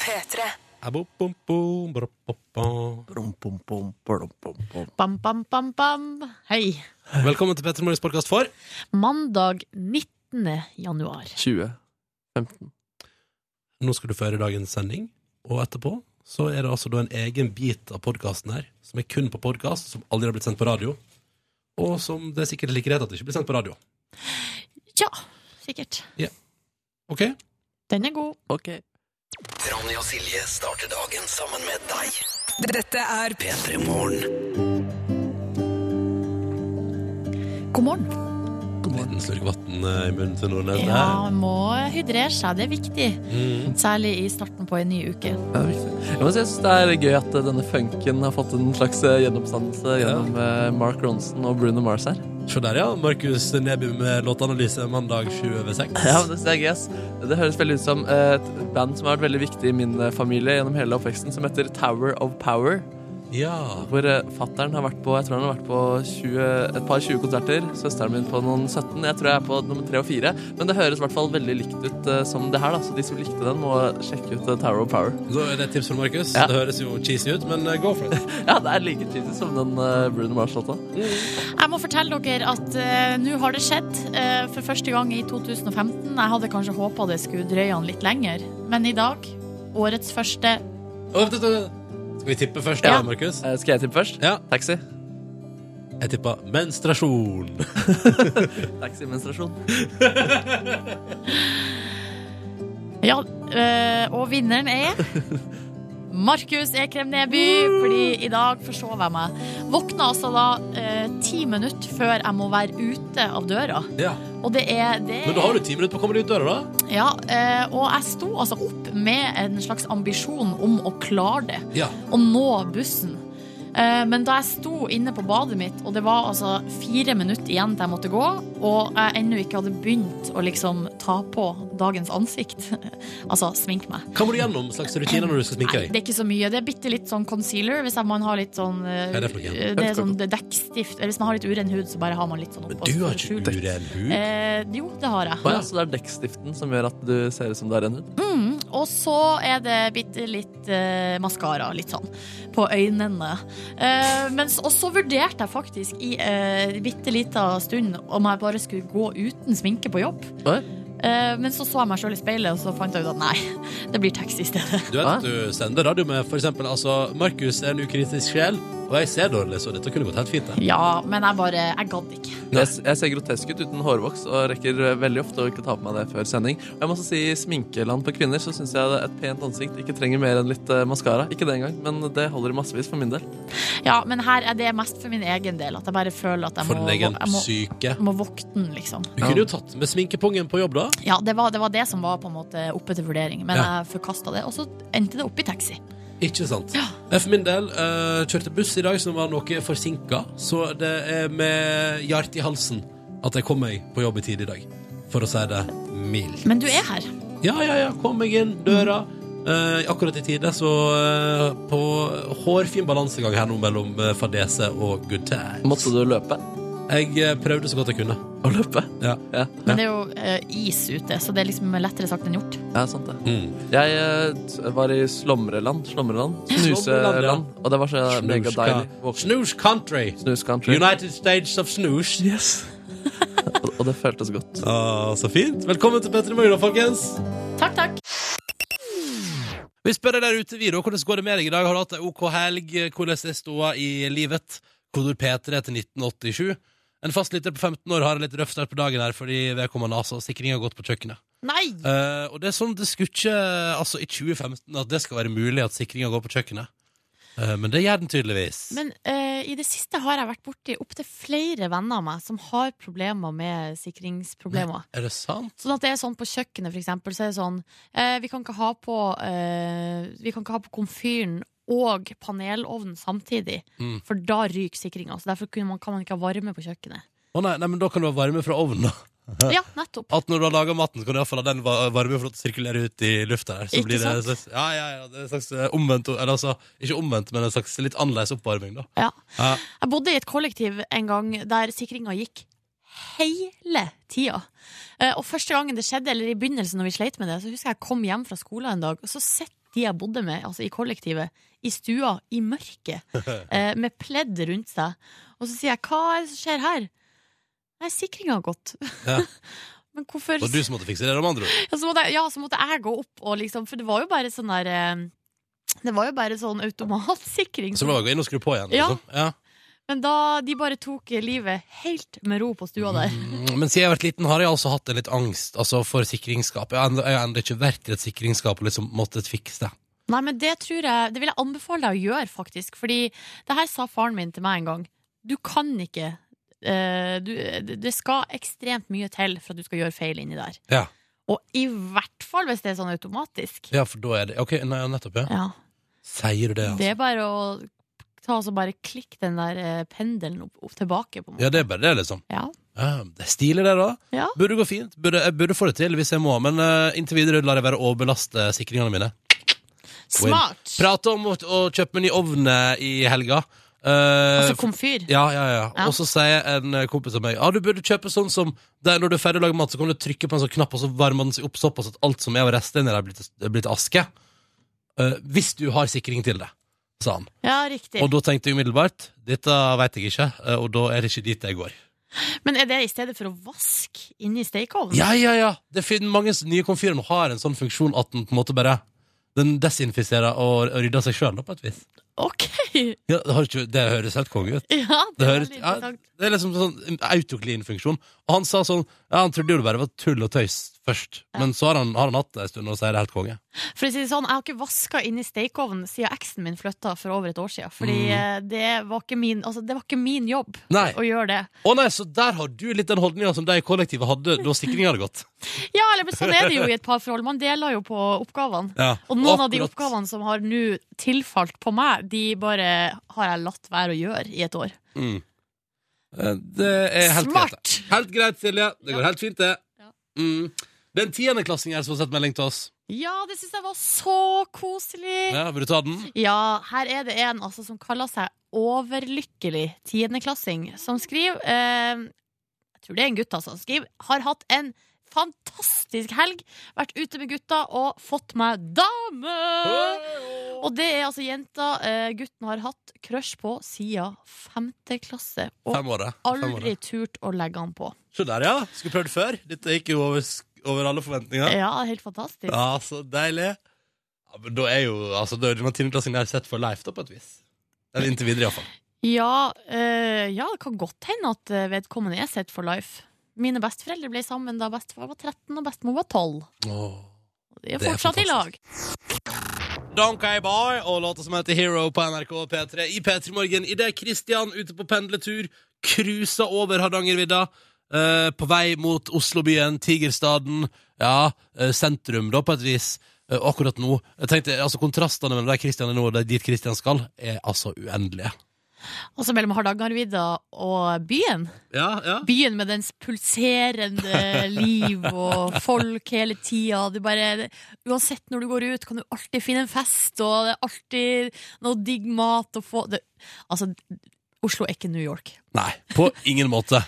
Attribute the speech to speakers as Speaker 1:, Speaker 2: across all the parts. Speaker 1: P3.
Speaker 2: Abom-bom-bom, brom-bom-bom.
Speaker 3: Bam, bam, bam, bam. Hei.
Speaker 2: Velkommen til Petter Morgens podkast for
Speaker 3: Mandag 19. januar.
Speaker 4: 20. 15.
Speaker 2: Nå skal du føre dagens sending, og etterpå så er det altså da en egen bit av podkasten her, som er kun på podkast, som aldri har blitt sendt på radio, og som det er sikkert like greit at det ikke blir sendt på radio.
Speaker 3: Ja, sikkert.
Speaker 2: OK?
Speaker 3: Den er god.
Speaker 4: Ok.
Speaker 5: Ronny og Silje starter dagen sammen med deg. Dette er P3 Morgen.
Speaker 3: God morgen.
Speaker 2: Liten slurk vann i munnen til Nordnes der.
Speaker 3: Ja, må hydrere seg. Det er viktig.
Speaker 2: Mm.
Speaker 3: Særlig i starten på en ny uke.
Speaker 4: Ja, det er viktig. Jeg må si jeg synes det er gøy at eh, denne funken har fått en slags eh, gjenoppstandelse gjennom eh, Mark Ronson og Bruno Mars her.
Speaker 2: Se der, ja. Markus Neby med låtanalyse mandag 7 over 6.
Speaker 4: Ja, men det, ser jeg gøy, ass. det høres veldig ut som eh, et band som har vært veldig viktig i min eh, familie gjennom hele oppveksten, som heter Tower of Power.
Speaker 2: Ja.
Speaker 4: Hvor eh, fattern har vært på jeg tror han har vært på 20, et par 20 konserter. Søsteren min på noen 17. Jeg tror jeg er på nummer 3 og 4. Men det høres i hvert fall veldig likt ut eh, som det her, da. Så de som likte den, må sjekke ut eh, Tower of Power.
Speaker 2: Da er det et tips fra Markus.
Speaker 4: Ja.
Speaker 2: Det høres jo cheesy ut, men eh, go for it.
Speaker 4: Ja, det er like cheesy som den eh, Bruno Mars-låta.
Speaker 3: Jeg må fortelle dere at eh, nå har det skjedd eh, for første gang i 2015. Jeg hadde kanskje håpa det skulle drøye han litt lenger, men i dag, årets første
Speaker 2: Å, vent, vent, vent. Skal vi tippe først,
Speaker 4: Ja.
Speaker 2: da, Markus?
Speaker 4: Eh, Skal jeg tippe først?
Speaker 2: Ja.
Speaker 4: Taxi.
Speaker 2: Jeg tippa menstruasjon.
Speaker 4: Taximenstruasjon.
Speaker 3: Ja, eh, og vinneren er Markus Ekrem Neby, fordi i dag forsov jeg meg. Våkna altså da eh, ti minutter før jeg må være ute av døra.
Speaker 2: Ja.
Speaker 3: Og det er det
Speaker 2: Men da har du ti minutter på å komme deg ut døra, da.
Speaker 3: Ja, eh, og jeg sto altså opp med en slags ambisjon om å klare det.
Speaker 2: Ja.
Speaker 3: å nå bussen. Eh, Men da jeg sto inne på badet mitt, og det var altså fire minutter igjen til jeg måtte gå, og jeg ennå ikke hadde begynt å liksom ta på dagens ansikt, altså sminke meg
Speaker 2: Hva må du gjennom slags rutiner når du skal sminke
Speaker 3: Nei,
Speaker 2: deg?
Speaker 3: det er ikke så mye. Det er bitte litt sånn concealer hvis man har litt sånn eh,
Speaker 2: Hva er det for noe?
Speaker 3: eh, Det er sånn det er dekkstift. Eller hvis man har litt uren hud, så bare har man litt sånn
Speaker 2: Men
Speaker 3: oppå.
Speaker 2: du har
Speaker 3: for å
Speaker 2: ikke
Speaker 3: skjule.
Speaker 2: uren hud.
Speaker 3: Eh, jo, det har jeg.
Speaker 4: Å ja, så det er dekkstiften som gjør at du ser ut som du har en hud?
Speaker 3: Og så er det bitte litt eh, maskara, litt sånn, på øynene. Eh, mens, og så vurderte jeg faktisk i eh, bitte lita stund om jeg bare skulle gå uten sminke på jobb.
Speaker 4: Oi.
Speaker 3: Eh, men så så jeg meg sjøl i speilet, og så fant jeg ut at nei, det blir taxi i stedet.
Speaker 2: Du vet at du sender radio med for eksempel altså, Markus er en ukritisk sjel, og jeg ser dårlig, så dette kunne gått helt fint. Det.
Speaker 3: Ja, men jeg bare Jeg gadd ikke.
Speaker 4: Jeg, s- jeg ser grotesk ut uten hårvoks og rekker eh, veldig ofte å ikke ta på meg det før sending. Og jeg må også si i sminkeland på kvinner, så syns jeg et pent ansikt ikke trenger mer enn litt eh, maskara. Ikke det engang, men det holder i massevis for min del.
Speaker 3: Ja, men her er det mest for min egen del, at jeg bare føler at jeg
Speaker 2: For
Speaker 3: må,
Speaker 2: din egen
Speaker 3: jeg må, Mm.
Speaker 2: syke.
Speaker 3: må vokte den, liksom.
Speaker 2: Du kunne jo tatt med sminkepungen på jobb, da.
Speaker 3: Ja, det var, det var det som var på en måte oppe til vurdering, men
Speaker 2: Ja.
Speaker 3: jeg forkasta det. Og så endte det opp i taxi.
Speaker 2: Ikke sant? Jeg for min del eh, kjørte buss i dag som var noe forsinka, så det er med hjertet i halsen at jeg kom meg på jobb i tid i dag. For å si det mildt.
Speaker 3: Men du er her.
Speaker 2: Ja, ja, ja, kom meg inn døra. Eh, akkurat i tide, så eh, på hårfin balansegang her nå mellom eh, fadese og good times.
Speaker 4: Måtte du løpe?
Speaker 2: Jeg eh, prøvde så godt jeg kunne.
Speaker 4: Å løpe?
Speaker 2: Ja.
Speaker 4: Ja,
Speaker 3: Men det er jo eh, is ute, så det er liksom lettere sagt enn gjort.
Speaker 4: ja sant det.
Speaker 2: Mm.
Speaker 4: Jeg eh, t- var i slumreland. Slumreland?
Speaker 2: Slumreland, ja.
Speaker 4: Snuseland. Og det var så megadeilig.
Speaker 2: Snuska.
Speaker 4: Våkne-
Speaker 2: Snoosh country.
Speaker 4: Snus country.
Speaker 2: United States of Snoosh.
Speaker 4: Og- Og det føltes godt.
Speaker 2: Ah, så fint. Velkommen til Petter i Morgen, folkens.
Speaker 3: Takk, takk.
Speaker 2: Vi spør deg der ute, vi, da. Hvordan går det med deg i dag? Har du hatt ei OK helg? Hvordan er ståa i livet? Kodord P3 til 1987. En fastlytter på 15 år har en litt røff start på dagen her fordi vedkommende altså sikring har gått på kjøkkenet.
Speaker 3: Nei!
Speaker 2: Eh, og det er sånn det skulle ikke Altså, i 2015 at det skal være mulig at sikringa går på kjøkkenet. Eh, men det gjør den tydeligvis.
Speaker 3: Men eh, i det siste har jeg vært borti opptil flere venner av meg som har problemer med sikringsproblemer.
Speaker 2: er det sant?
Speaker 3: Sånn at det er sånn på kjøkkenet, for eksempel, så er det sånn eh, Vi kan ikke ha på eh, Vi kan ikke ha på komfyren og panelovnen samtidig,
Speaker 2: Mm.
Speaker 3: for da ryker sikringa. Så derfor kunne man, kan man ikke ha varme på kjøkkenet.
Speaker 2: Å nei, nei, men da kan du ha varme fra ovnen, da.
Speaker 3: Ja, nettopp.
Speaker 2: At når du har laga maten, kan du iallfall ha den va- varme for å sirkulere ut i lufta der. Så
Speaker 3: Ikke
Speaker 2: blir det en
Speaker 3: sant?
Speaker 2: slags, ja, ja, ja, det er en slags eh, omvendt Eller altså, ikke omvendt, men en slags litt annerledes oppvarming, da.
Speaker 3: Ja.
Speaker 2: Ja.
Speaker 3: Jeg bodde i et kollektiv en gang der sikringa gikk hele tida. Eh, Og første gangen det skjedde, eller i begynnelsen når vi sleit med det, så husker jeg jeg kom hjem fra skolen en dag, og så sitter de jeg bodde med, altså i kollektivet, i stua, i mørket, eh, med pledd rundt seg. Og så sier jeg 'hva er det som skjer her?' Nei, sikringa har gått.
Speaker 2: Ja.
Speaker 3: Men hvorfor
Speaker 2: Det var du som måtte fikse det, de andre ord.
Speaker 3: ja, så måtte, jeg- ja, så måtte jeg gå opp og liksom For det var jo bare sånn der eh, Det var jo bare sånn automatsikring.
Speaker 2: Så må jeg gå inn og skru på igjen.
Speaker 3: Ja.
Speaker 2: Liksom. Ja.
Speaker 3: Men da de bare tok livet helt med ro på stua der.
Speaker 2: Mm, Men siden jeg har vært liten, har jeg altså hatt en litt angst altså for sikringsskapet. Jeg har enda- jeg har ennå ikke vært i et sikringsskap og liksom måttet fikse det.
Speaker 3: Nei, men det tror jeg Det vil jeg anbefale deg å gjøre, faktisk. Fordi det her sa faren min til meg en gang. Du kan ikke eh, du, det- Det skal ekstremt mye til for at du skal gjøre feil inni der.
Speaker 2: Ja.
Speaker 3: Og i hvert fall hvis det er sånn automatisk.
Speaker 2: ja, for da er det Ok, nei, ja, nettopp, ja.
Speaker 3: Ja.
Speaker 2: Sier du det, altså?
Speaker 3: Det er bare å ta og så bare klikke den der eh, pendelen opp, opp tilbake, på en måte.
Speaker 2: Ja, det er bare det, liksom.
Speaker 3: Ja.
Speaker 2: Ja, det er stilig, det, da.
Speaker 3: Ja.
Speaker 2: Burde gå fint. Burde, jeg burde få det til hvis jeg må, men eh, inntil videre lar jeg være å belaste sikringene mine.
Speaker 3: Smart!
Speaker 2: Prate om å, å kjøpe meg ny ovn eh, i helga. Eh,
Speaker 3: Altså komfyr.
Speaker 2: ja, ja, ja.
Speaker 3: Ja.
Speaker 2: Og så sier en eh, kompis av meg Ja, du burde kjøpe sånn som der når du er ferdig å lage mat, så kan du trykke på en sånn knapp, og så varmer den seg opp såpass at alt som er av restene, der er blitt, er blitt aske. Eh, hvis du har sikring til det, sa han.
Speaker 3: Ja, riktig.
Speaker 2: Og da tenkte jeg umiddelbart dette veit jeg ikke, eh, og da er det ikke dit jeg går.
Speaker 3: Men er det i stedet for å vaske inni stekeovnen?
Speaker 2: Ja, ja, ja. Det finnes mange s- nye komfyrer som har en sånn funksjon at den på en måte bare Den desinfiserer og, og rydder seg sjøl, på et vis.
Speaker 3: Ok!
Speaker 2: Ja, det, har ikke, det høres helt konge ut.
Speaker 3: Ja,
Speaker 2: Det,
Speaker 3: det er
Speaker 2: høres,
Speaker 3: veldig
Speaker 2: ja,
Speaker 3: interessant.
Speaker 2: det er liksom sånn en autoclean-funksjon. Og han sa sånn Ja, han trodde jo det bare var tull og tøys først, men så har han, har han hatt det en stund, og så er det helt konge.
Speaker 3: For å si det sånn, Jeg har ikke vaska inni stekeovnen siden eksen min flytta for over et år siden. Fordi eh, det, var ikke min, altså, det var ikke min jobb
Speaker 2: Mm. Nei.
Speaker 3: å gjøre det.
Speaker 2: Å nei, så der har du litt den holdninga som de i kollektivet hadde da sikringa hadde gått.
Speaker 3: Ja, eller men Sånn er det jo i et parforhold. Man deler jo på oppgavene.
Speaker 2: Ja.
Speaker 3: Og noen av de
Speaker 2: Akkurat.
Speaker 3: oppgavene som har nå tilfalt på meg, de bare har jeg latt være å gjøre i et år.
Speaker 2: Mm. Eh, Det er helt greit.
Speaker 3: Smart!
Speaker 2: det. Helt greit, Silje. Det går helt fint, det.
Speaker 3: Ja.
Speaker 2: Mm. Det er en tiendeklassing her som har sett melding til oss.
Speaker 3: Ja, det syns jeg var så koselig!
Speaker 2: Ja, Vil du ta den?
Speaker 3: Ja, her er det en altså, som kaller seg overlykkelig tiendeklassing, som skriver eh, Jeg tror det er en gutt, altså. som Skriver har hatt en fantastisk helg, vært ute med gutta og fått meg dame! Og det er altså jenta eh, gutten har hatt crush på siden femte klasse, og
Speaker 2: Fem år, det. Fem år,
Speaker 3: aldri
Speaker 2: det.
Speaker 3: turt å legge han på.
Speaker 2: Se der, ja. Skulle prøvd før. Dette gikk jo over, over alle forventninger.
Speaker 3: Ja, helt fantastisk.
Speaker 2: Ja, så deilig. Ja, men da er jo altså, da er denne tiendeklassingen der sett for life, da, på et vis. Eller inntil videre, iallfall.
Speaker 3: Ja, eh, ja, det kan godt hende at eh, vedkommende er set for life. Mine besteforeldre ble sammen da bestefar var 13 og bestemor var 12. Og De
Speaker 2: Det
Speaker 3: er
Speaker 2: er
Speaker 3: fortsatt i lag.
Speaker 2: Donkey Boy og låta som heter Hero på NRK P3 i P3 Morgen. Idet Kristian ute på pendletur cruiser over Hardangervidda. eh, på vei mot Oslobyen, Tigerstaden, ja, eh, sentrum, da, på et vis. Eh, og akkurat nå jeg tenkte, altså Kontrastene mellom der Kristian er nå og der dit Kristian skal, er altså uendelige.
Speaker 3: Også mellom Hardangervidda og byen.
Speaker 2: Ja, ja.
Speaker 3: Byen med dens pulserende liv og folk hele tida. Du bare, uansett når du går ut, kan du alltid finne en fest, og det er alltid noe digg mat å få. Det, altså, Oslo er ikke New York.
Speaker 2: Nei, på ingen måte.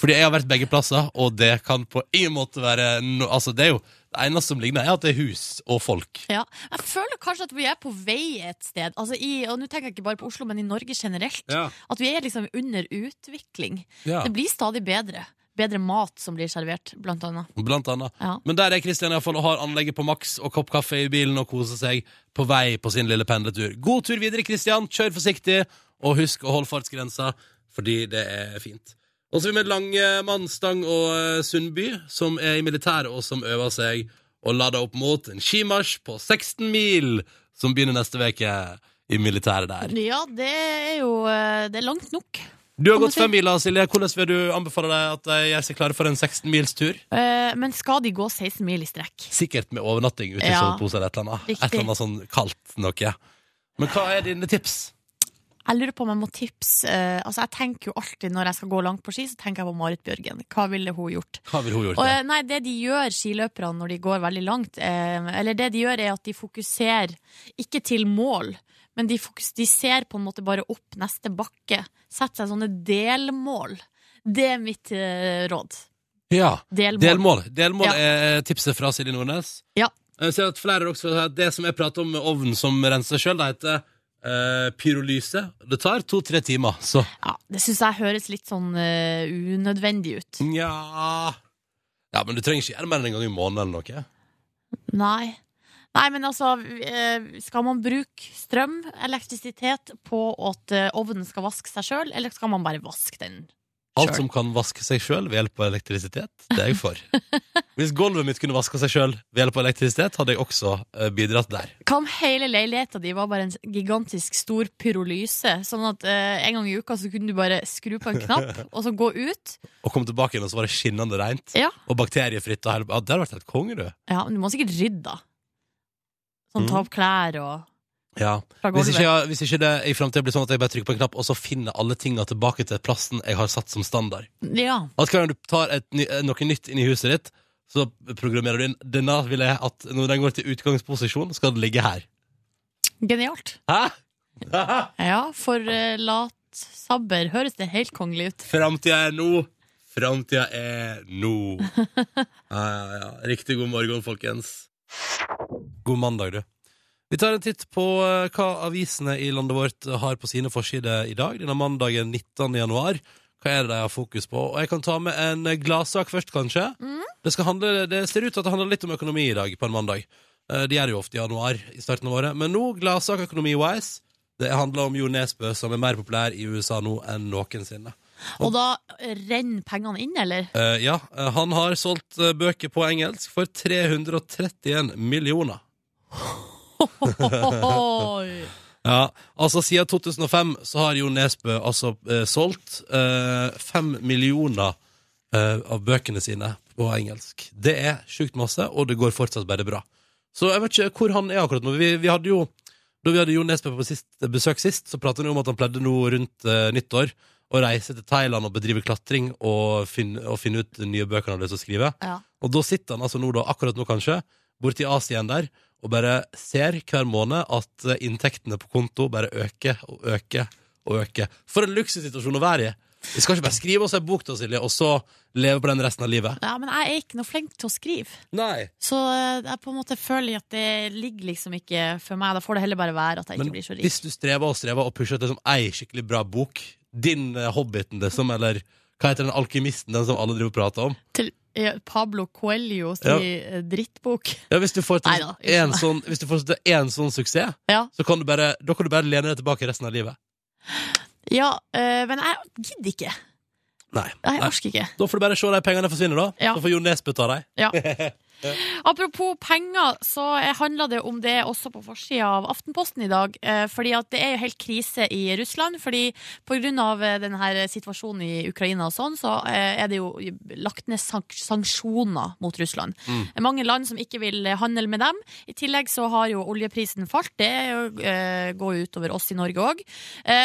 Speaker 2: Fordi jeg har vært begge plasser, og det kan på ingen måte være no Altså, det er jo Det eneste som ligner, er at det er hus og folk.
Speaker 3: Ja. Jeg føler kanskje at vi er på vei et sted. Altså i, og nå tenker jeg ikke bare på Oslo, men i Norge generelt. At vi er liksom under utvikling.
Speaker 2: Ja.
Speaker 3: Det blir stadig bedre. Bedre mat som blir servert, blant annet.
Speaker 2: Blant annet.
Speaker 3: Ja.
Speaker 2: Men der er Kristian iallfall og har anlegget på maks og kopp kaffe i bilen og koser seg på vei på sin lille pendletur. God tur videre, Kristian. Kjør forsiktig, og husk å holde fartsgrensa, fordi det er fint. Og så er vi med Langemann, Stang og eh, Sundby, som er i militæret og som øver seg og lader opp mot en skimarsj på 16 mil, som begynner neste uke i militæret der.
Speaker 3: Ja, det er jo eh, Det er langt nok.
Speaker 2: Du har
Speaker 3: Kan man
Speaker 2: gått
Speaker 3: si-
Speaker 2: fem miler, Silje. Hvordan vil du anbefale deg at de gjør seg klare for en 16 mils tur?
Speaker 3: Eh, Men skal de gå 16 mil i strekk?
Speaker 2: Sikkert med overnatting ute i
Speaker 3: Ja.
Speaker 2: sovepose eller et eller annet. Et
Speaker 3: Riktig.
Speaker 2: eller annet sånn kaldt noe. Men hva er dine tips?
Speaker 3: Jeg lurer på om jeg må tipse eh, Altså, jeg tenker jo alltid når jeg skal gå langt på ski, så tenker jeg på Marit Bjørgen. Hva ville hun gjort?
Speaker 2: Hva ville hun gjort?
Speaker 3: Og,
Speaker 2: da?
Speaker 3: eh, nei, det de gjør skiløperne når de går veldig langt, eh, eller det de gjør er at de fokuserer ikke til mål, men de, fokus, de ser på en måte bare opp neste bakke. Setter seg sånne delmål. Det er mitt eh, råd.
Speaker 2: Ja.
Speaker 3: Delmål.
Speaker 2: Delmål. Delmål
Speaker 3: Ja.
Speaker 2: er tipset fra Silje Nordnes.
Speaker 3: Ja.
Speaker 2: Jeg ser at flere også har Det som jeg prater om med ovnen som renser sjøl, det heter eh, pyrolyse. Det tar to-tre timer, så
Speaker 3: Ja, det syns jeg høres litt sånn eh, unødvendig ut.
Speaker 2: Nja Ja, men du trenger ikke gjøre mer enn en gang i måneden eller noe.
Speaker 3: Nei. Nei, men altså, eh, skal man bruke strøm, elektrisitet, på at eh, ovnen skal vaske seg sjøl, eller skal man bare vaske den?
Speaker 2: Alt
Speaker 3: Sure.
Speaker 2: som kan vaske seg sjøl ved hjelp av elektrisitet, det er jeg for. Hvis gulvet mitt kunne vaska seg sjøl ved hjelp av elektrisitet, hadde jeg også eh, bidratt der.
Speaker 3: Hva om hele leiligheta di var bare en gigantisk stor pyrolyse? Sånn at eh, en gang i uka så kunne du bare skru på en knapp, og så gå ut.
Speaker 2: Og kom tilbake igjen, og så var det skinnende reint.
Speaker 3: Ja.
Speaker 2: Og bakteriefritt. Og hele... ja, det hadde vært helt konge, du.
Speaker 3: Ja, men du må sikkert rydde, da. Sånn
Speaker 2: Mm.
Speaker 3: ta opp klær og
Speaker 2: Ja.
Speaker 3: fra
Speaker 2: Hvis
Speaker 3: gulvet.
Speaker 2: ikke, jeg, hvis ikke det i fremtiden blir sånn at jeg bare trykker på en knapp, og så finner alle tinga tilbake til plassen jeg har satt som standard.
Speaker 3: Ja.
Speaker 2: At hver gang du tar et, ny- eh, noe nytt inn i huset ditt, så programmerer du inn Denne vil jeg at når den går til utgangsposisjon, skal den ligge her.
Speaker 3: Genialt.
Speaker 2: Hæ?
Speaker 3: Ja, for eh, latsabber høres det helt kongelig ut.
Speaker 2: Framtida er nå. Framtida er nå. Ja, ja, ja. Riktig god morgen, folkens. God mandag, du. Vi tar en titt på eh, hva avisene i landet vårt har på sine forsider i dag. Denne mandagen 19. januar. Hva er det de har fokus på? Og jeg kan ta med en eh, gladsak først, kanskje. Det, skal handle, det ser ut til at det handler litt om økonomi i dag, på en mandag. Eh, Det gjør det jo ofte i januar i starten av året. Men nå, gladsak økonomi-wise. Det handler om Jo Nesbø, som er mer populær i USA nå enn noensinne.
Speaker 3: Og da renner pengene inn, eller?
Speaker 2: Eh, ja, eh, han har solgt eh, bøker på engelsk for 331 millioner.
Speaker 3: Oi.
Speaker 2: Ja, altså siden 2005 så har Jo Nesbø altså eh, solgt eh, 5 millioner eh, av bøkene sine på engelsk. Det er sjukt masse, og det går fortsatt bare bra. Så jeg vet ikke hvor han er akkurat nå. Vi, vi hadde jo, da vi hadde Jo Nesbø på sist, eh, besøk sist, så pratet han jo om at han pleide nå rundt eh, nyttår å reise til Thailand og bedrive klatring og finne, og finne ut de nye bøkene han hadde lyst til å skrive.
Speaker 3: Ja.
Speaker 2: Og da sitter han altså nå da, akkurat nå kanskje, borti Asien der, og bare ser hver måned at eh, inntektene på konto bare øker og øker og øker. For en luksussituasjon å være i! Vi skal ikke bare skrive oss ei bok da, Silje, og så leve på den resten av livet.
Speaker 3: ja, men jeg er ikke noe flink til å skrive.
Speaker 2: Nei.
Speaker 3: Så eh, jeg på en måte føler at det ligger liksom ikke for meg. Da får det heller bare være at jeg
Speaker 2: Men
Speaker 3: ikke blir så rik.
Speaker 2: hvis du strever og strever og pusher til liksom, ei skikkelig bra bok, din eh, Hobbiten, liksom, eller hva heter den alkymisten, den som alle driver og prater om?
Speaker 3: Til eh, Pablo Coelho sin
Speaker 2: Ja.
Speaker 3: eh, drittbok.
Speaker 2: Ja, hvis du får til
Speaker 3: Neida, unnskyld
Speaker 2: en
Speaker 3: meg.
Speaker 2: sånn, hvis du får til en sånn suksess,
Speaker 3: Ja.
Speaker 2: så kan du bare, da kan du bare lene deg tilbake resten av livet.
Speaker 3: Ja, eh, men jeg gidder ikke.
Speaker 2: Nei.
Speaker 3: Jeg
Speaker 2: Nei.
Speaker 3: orker ikke.
Speaker 2: Da får du bare se de pengene forsvinne, da.
Speaker 3: Ja.
Speaker 2: Så får Jo Nesbø ta dem.
Speaker 3: Apropos penger, så handla det om det også på forsida av Aftenposten i dag. eh, Fordi at det er jo helt krise i Russland. fordi pga. eh, denne situasjonen i Ukraina og sånn, så eh, er det jo lagt ned sank- sanksjoner mot Russland.
Speaker 2: Mm.
Speaker 3: Det er Mange land som ikke vil eh, handle med dem. I tillegg så har jo oljeprisen falt. Det er jo, eh, går jo utover oss i Norge òg.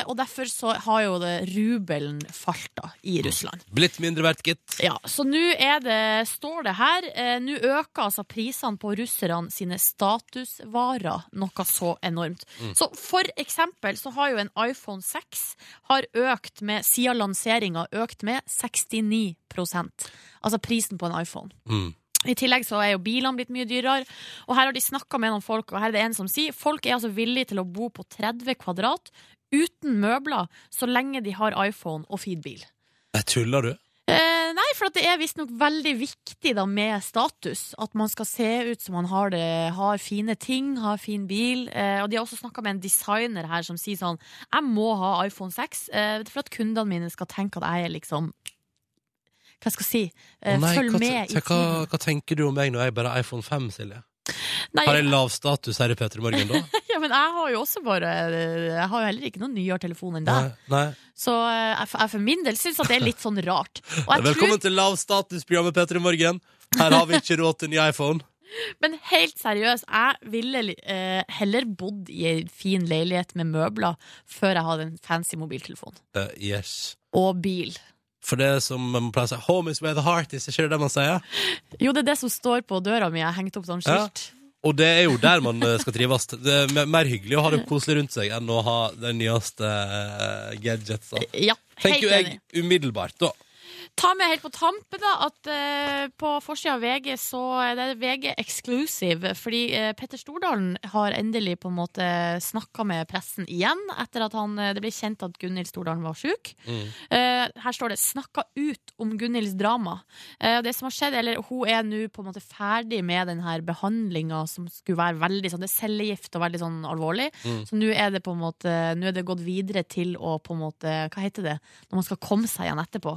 Speaker 3: Og derfor så har jo det rubelen falt da i Russland.
Speaker 2: Blitt mindre verdt, gitt.
Speaker 3: Ja, så nå er det, står det her, eh, nå øker altså prisene på russerne sine statusvarer noe så enormt. Så for eksempel så har jo en iPhone 6 har økt med, siden lanseringen, økt med 69 prosent. Altså prisen på en iPhone.
Speaker 2: Mm.
Speaker 3: I tillegg så er jo bilene blitt mye dyrere. Og her har de snakka med noen folk, og her er det en som sier folk er altså villige til å bo på 30 kvadrat uten møbler så lenge de har iPhone og fin bil.
Speaker 2: Nei, tuller du?
Speaker 3: Eh, nei, for at det er visstnok veldig viktig da med status. At man skal se ut som man har det, har fine ting, har fin bil. Eh, og de har også snakka med en designer her som sier sånn Jeg må ha iPhone 6 eh, for at kundene mine skal tenke at jeg er liksom Hva skal jeg si? Eh,
Speaker 2: Å nei,
Speaker 3: følg
Speaker 2: hva,
Speaker 3: med i
Speaker 2: te- hva,
Speaker 3: tiden.
Speaker 2: hva tenker du om meg når jeg bare har iPhone 5, Silje?
Speaker 3: Nei,
Speaker 2: Har jeg lav status her i P3 Morgen da?
Speaker 3: ja, men jeg har jo også bare eh, Jeg har jo heller ikke noen nyere telefon enn deg.
Speaker 2: Nei, nei.
Speaker 3: Så eh, jeg, jeg for min del syns at det er litt sånn rart. Og jeg tror-
Speaker 2: Velkommen til lav status-programmet P3 Morgen. Her har vi ikke råd til ny iPhone.
Speaker 3: Men helt seriøst, jeg ville eh, heller bodd i ei en fin leilighet med møbler før jeg hadde en fancy mobiltelefon.
Speaker 2: Eh, yes.
Speaker 3: Og bil.
Speaker 2: For det som man pleier å si, home is where the heart is, ikke det det man sier?
Speaker 3: Jo, det er det som står på døra mi. Jeg har hengt opp sånn
Speaker 2: Ja.
Speaker 3: skilt.
Speaker 2: Og det er jo der man eh, skal trives. Det er me- mer hyggelig å ha det koselig rundt seg enn å ha de nyeste eh, gadgetsa.
Speaker 3: Ja,
Speaker 2: Tenker
Speaker 3: helt
Speaker 2: jo
Speaker 3: enig.
Speaker 2: jeg umiddelbart, da.
Speaker 3: Ta med helt på tampen da, at eh, på forsida av VG så er det VG exclusive, fordi eh, Petter Stordalen har endelig på en måte snakka med pressen igjen, etter at han, eh, det ble kjent at Gunhild Stordalen var sjuk.
Speaker 2: Mm.
Speaker 3: Eh, her står det 'snakka ut om Gunhilds drama'. Eh, det som har skjedd, eller Hun er nå på en måte ferdig med denne behandlinga som skulle være veldig sånn, det er cellegift og veldig sånn alvorlig.
Speaker 2: Mm.
Speaker 3: Så nå er det på en måte Nå er det gått videre til å på en måte Hva heter det? Når man skal komme seg igjen etterpå.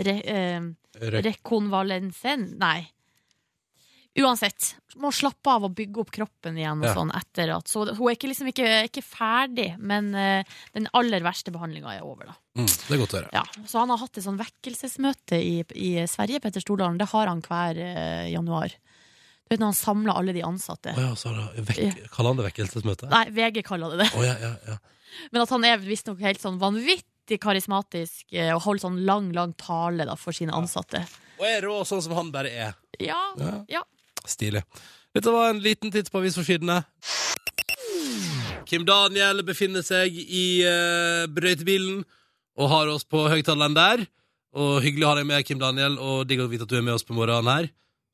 Speaker 3: Re, eh,
Speaker 2: Røk.
Speaker 3: Rekonvalensen? Nei. Uansett, må slappe av og bygge opp kroppen igjen. Og
Speaker 2: Ja.
Speaker 3: sånn etter at, så Hun er ikke, liksom ikke, ikke ferdig, men eh, den aller verste behandlinga er over. da
Speaker 2: Mm. Det er godt å høre.
Speaker 3: ja, så han har hatt et sånn vekkelsesmøte i, i Sverige, Petter Stordalen. Det har han hver eh, januar. Du vet når han samler alle de ansatte.
Speaker 2: Å ja, så har det vekk, kaller han det vekkelsesmøte?
Speaker 3: Nei, VG kaller det det.
Speaker 2: Å ja, ja, ja.
Speaker 3: Men at han er visstnok helt sånn vanvittig karismatisk eh, og holder sånn lang, lang tale da, for sine ansatte.
Speaker 2: Og er rå sånn som han bare er.
Speaker 3: Ja,
Speaker 2: Ja.
Speaker 3: ja.
Speaker 2: Stilig. Dette var en liten titt på avisforsidene. Kim Daniel befinner seg i uh, brøytebilen og har oss på høyttaleren der. Og hyggelig å ha deg med, Kim Daniel, og digg å vite at du er med oss på morgenen her.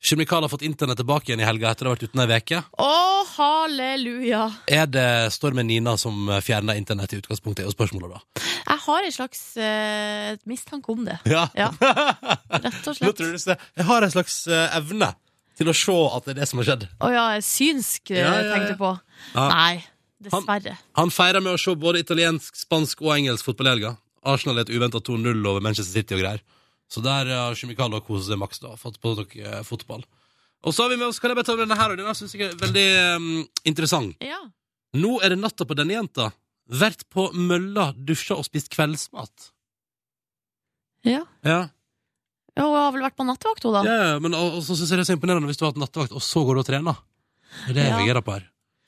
Speaker 2: Kjemikal har fått internett tilbake igjen i helga etter å ha vært uten ei uke.
Speaker 3: Å, halleluja!
Speaker 2: Er det Stormen Nina som fjerner internett i utgangspunktet, er jo spørsmålet, da.
Speaker 3: Jeg har en slags eh, mistanke om det,
Speaker 2: Ja.
Speaker 3: Ja. rett og
Speaker 2: Nå
Speaker 3: slett.
Speaker 2: tror du det. Jeg har en slags eh, evne til å se at det er det som har skjedd.
Speaker 3: Å ja, synsk, eh,
Speaker 2: Ja, ja, ja.
Speaker 3: tenkte jeg på.
Speaker 2: Ja.
Speaker 3: Nei, dessverre.
Speaker 2: Han feirer med å se både italiensk, spansk og engelsk fotball i helga. Arsenal er et uventa 2-0 over Manchester City og greier. Så der eh, har Kjemikal og koset seg maks, da. Fått på noe eh, fotball. Og så har vi med oss, kan jeg bare ta med denne her, og denne syns jeg er veldig eh, interessant.
Speaker 3: Ja.
Speaker 2: Nå er det natta på denne jenta. Vært på mølla, dusja og spist kveldsmat.
Speaker 3: ja.
Speaker 2: Ja,
Speaker 3: Ja, Hun har vel vært på nattevakt, hun, da.
Speaker 2: ja, ja men og, og så syns jeg det er så imponerende hvis du har hatt nattevakt, og så går du og trener. Det er det jeg
Speaker 3: Ja.
Speaker 2: reagerer på her.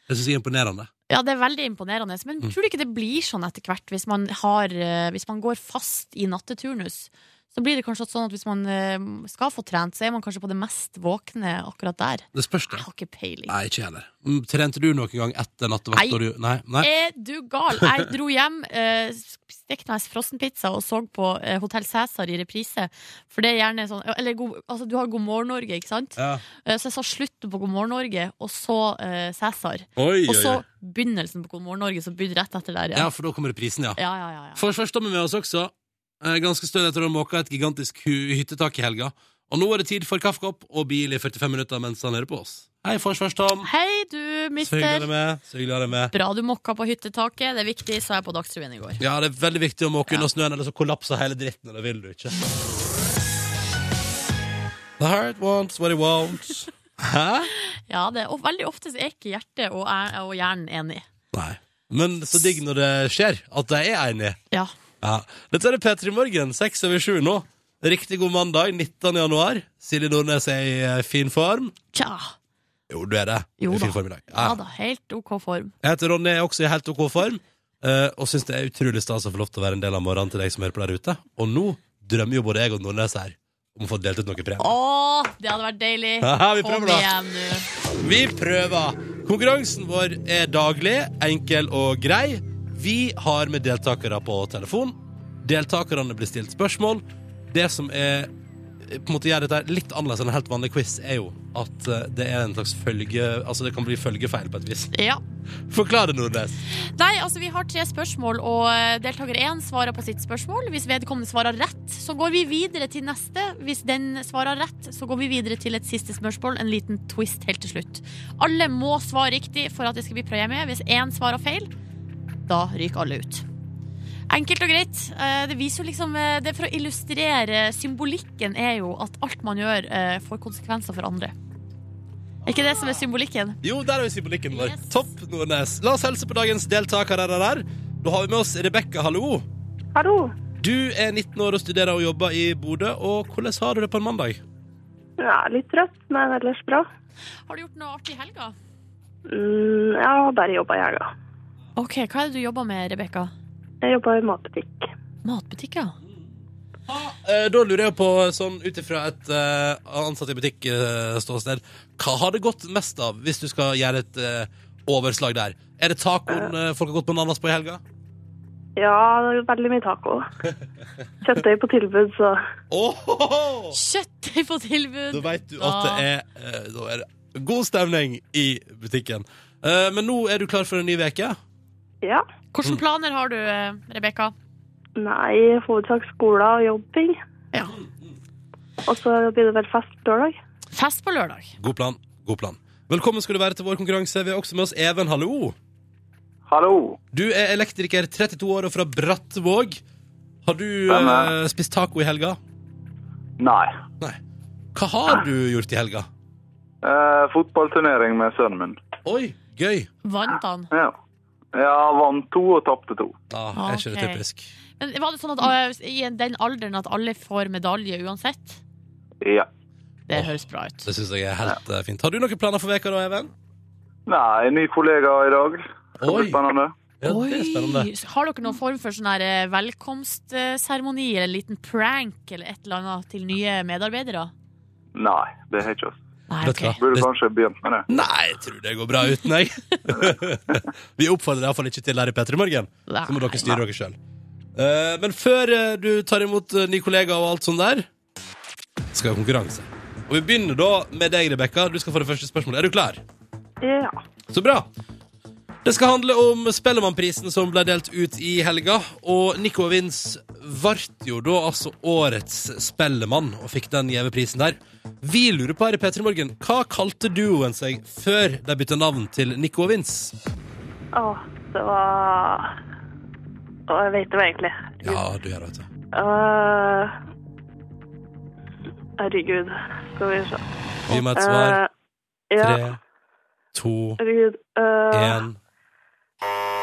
Speaker 2: Det syns jeg er imponerende.
Speaker 3: Ja, det er veldig imponerende. Men
Speaker 2: Mm.
Speaker 3: tror du ikke det blir sånn etter hvert, hvis man, har, eh, hvis man går fast i natteturnus? Så blir det kanskje sånn at hvis man eh, skal få trent, så er man kanskje på det mest våkne akkurat der.
Speaker 2: Det spørs, det.
Speaker 3: Jeg har ikke peiling.
Speaker 2: Nei, ikke jeg heller. Mm, Trente du noen gang etter nattevakt?
Speaker 3: Nei. Eh,
Speaker 2: da du- Nei. Nei.
Speaker 3: Er du gal? Jeg dro hjem, eh, stekte meg frossenpizza og så på eh, Hotell Cæsar i reprise. For det er gjerne sånn Eller god, altså, du har God morgen Norge, ikke sant?
Speaker 2: Ja.
Speaker 3: Eh, Så jeg sa slutten på God morgen Norge, og så eh, Cæsar.
Speaker 2: Oi,
Speaker 3: Og så begynnelsen på God morgen Norge, som begynner rett etter der.
Speaker 2: Ja,
Speaker 3: Ja,
Speaker 2: for da kommer reprisen, ja.
Speaker 3: ja, ja. ja, ja.
Speaker 2: For først har vi med oss også, eh, ganske stødig etter å ha måka et gigantisk hu- hyttetak i helga. Og nå er det tid for kaffekopp og bil i 45 minutter mens han hører på oss. Hei, Fors først, Tom.
Speaker 3: Hei du,
Speaker 2: Så hyggelig å ha
Speaker 3: mister.
Speaker 2: deg med. Så hyggelig å ha deg med.
Speaker 3: Bra du mokka på hyttetaket. Det er viktig, sa jeg på Dagsrevyen i går.
Speaker 2: Ja, det er veldig viktig å måke unna snøen, ellers så kollapser hele dritten, og det vil du ikke. The heart wants what it wants. Hæ?
Speaker 3: Ja, det, og Veldig ofte så er ikke hjertet og, er- og hjernen enig.
Speaker 2: Nei. Men så digg når det skjer, at de er enige.
Speaker 3: Ja.
Speaker 2: Ja. Dette er det P3 Morgen, 6 over 7 nå. Riktig god mandag, 19. januar. Silje Nordnes er i eh, fin form.
Speaker 3: Tja.
Speaker 2: Jo, du er det.
Speaker 3: Jo
Speaker 2: Du er i
Speaker 3: da.
Speaker 2: fin form i dag.
Speaker 3: Ja
Speaker 2: Ja.
Speaker 3: da, helt OK form.
Speaker 2: Jeg heter Ronny, er også i helt OK form. eh, Og syns det er utrolig stas å få lov til å være en del av morgenen til deg som hører på der ute. Og nå drømmer jo både jeg og Nordnes her om å få delt ut noe premie.
Speaker 3: Å, det hadde vært deilig.
Speaker 2: Haha, vi prøver
Speaker 3: Kom
Speaker 2: da.
Speaker 3: igjen, du.
Speaker 2: Vi prøver! Konkurransen vår er daglig, enkel og grei. Vi har med deltakere på telefon. Deltakerne blir stilt spørsmål. Det som er på en måte gjør dette her litt annerledes enn en helt vanlig quiz, er jo at eh, det er en slags følge... Altså, det kan bli følgefeil på et vis.
Speaker 3: Ja.
Speaker 2: Forklar det, Nordnes.
Speaker 3: Nei, altså Vi har tre spørsmål, og eh, deltaker én svarer på sitt spørsmål. Hvis vedkommende svarer rett, så går vi videre til neste. Hvis den svarer rett, så går vi videre til et siste spørsmål. En liten twist helt til slutt. Alle må svare riktig for at det skal bli premie. Hvis én svarer feil, da ryker alle ut. Enkelt og greit. Eh, Det viser jo liksom eh, Det er for å illustrere Symbolikken er jo at alt man gjør, eh, får konsekvenser for andre. Er ikke det som er symbolikken?
Speaker 2: Jo, der er vi symbolikken vår.
Speaker 3: Yes.
Speaker 2: Topp, Nordnes. La oss helse på dagens deltakere. Der, der. Da har vi med oss Rebekka, hallo.
Speaker 1: Hallo.
Speaker 2: Du er 19 år og studerer og jobber i Bodø. Og hvordan har du det på en mandag?
Speaker 1: Ja, litt trøtt, men ellers bra.
Speaker 3: Har du gjort noe artig i helga?
Speaker 1: Mm, jeg har bare jobba i helga.
Speaker 3: Ok, Hva er det du jobber med, Rebekka?
Speaker 1: Jeg jobba i matbutikk.
Speaker 3: Matbutikk, ja.
Speaker 2: Eh, Da lurer jeg på, sånn ut ifra et eh, ansatt i butikk-ståsted, hva har det gått mest av, hvis du skal gjøre et eh, overslag der? Er det tacoen eh, folk har gått bananas på i helga?
Speaker 1: Ja, det er veldig mye taco. Kjøttøy på tilbud, så
Speaker 2: Åhåhå!
Speaker 3: Kjøttdeig på tilbud!
Speaker 2: Da veit du at det er, eh, da er det god stemning i butikken. Eh, Men nå er du klar for en ny uke.
Speaker 1: ja.
Speaker 3: Hvilke planer har du, eh, Rebekka?
Speaker 1: Nei, i hovedsak skole og jobbing.
Speaker 3: Ja.
Speaker 1: Og så blir det vel fest lørdag.
Speaker 3: Fest på lørdag.
Speaker 2: God plan. God plan. Velkommen skal du være til vår konkurranse. Vi har også med oss Even. Hallo.
Speaker 6: Hallo.
Speaker 2: Du er elektriker, 32 år og fra Brattvåg. Har du
Speaker 6: Stemmer.
Speaker 2: eh, spist taco i helga?
Speaker 6: Nei.
Speaker 2: Nei. Hva har du gjort i helga?
Speaker 6: Eh, fotballturnering med sønnen min.
Speaker 2: Oi, gøy.
Speaker 3: Vant han?
Speaker 6: Ja. Ja, vant to og tapte to.
Speaker 2: Da er ikke det
Speaker 3: Ok.
Speaker 2: typisk.
Speaker 3: Men var det sånn at eh, i den alderen at alle får medalje uansett?
Speaker 6: Ja.
Speaker 3: Det
Speaker 2: Åh.
Speaker 3: høres bra ut.
Speaker 2: Det syns jeg er helt eh, fint. Har du noen planer for veka da, Even?
Speaker 6: Nei, ny kollega i dag. Det
Speaker 2: Oi.
Speaker 6: blir spennende.
Speaker 2: Ja, det er spennende.
Speaker 3: Oi, Har dere noen form for sånn her eh, velkomstseremoni eller en liten prank eller et eller annet til nye medarbeidere?
Speaker 6: Nei, det har ikke oss.
Speaker 3: Nei,
Speaker 2: Vet
Speaker 3: ok.
Speaker 2: du hva?
Speaker 6: Burde
Speaker 2: Det-
Speaker 6: kanskje begynt med det.
Speaker 2: Nei, jeg tror det går bra uten, jeg. Vi oppfordrer deg iallfall ikke til det her i P3 Morgen. Så må dere styre dere sjøl. men før eh, du tar imot eh, ny kollega og alt sånt der, skal vi ha konkurranse. Og vi begynner da med deg, Rebekka. Du skal få det første spørsmålet. Er du klar?
Speaker 1: Ja.
Speaker 2: Så bra. Det skal handle om Spellemannprisen som ble delt ut i helga. Og Nico Vins ble jo da altså årets Spellemann og fikk den gjeve prisen der. Vi lurer på her i P3 Morgen, hva kalte duoen seg før de bytta navn til Nico og Vins?
Speaker 1: Å, det var Å, jeg vet det var egentlig.
Speaker 2: Ja, du gjør det, vet du.
Speaker 1: Øh, herregud. Skal vi se.
Speaker 2: Gi meg et svar.
Speaker 1: Øh, ja,
Speaker 2: Tre, to,
Speaker 1: herregud. Øh,
Speaker 2: én.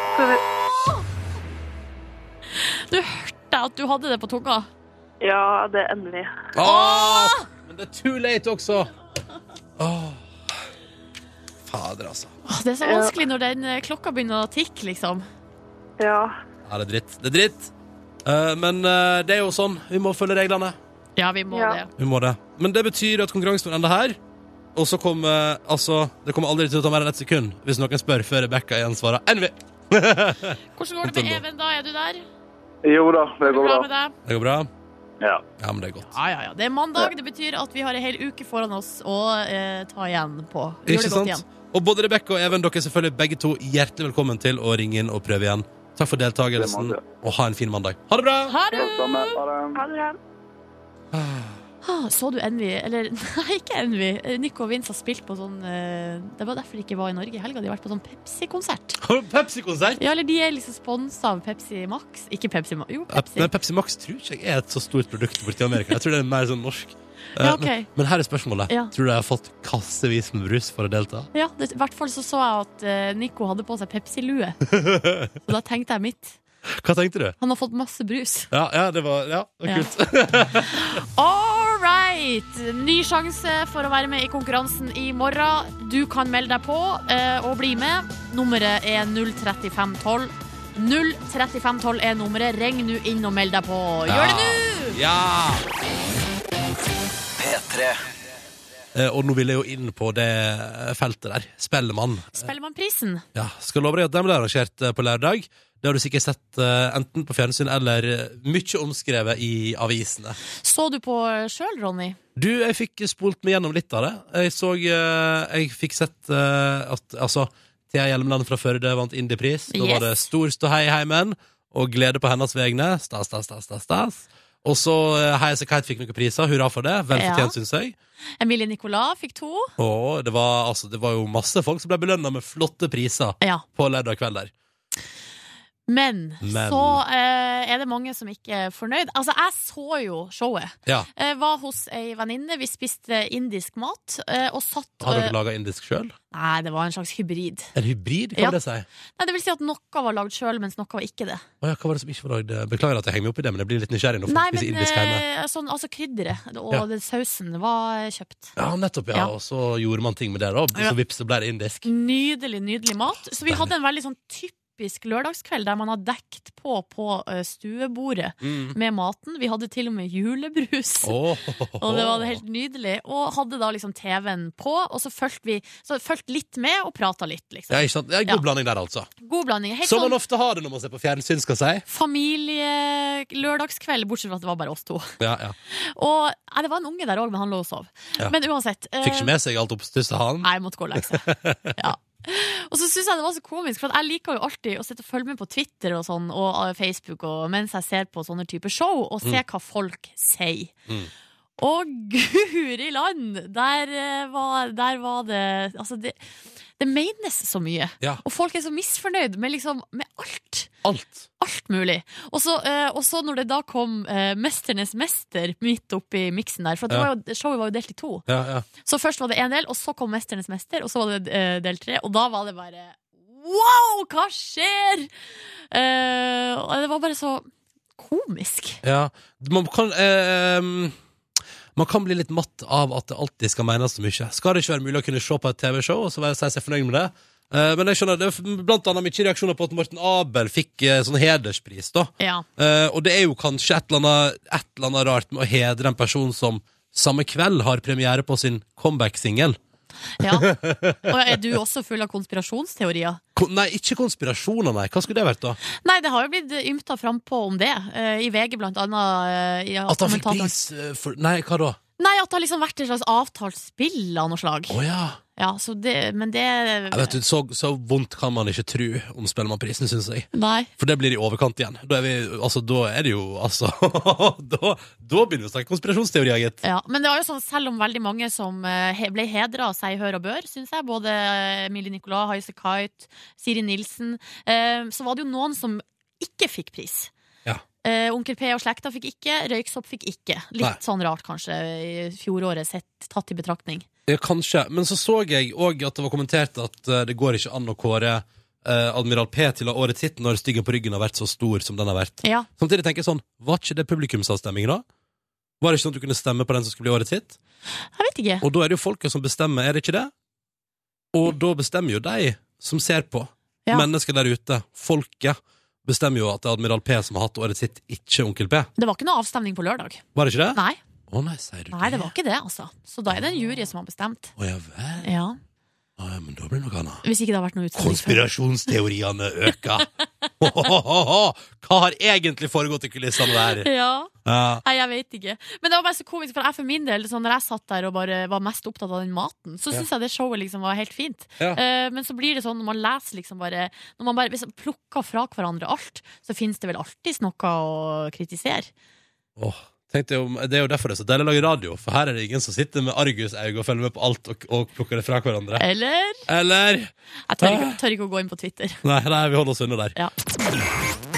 Speaker 1: skal vi...
Speaker 3: Du hørte at du hadde det på tunga.
Speaker 1: Ja, det er endelig.
Speaker 2: Åh! Men det er too late også. Åh. Fader, altså.
Speaker 3: Åh, Det er så
Speaker 1: Ja.
Speaker 3: vanskelig når den eh, klokka begynner å tikke, liksom.
Speaker 1: Ja.
Speaker 2: Ja, det er dritt. Det er dritt. Eh, men eh, det er jo sånn. Vi må følge reglene.
Speaker 3: Ja, vi må
Speaker 1: Ja.
Speaker 3: det.
Speaker 2: Vi må det. Men det betyr at konkurransen ender her. Og så kommer altså Det kommer aldri til å ta mer enn ett sekund hvis noen spør før Rebekka igjen svarer NV.
Speaker 3: Hvordan går det med Even, da? Er du der?
Speaker 6: Jo da,
Speaker 3: Går
Speaker 6: det går
Speaker 3: det bra
Speaker 6: bra.
Speaker 3: med deg?
Speaker 2: Det går bra?
Speaker 6: Ja.
Speaker 2: Ja, men det er godt.
Speaker 3: Ja, ja, ja. Det er mandag. Det betyr at vi har ei hel uke foran oss å eh, ta igjen på.
Speaker 2: Ikke
Speaker 3: Gjør det godt igjen.
Speaker 2: sant? Og både Rebekka og Even, dere er selvfølgelig begge to hjertelig velkommen til å ringe inn og prøve igjen. Takk for deltakelsen,
Speaker 6: Det må
Speaker 2: og ha en fin mandag. Ha det bra!
Speaker 3: Ha
Speaker 6: Ja,
Speaker 3: det!
Speaker 6: samme. Ha det.
Speaker 1: Ha det bra.
Speaker 3: Ah, Så du Envy, eller nei, ikke Envy. Eh, Nico og Vince har spilt på sånn eh, Det var derfor de ikke var i Norge i helga. De har vært på sånn Pepsi-konsert.
Speaker 2: Har du Pepsi-konsert?
Speaker 3: Ja, eller de er liksom sponsa av Pepsi Max. Ikke Pepsi Max,
Speaker 2: Nei,
Speaker 3: jo, Pepsi.
Speaker 2: Pepsi Max tror ikke jeg er et så stort produkt borti Amerika. Jeg tror det er mer sånn norsk. Eh,
Speaker 3: Ja, ok.
Speaker 2: men, men her er spørsmålet.
Speaker 3: Ja.
Speaker 2: Tror du de har fått kassevis med brus for å delta?
Speaker 3: Ja, det, I hvert fall så så jeg at eh, Nico hadde på seg Pepsi-lue. Så da tenkte jeg mitt.
Speaker 2: Hva tenkte du?
Speaker 3: Han har fått masse brus.
Speaker 2: Ja, ja det var, ja, det var
Speaker 3: Ja.
Speaker 2: kult.
Speaker 3: All right! Ny sjanse for å være med i konkurransen i morgen. Du kan melde deg på eh, og bli med. Nummeret er 03512. 03512 er nummeret. Ring nå inn og meld deg på. Gjør det nå!
Speaker 2: Ja!
Speaker 5: P3
Speaker 2: Eh, og nå vil jeg jo inn på det feltet der. Spellemann.
Speaker 3: Spellemannprisen.
Speaker 2: Ja, skal love deg at den ble arrangert eh, på lørdag. Det har du sikkert sett eh, enten på fjernsyn eller eh, mye omskrevet i avisene.
Speaker 3: Så du på sjøl, Ronny?
Speaker 2: Du, jeg fikk spolt meg gjennom litt av det. Jeg så eh, Jeg fikk sett eh, at altså Thea Hjelmeland fra Førde vant Indiepris. Da var det
Speaker 3: Yes.
Speaker 2: stor ståhei i heimen og glede på hennes vegne. Stas, stas, stas, stas, stas. Og så eh, Heise Kite fikk noen priser. Hurra for det. Vel
Speaker 3: Ja.
Speaker 2: fortjent, synes syns jeg.
Speaker 3: Emilie Nicolas fikk to.
Speaker 2: Og det var, altså, det var jo masse folk som ble belønna med flotte priser
Speaker 3: Ja.
Speaker 2: på lørdag kveld der.
Speaker 3: Men,
Speaker 2: Men.
Speaker 3: så eh, er det mange som ikke er fornøyd. Altså, jeg så jo showet.
Speaker 2: Ja.
Speaker 3: Jeg var hos ei venninne, vi spiste indisk mat, eh, og satt
Speaker 2: Har
Speaker 3: eh,
Speaker 2: dere laga indisk sjøl?
Speaker 3: Nei, det var en slags hybrid.
Speaker 2: En hybrid, kan
Speaker 3: Ja.
Speaker 2: det si?
Speaker 3: Nei, det vil si at noe var lagd sjøl, mens noe var ikke det.
Speaker 2: Å ja, hva var det som ikke var lagd? Beklager at jeg henger meg opp i det, men jeg blir litt nysgjerrig når folk
Speaker 3: Nei,
Speaker 2: spiser
Speaker 3: men
Speaker 2: indisk hjemme.
Speaker 3: eh, sånn, altså krydderet og
Speaker 2: Ja.
Speaker 3: det, sausen var eh, kjøpt.
Speaker 2: Ja, nettopp, ja.
Speaker 3: ja.
Speaker 2: Og så gjorde man ting med det, da.
Speaker 3: Ja. Mm.
Speaker 2: Så vips, så ble det indisk.
Speaker 3: Nydelig, nydelig mat. Så vi hadde en veldig sånn typisk typisk lørdagskveld der man har dekt på på eh, stuebordet
Speaker 2: Mm.
Speaker 3: med maten. Vi hadde til og med julebrus.
Speaker 2: Åh.
Speaker 3: Og det var helt nydelig. Og hadde da liksom TV-en på, og så fulgte vi så fulgte litt med og prata litt,
Speaker 2: Ja,
Speaker 3: liksom.
Speaker 2: ikke sant? Det er god
Speaker 3: Ja.
Speaker 2: blanding der, altså.
Speaker 3: God blanding. Helt
Speaker 2: Som man
Speaker 3: sånn
Speaker 2: ofte har det når man ser på fjernsyn, skal jeg si.
Speaker 3: familie-lørdagskveld, bortsett fra at det var bare oss to.
Speaker 2: Ja, ja.
Speaker 3: Og nei, det var en unge der òg, men han lå og sov.
Speaker 2: Ja.
Speaker 3: Men uansett. eh,
Speaker 2: Fikk ikke med seg alt oppstusset han.
Speaker 3: Nei, jeg måtte gå og legge seg. Ja. Og så syns jeg det var så komisk, for at jeg liker jo alltid å sitte og følge med på Twitter og sånn, og eh, Facebook og, mens jeg ser på sånne typer show, og se hva folk sier.
Speaker 2: Mm.
Speaker 3: Og guri land! Der eh, var, der var det Altså, det, det menes så mye.
Speaker 2: Ja.
Speaker 3: Og folk er så misfornøyd med liksom med alt.
Speaker 2: Alt.
Speaker 3: Alt mulig. Og så eh, og så når det da kom eh, 'Mesternes mester' midt oppi miksen der, for at det
Speaker 2: Ja.
Speaker 3: var jo, showet var jo delt i to.
Speaker 2: Ja, ja.
Speaker 3: Så først var det én del, og så kom 'Mesternes mester', og så var det eh, del tre. Og da var det bare Wow, hva skjer?! Eh, og det var bare så komisk.
Speaker 2: Ja, man kan ehm, Man kan bli litt matt av at det alltid skal menes så mye. Skal det ikke være mulig å kunne se på et TV-show og så være si seg fornøyd med det? Eh, men jeg skjønner, det er blant annet mye reaksjoner på at Morten Abel fikk eh, sånn hederspris, da.
Speaker 3: Ja.
Speaker 2: Eh, og det er jo kanskje et eller, annet, et eller annet rart med å hedre en person som samme kveld har premiere på sin comeback-singel.
Speaker 3: ja. Og er du også full av konspirasjonsteorier?
Speaker 2: Kon- Nei, ikke konspirasjoner, nei. Hva skulle det vært, da?
Speaker 3: Nei, det har jo blitt ymta frampå om det, eh, i VG blant annet. eh, i
Speaker 2: At han fikk
Speaker 3: kommentatoren.
Speaker 2: pris eh, for Nei, hva da?
Speaker 3: Nei, at det har liksom vært et slags avtalt spill av noe slag.
Speaker 2: Å ja.
Speaker 3: Ja, så det, men det
Speaker 2: Jeg vet, du, så, så vondt kan man ikke tru om Spellemannprisen, syns jeg.
Speaker 3: Nei.
Speaker 2: For det blir i overkant igjen. Da er, vi, altså, da er det jo altså, da, da begynner vi å snakke konspirasjonsteorier, gitt.
Speaker 3: Ja, men det var jo sånn, selv om veldig mange som eh, he- ble hedra, sier hør og bør, syns jeg, både eh, Emilie Nicolas, Haise Kite, Siri Nilsen, eh, så var det jo noen som ikke fikk pris.
Speaker 2: Ja.
Speaker 3: Eh, Onkel P og slekta fikk ikke, Røyksopp fikk ikke. Litt
Speaker 2: Nei.
Speaker 3: sånn rart, kanskje, i fjoråret sett, tatt i betraktning.
Speaker 2: Ja, kanskje. Men så så jeg òg at det var kommentert at eh, det går ikke an å kåre eh, Admiral P til å ha årets hit når styggen på ryggen har vært så stor som den har vært.
Speaker 3: Ja.
Speaker 2: Samtidig tenker jeg sånn, var ikke det publikumsavstemming, da? Var det ikke sånn at du kunne stemme på den som skulle bli årets hit?
Speaker 3: Jeg vet ikke.
Speaker 2: Og da er det jo folket som bestemmer, er det ikke det? Og da bestemmer jo de som ser på.
Speaker 3: Ja.
Speaker 2: Mennesker der ute, folket, bestemmer jo at det er Admiral P som har hatt årets hit, ikke Onkel P.
Speaker 3: Det var ikke noe avstemning på lørdag.
Speaker 2: Var det ikke det?
Speaker 3: Nei,
Speaker 2: Å nei, sier du
Speaker 3: nei, det var ikke det, altså. Så da er det en jury som har bestemt.
Speaker 2: Å ja vel.
Speaker 3: Ja.
Speaker 2: Å, ja, men da blir det noe annet.
Speaker 3: Hvis ikke det har vært noe utspilling før.
Speaker 2: Konspirasjonsteoriene øker. Ho, ho, ho, ho. Hva har egentlig foregått i kulissene der?
Speaker 3: Ja.
Speaker 2: Ja.
Speaker 3: Nei, jeg vet ikke. Men det var bare så komisk, for jeg for min del, sånn, når jeg satt der og bare var mest opptatt av den maten, så syns jeg det showet liksom var helt fint.
Speaker 2: Ja.
Speaker 3: Eh, men så blir det sånn når man leser liksom bare Når man bare liksom plukker fra hverandre alt, så fins det vel alltids noe å kritisere.
Speaker 2: Åh, tenkte jeg om, det er jo derfor det er så deilig å lage radio, for her er det ingen som sitter med argusøyne og følger med på alt og, og plukker det fra hverandre.
Speaker 3: Eller?
Speaker 2: Eller?
Speaker 3: Jeg tør ikke, tør ikke å gå inn på Twitter.
Speaker 2: Nei, nei, vi holder oss unna der.
Speaker 3: Ja.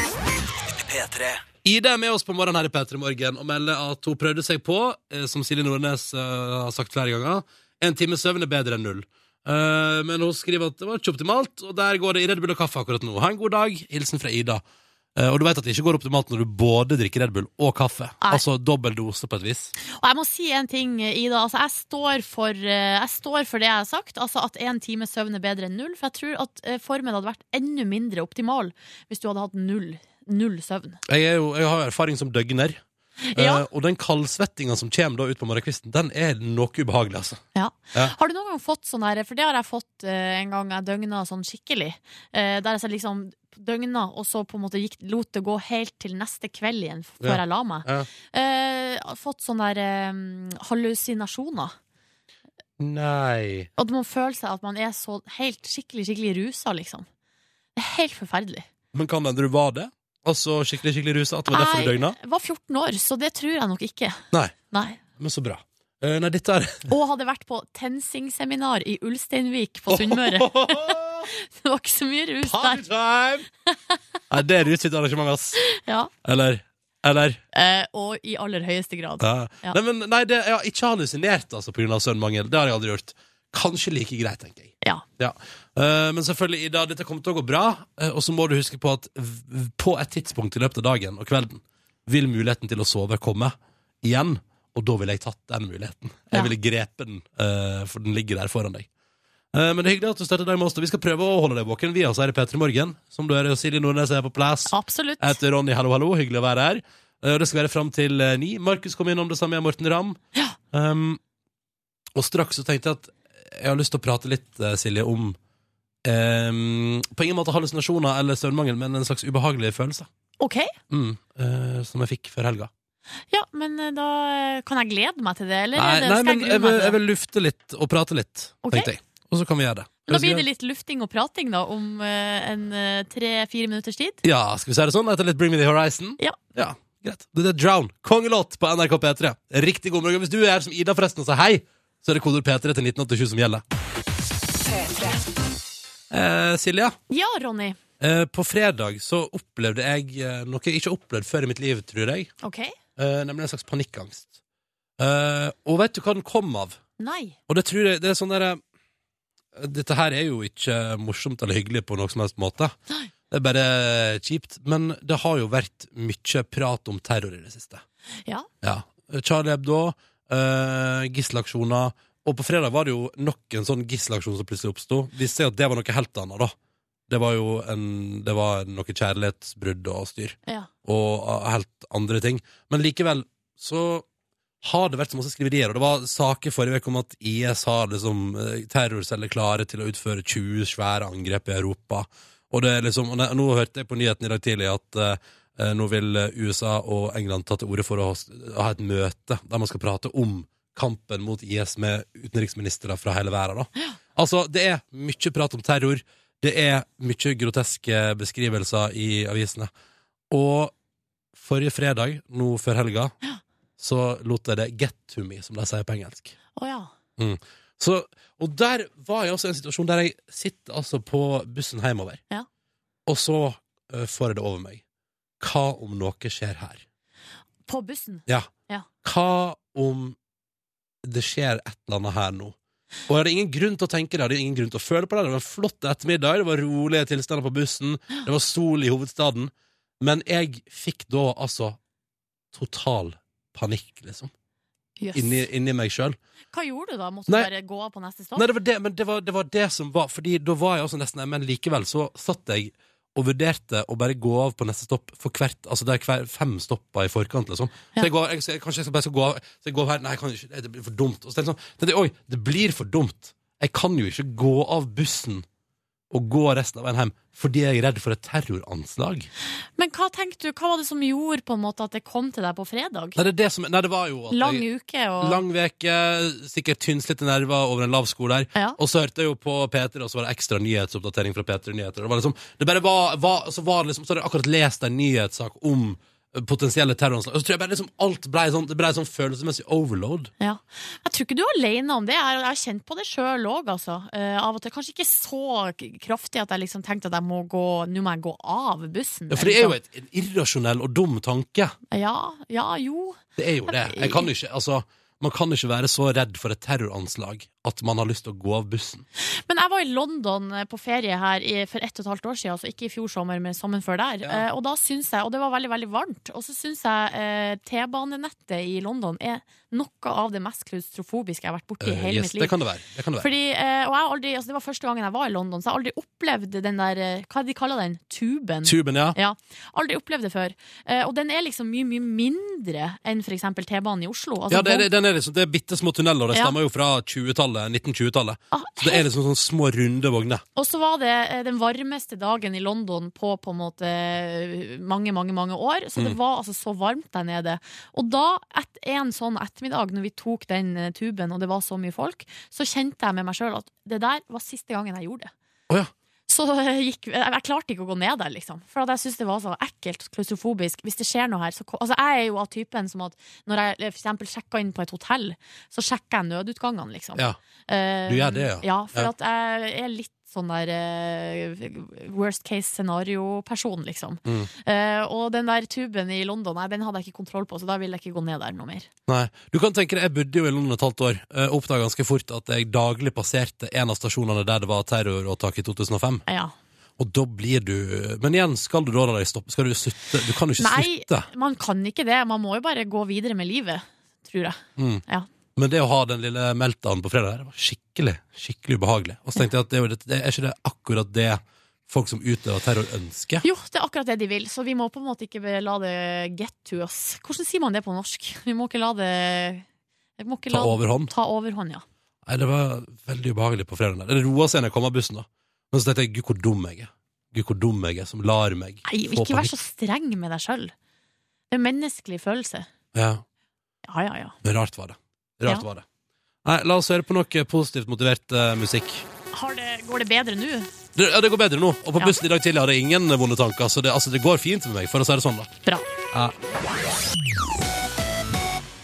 Speaker 5: P3.
Speaker 2: Ida er med oss på morgenen her i P3 Morgen og melder at hun prøvde seg på, eh, som Silje Nordnes eh, har sagt flere ganger, en time søvn er bedre enn null. Eh, men hun skriver at det var ikke optimalt, og der går det i Red Bull og kaffe akkurat nå. Ha en god dag. Hilsen fra Ida. Eh, og du vet at det ikke går optimalt når du både drikker Red Bull og kaffe.
Speaker 3: Nei.
Speaker 2: Altså dobbel dose på et vis.
Speaker 3: Og jeg må si en ting, Ida. Altså, jeg, står for, eh, jeg står for det jeg har sagt, altså at én time søvn er bedre enn null. For jeg tror at eh, formen hadde vært enda mindre optimal hvis du hadde hatt null, null søvn.
Speaker 2: Jeg, er jo, jeg har jo erfaring som døgner. Eh,
Speaker 3: Ja.
Speaker 2: og den kaldsvettinga som kommer da ut på morgenkvisten, den er noe ubehagelig, altså.
Speaker 3: Ja.
Speaker 2: Ja.
Speaker 3: Har du noen gang fått sånn her, for det har jeg fått eh, en gang jeg døgna sånn skikkelig, eh, der jeg så liksom døgna, og så på en måte gikk, lot det gå helt til neste kveld igjen f- før
Speaker 2: Ja.
Speaker 3: jeg la meg.
Speaker 2: Ja.
Speaker 3: Eh, fått sånne der eh, hallusinasjoner.
Speaker 2: Nei.
Speaker 3: At man føler seg at man er så helt skikkelig, skikkelig rusa, liksom. Det er helt forferdelig.
Speaker 2: Men kan hende du var det? Altså skikkelig, skikkelig rusa? At det var derfor du
Speaker 3: Jeg
Speaker 2: døgna?
Speaker 3: var 14 år, så det tror jeg nok ikke.
Speaker 2: Nei.
Speaker 3: Nei.
Speaker 2: Men så bra. Eh, nei, dette er
Speaker 3: Og hadde vært på TenSing-seminar i Ulsteinvik på Sunnmøre. Det var ikke så mye rus der.
Speaker 2: Partytime! nei, det er utsikt arrangement, ass.
Speaker 3: Ja.
Speaker 2: Eller? Eller?
Speaker 3: Eh, og i aller høyeste grad.
Speaker 2: Ja.
Speaker 3: Ja.
Speaker 2: Nei, men nei, det, jeg har ikke hallusinert altså, pga. søvnmangel. Det har jeg aldri gjort. Kanskje like greit, tenker jeg.
Speaker 3: Ja.
Speaker 2: Eh, men selvfølgelig, Ida, dette kommer til å gå bra. eh, og så må du huske på at v- v- på et tidspunkt i løpet av dagen og kvelden vil muligheten til å sove komme igjen. Og da ville jeg tatt den muligheten. Jeg
Speaker 3: Ja.
Speaker 2: ville grepet den, eh, for den ligger der foran deg. Eh, Eh, Men det er hyggelig at du starter dagen med oss. og Vi skal prøve å holde deg våken. Vi altså er i P3 Morgen. Som du er, og Silje Nordnes er på plass.
Speaker 3: Absolutt.
Speaker 2: Jeg heter Ronny, hallo, hallo. Hyggelig å være her. Eh, og Det skal være fram til eh, ni. Markus kom innom det samme, jeg er Morten Ramm.
Speaker 3: Ja.
Speaker 2: Um, og straks så tenkte jeg at jeg har lyst til å prate litt, eh, Silje, om ehm, På ingen måte hallusinasjoner eller søvnmangel, men en slags ubehagelig følelse.
Speaker 3: OK.
Speaker 2: Mm, eh, som jeg fikk før helga.
Speaker 3: Ja, men eh, da eh, kan jeg glede meg til det, eller?
Speaker 2: Nei,
Speaker 3: eller
Speaker 2: nei
Speaker 3: skal
Speaker 2: men
Speaker 3: jeg
Speaker 2: jeg vil,
Speaker 3: grue meg
Speaker 2: jeg
Speaker 3: til det?
Speaker 2: vil lufte litt og prate litt,
Speaker 3: Ok.
Speaker 2: tenkte jeg. Og så kan vi gjøre det.
Speaker 3: Da blir det litt lufting og prating, da, om eh, en eh, tre-fire minutters tid.
Speaker 2: Ja, skal vi si det sånn? Etter litt Bring Me The Horizon?
Speaker 3: Ja.
Speaker 2: greit. Det er Drown, kongelåt på NRK P3. Riktig god morgen. Hvis du er her som Ida forresten og sier hei, så er det kodord P3 til 1987 som gjelder. Eh, Silja,
Speaker 3: Ja, Ronny.
Speaker 2: eh, på fredag så opplevde jeg eh, noe jeg ikke har opplevd før i mitt liv, tror jeg.
Speaker 3: OK?
Speaker 2: Eh, nemlig en slags panikkangst. Eh, og vet du hva den kom av?
Speaker 3: Nei.
Speaker 2: Og det tror jeg, det er sånn der eh, Dette her er jo ikke morsomt eller hyggelig på noen som helst måte
Speaker 3: Nei.
Speaker 2: Det er bare kjipt Men det har jo vært mye prat om terror i det siste
Speaker 3: Ja.
Speaker 2: Charlie Hebdo uh, Gisselaksjoner Og på fredag var det jo nok en sånn gisselaksjon som plutselig oppstod Vi ser at det var noe helt annet da Det var jo en, det var noe kjærlighetsbrudd og styr
Speaker 3: ja.
Speaker 2: og uh, helt andre ting. Men likevel så har det vært så masse skriverier, og det var saker forrige uke om at IS har liksom eh, terrorceller klare til å utføre 20 svære angrep i Europa. Og det er liksom, og ne- nå hørte jeg på nyheten i dag tidlig at eh, eh, nå vil eh, USA og England ta til orde for å s- ha et møte der man skal prate om kampen mot IS med utenriksministre fra hele verden. Da. Altså, det er mye prat om terror, det er mye groteske beskrivelser i avisene. Og forrige fredag, nå før helga, så lot jeg det get to me, som de sier på engelsk.
Speaker 3: Å ja.
Speaker 2: Så, og der var jeg også i en situasjon der jeg sitter altså på bussen hjemover,
Speaker 3: Ja.
Speaker 2: og så eh, får jeg det over meg. Hva om noe skjer her?
Speaker 3: På bussen.
Speaker 2: Ja.
Speaker 3: Ja.
Speaker 2: Hva om det skjer et eller annet her nå? Og jeg hadde ingen grunn til å tenke det, jeg hadde ingen grunn til å føle på det. Det var en flott ettermiddag, det var rolige tilstander på bussen, det var sol i hovedstaden. Men jeg fikk da altså total panikk, liksom,
Speaker 3: Jøss.
Speaker 2: inni, inni meg sjøl.
Speaker 3: Hva gjorde du da? Måtte
Speaker 2: Nei.
Speaker 3: du bare gå av på neste stopp?
Speaker 2: Nei, det var det, men det var, det var det som var Fordi da var jeg også nesten der, men likevel så satt jeg og vurderte å bare gå av på neste stopp for hvert Altså det er hver fem stopper i forkant, liksom.
Speaker 3: Ja.
Speaker 2: Så jeg går, jeg, skal- kanskje jeg skal bare skal gå av Så jeg går av her Nei, jeg kan ikke, det blir for dumt. Og så tenkte jeg sånn tenkte jeg, Oi, det blir for dumt. Jeg kan jo ikke gå av bussen og gå resten av veien hjem fordi jeg er redd for et terroranslag.
Speaker 3: Men hva tenkte du, hva var det som gjorde på en måte at det kom til deg på fredag?
Speaker 2: Nei, det er det som Nei, det var jo at
Speaker 3: Lang
Speaker 2: jeg,
Speaker 3: uke og
Speaker 2: Lang veke, sikkert tynnslitte nerver over en lav sko der.
Speaker 3: Ja.
Speaker 2: Og så hørte jeg jo på P3, og så var det ekstra nyhetsoppdatering fra P3 Nyheter. Det var liksom, det bare var, var, så var det liksom, så hadde jeg akkurat lest en nyhetssak om eh, potensielle terroranslag. Og så tror jeg bare liksom alt ble sånn, det ble sånn følelsesmessig overload.
Speaker 3: ja. Jeg tror ikke du er alene om det. Jeg jeg har kjent på det sjøl òg, altså. Eh, av og til. Kanskje ikke så k- kraftig at jeg liksom tenkte at jeg må gå, nå må jeg gå av bussen. liksom.
Speaker 2: Ja, for det er jo et, en irrasjonell og dum tanke.
Speaker 3: Ja, ja, jo.
Speaker 2: Det er jo det. Jeg kan ikke, altså, man kan ikke være så redd for et terroranslag at man har lyst til å gå av bussen.
Speaker 3: Men jeg var i London eh, på ferie her i, for ett og et halvt år siden, altså ikke i fjor sommer, men sommeren før der. Eh, og da syns jeg, og det var veldig, veldig varmt, og så syns jeg eh, T-banenettet i London er noe av det mest klaustrofobiske jeg har vært borti i
Speaker 2: Eh,
Speaker 3: hele
Speaker 2: yes,
Speaker 3: mitt liv.
Speaker 2: Det kan det være. Det kan det være.
Speaker 3: Fordi, eh, og jeg har aldri, altså det var første gangen jeg var i London, så jeg har aldri opplevd den der eh, Hva de kaller den? Tuben?
Speaker 2: Tuben, ja.
Speaker 3: Ja, aldri opplevd det før. Eh, og den er liksom mye, mye mindre enn f.eks. T-banen i Oslo. Altså,
Speaker 2: ja, det, er- den er liksom, det er bitte små tunneler, og det
Speaker 3: Ja.
Speaker 2: stammer jo fra 20-tallet, 1920-tallet.
Speaker 3: Ah,
Speaker 2: Så det er liksom sånn små, runde vogner.
Speaker 3: Og så var det eh, den varmeste dagen i London på på en måte eh, mange, mange mange år. Så det
Speaker 2: Mm.
Speaker 3: var altså så varmt der nede. Og da, et, en sånn ettermiddag når vi tok den eh, tuben, og det var så mye folk, så kjente jeg med meg sjøl at det der var siste gangen jeg gjorde det.
Speaker 2: Å ja.
Speaker 3: Så eh, gikk, jeg, jeg klarte ikke å gå ned der, liksom. For at jeg syntes det var så ekkelt klaustrofobisk. Hvis det skjer noe her, så ko- Altså, jeg er jo av typen som at når jeg eh, for eksempel sjekker inn på et hotell, så sjekker jeg nødutgangene, liksom.
Speaker 2: Ja.
Speaker 3: Eh,
Speaker 2: Du gjør det, ja.
Speaker 3: Ja, for
Speaker 2: Ja.
Speaker 3: at jeg er litt sånn der eh, worst case scenario-person, liksom.
Speaker 2: Mm.
Speaker 3: Eh, og den der tuben i London, nei, den hadde jeg ikke kontroll på, så da vil jeg ikke gå ned der noe mer.
Speaker 2: Nei. Du kan tenke deg, Jeg bodde jo i London et halvt år. eh, og Oppdaga ganske fort at jeg daglig passerte en av stasjonene der det var terroråtak i 2005.
Speaker 3: Ja.
Speaker 2: Og da blir du Men igjen, skal du da la deg stoppe? Skal du slutte? Du kan jo ikke
Speaker 3: Nei.
Speaker 2: slutte.
Speaker 3: Man kan ikke det, man må jo bare gå videre med livet, tror jeg.
Speaker 2: Mm.
Speaker 3: Ja.
Speaker 2: Men det å ha den lille meltdown på fredag, det var skikkelig skikkelig ubehagelig. Og så tenkte jeg at det, er jo det- det er ikke det akkurat det folk som utøver terror, ønsker?
Speaker 3: Jo, det er akkurat det de vil, så vi må på en måte ikke la det get to us. Hvordan sier man det på norsk? Vi må ikke la det vi må ikke
Speaker 2: Ta
Speaker 3: la-
Speaker 2: overhånd?
Speaker 3: Ta overhånd, ja.
Speaker 2: Nei, det var veldig ubehagelig på fredag. Det roa seg når jeg kom av bussen, da. Men så tenkte jeg gud, hvor dum jeg er. Gud, hvor dum jeg er som lar meg
Speaker 3: Nei, ikke vær så streng med deg sjøl. Det er en menneskelig følelse.
Speaker 2: Ja,
Speaker 3: Ja, ja, ja.
Speaker 2: men rart var det. Rart
Speaker 3: Ja.
Speaker 2: var det. Nei, la oss høre på noe positivt motivert eh, musikk.
Speaker 3: Har det, går det bedre nå?
Speaker 2: Det, ja, det går bedre nå. Og på
Speaker 3: Ja.
Speaker 2: bussen i dag tidlig hadde jeg ingen vonde tanker, så det, altså, det går fint med meg, for å si det sånn, da.
Speaker 3: Bra.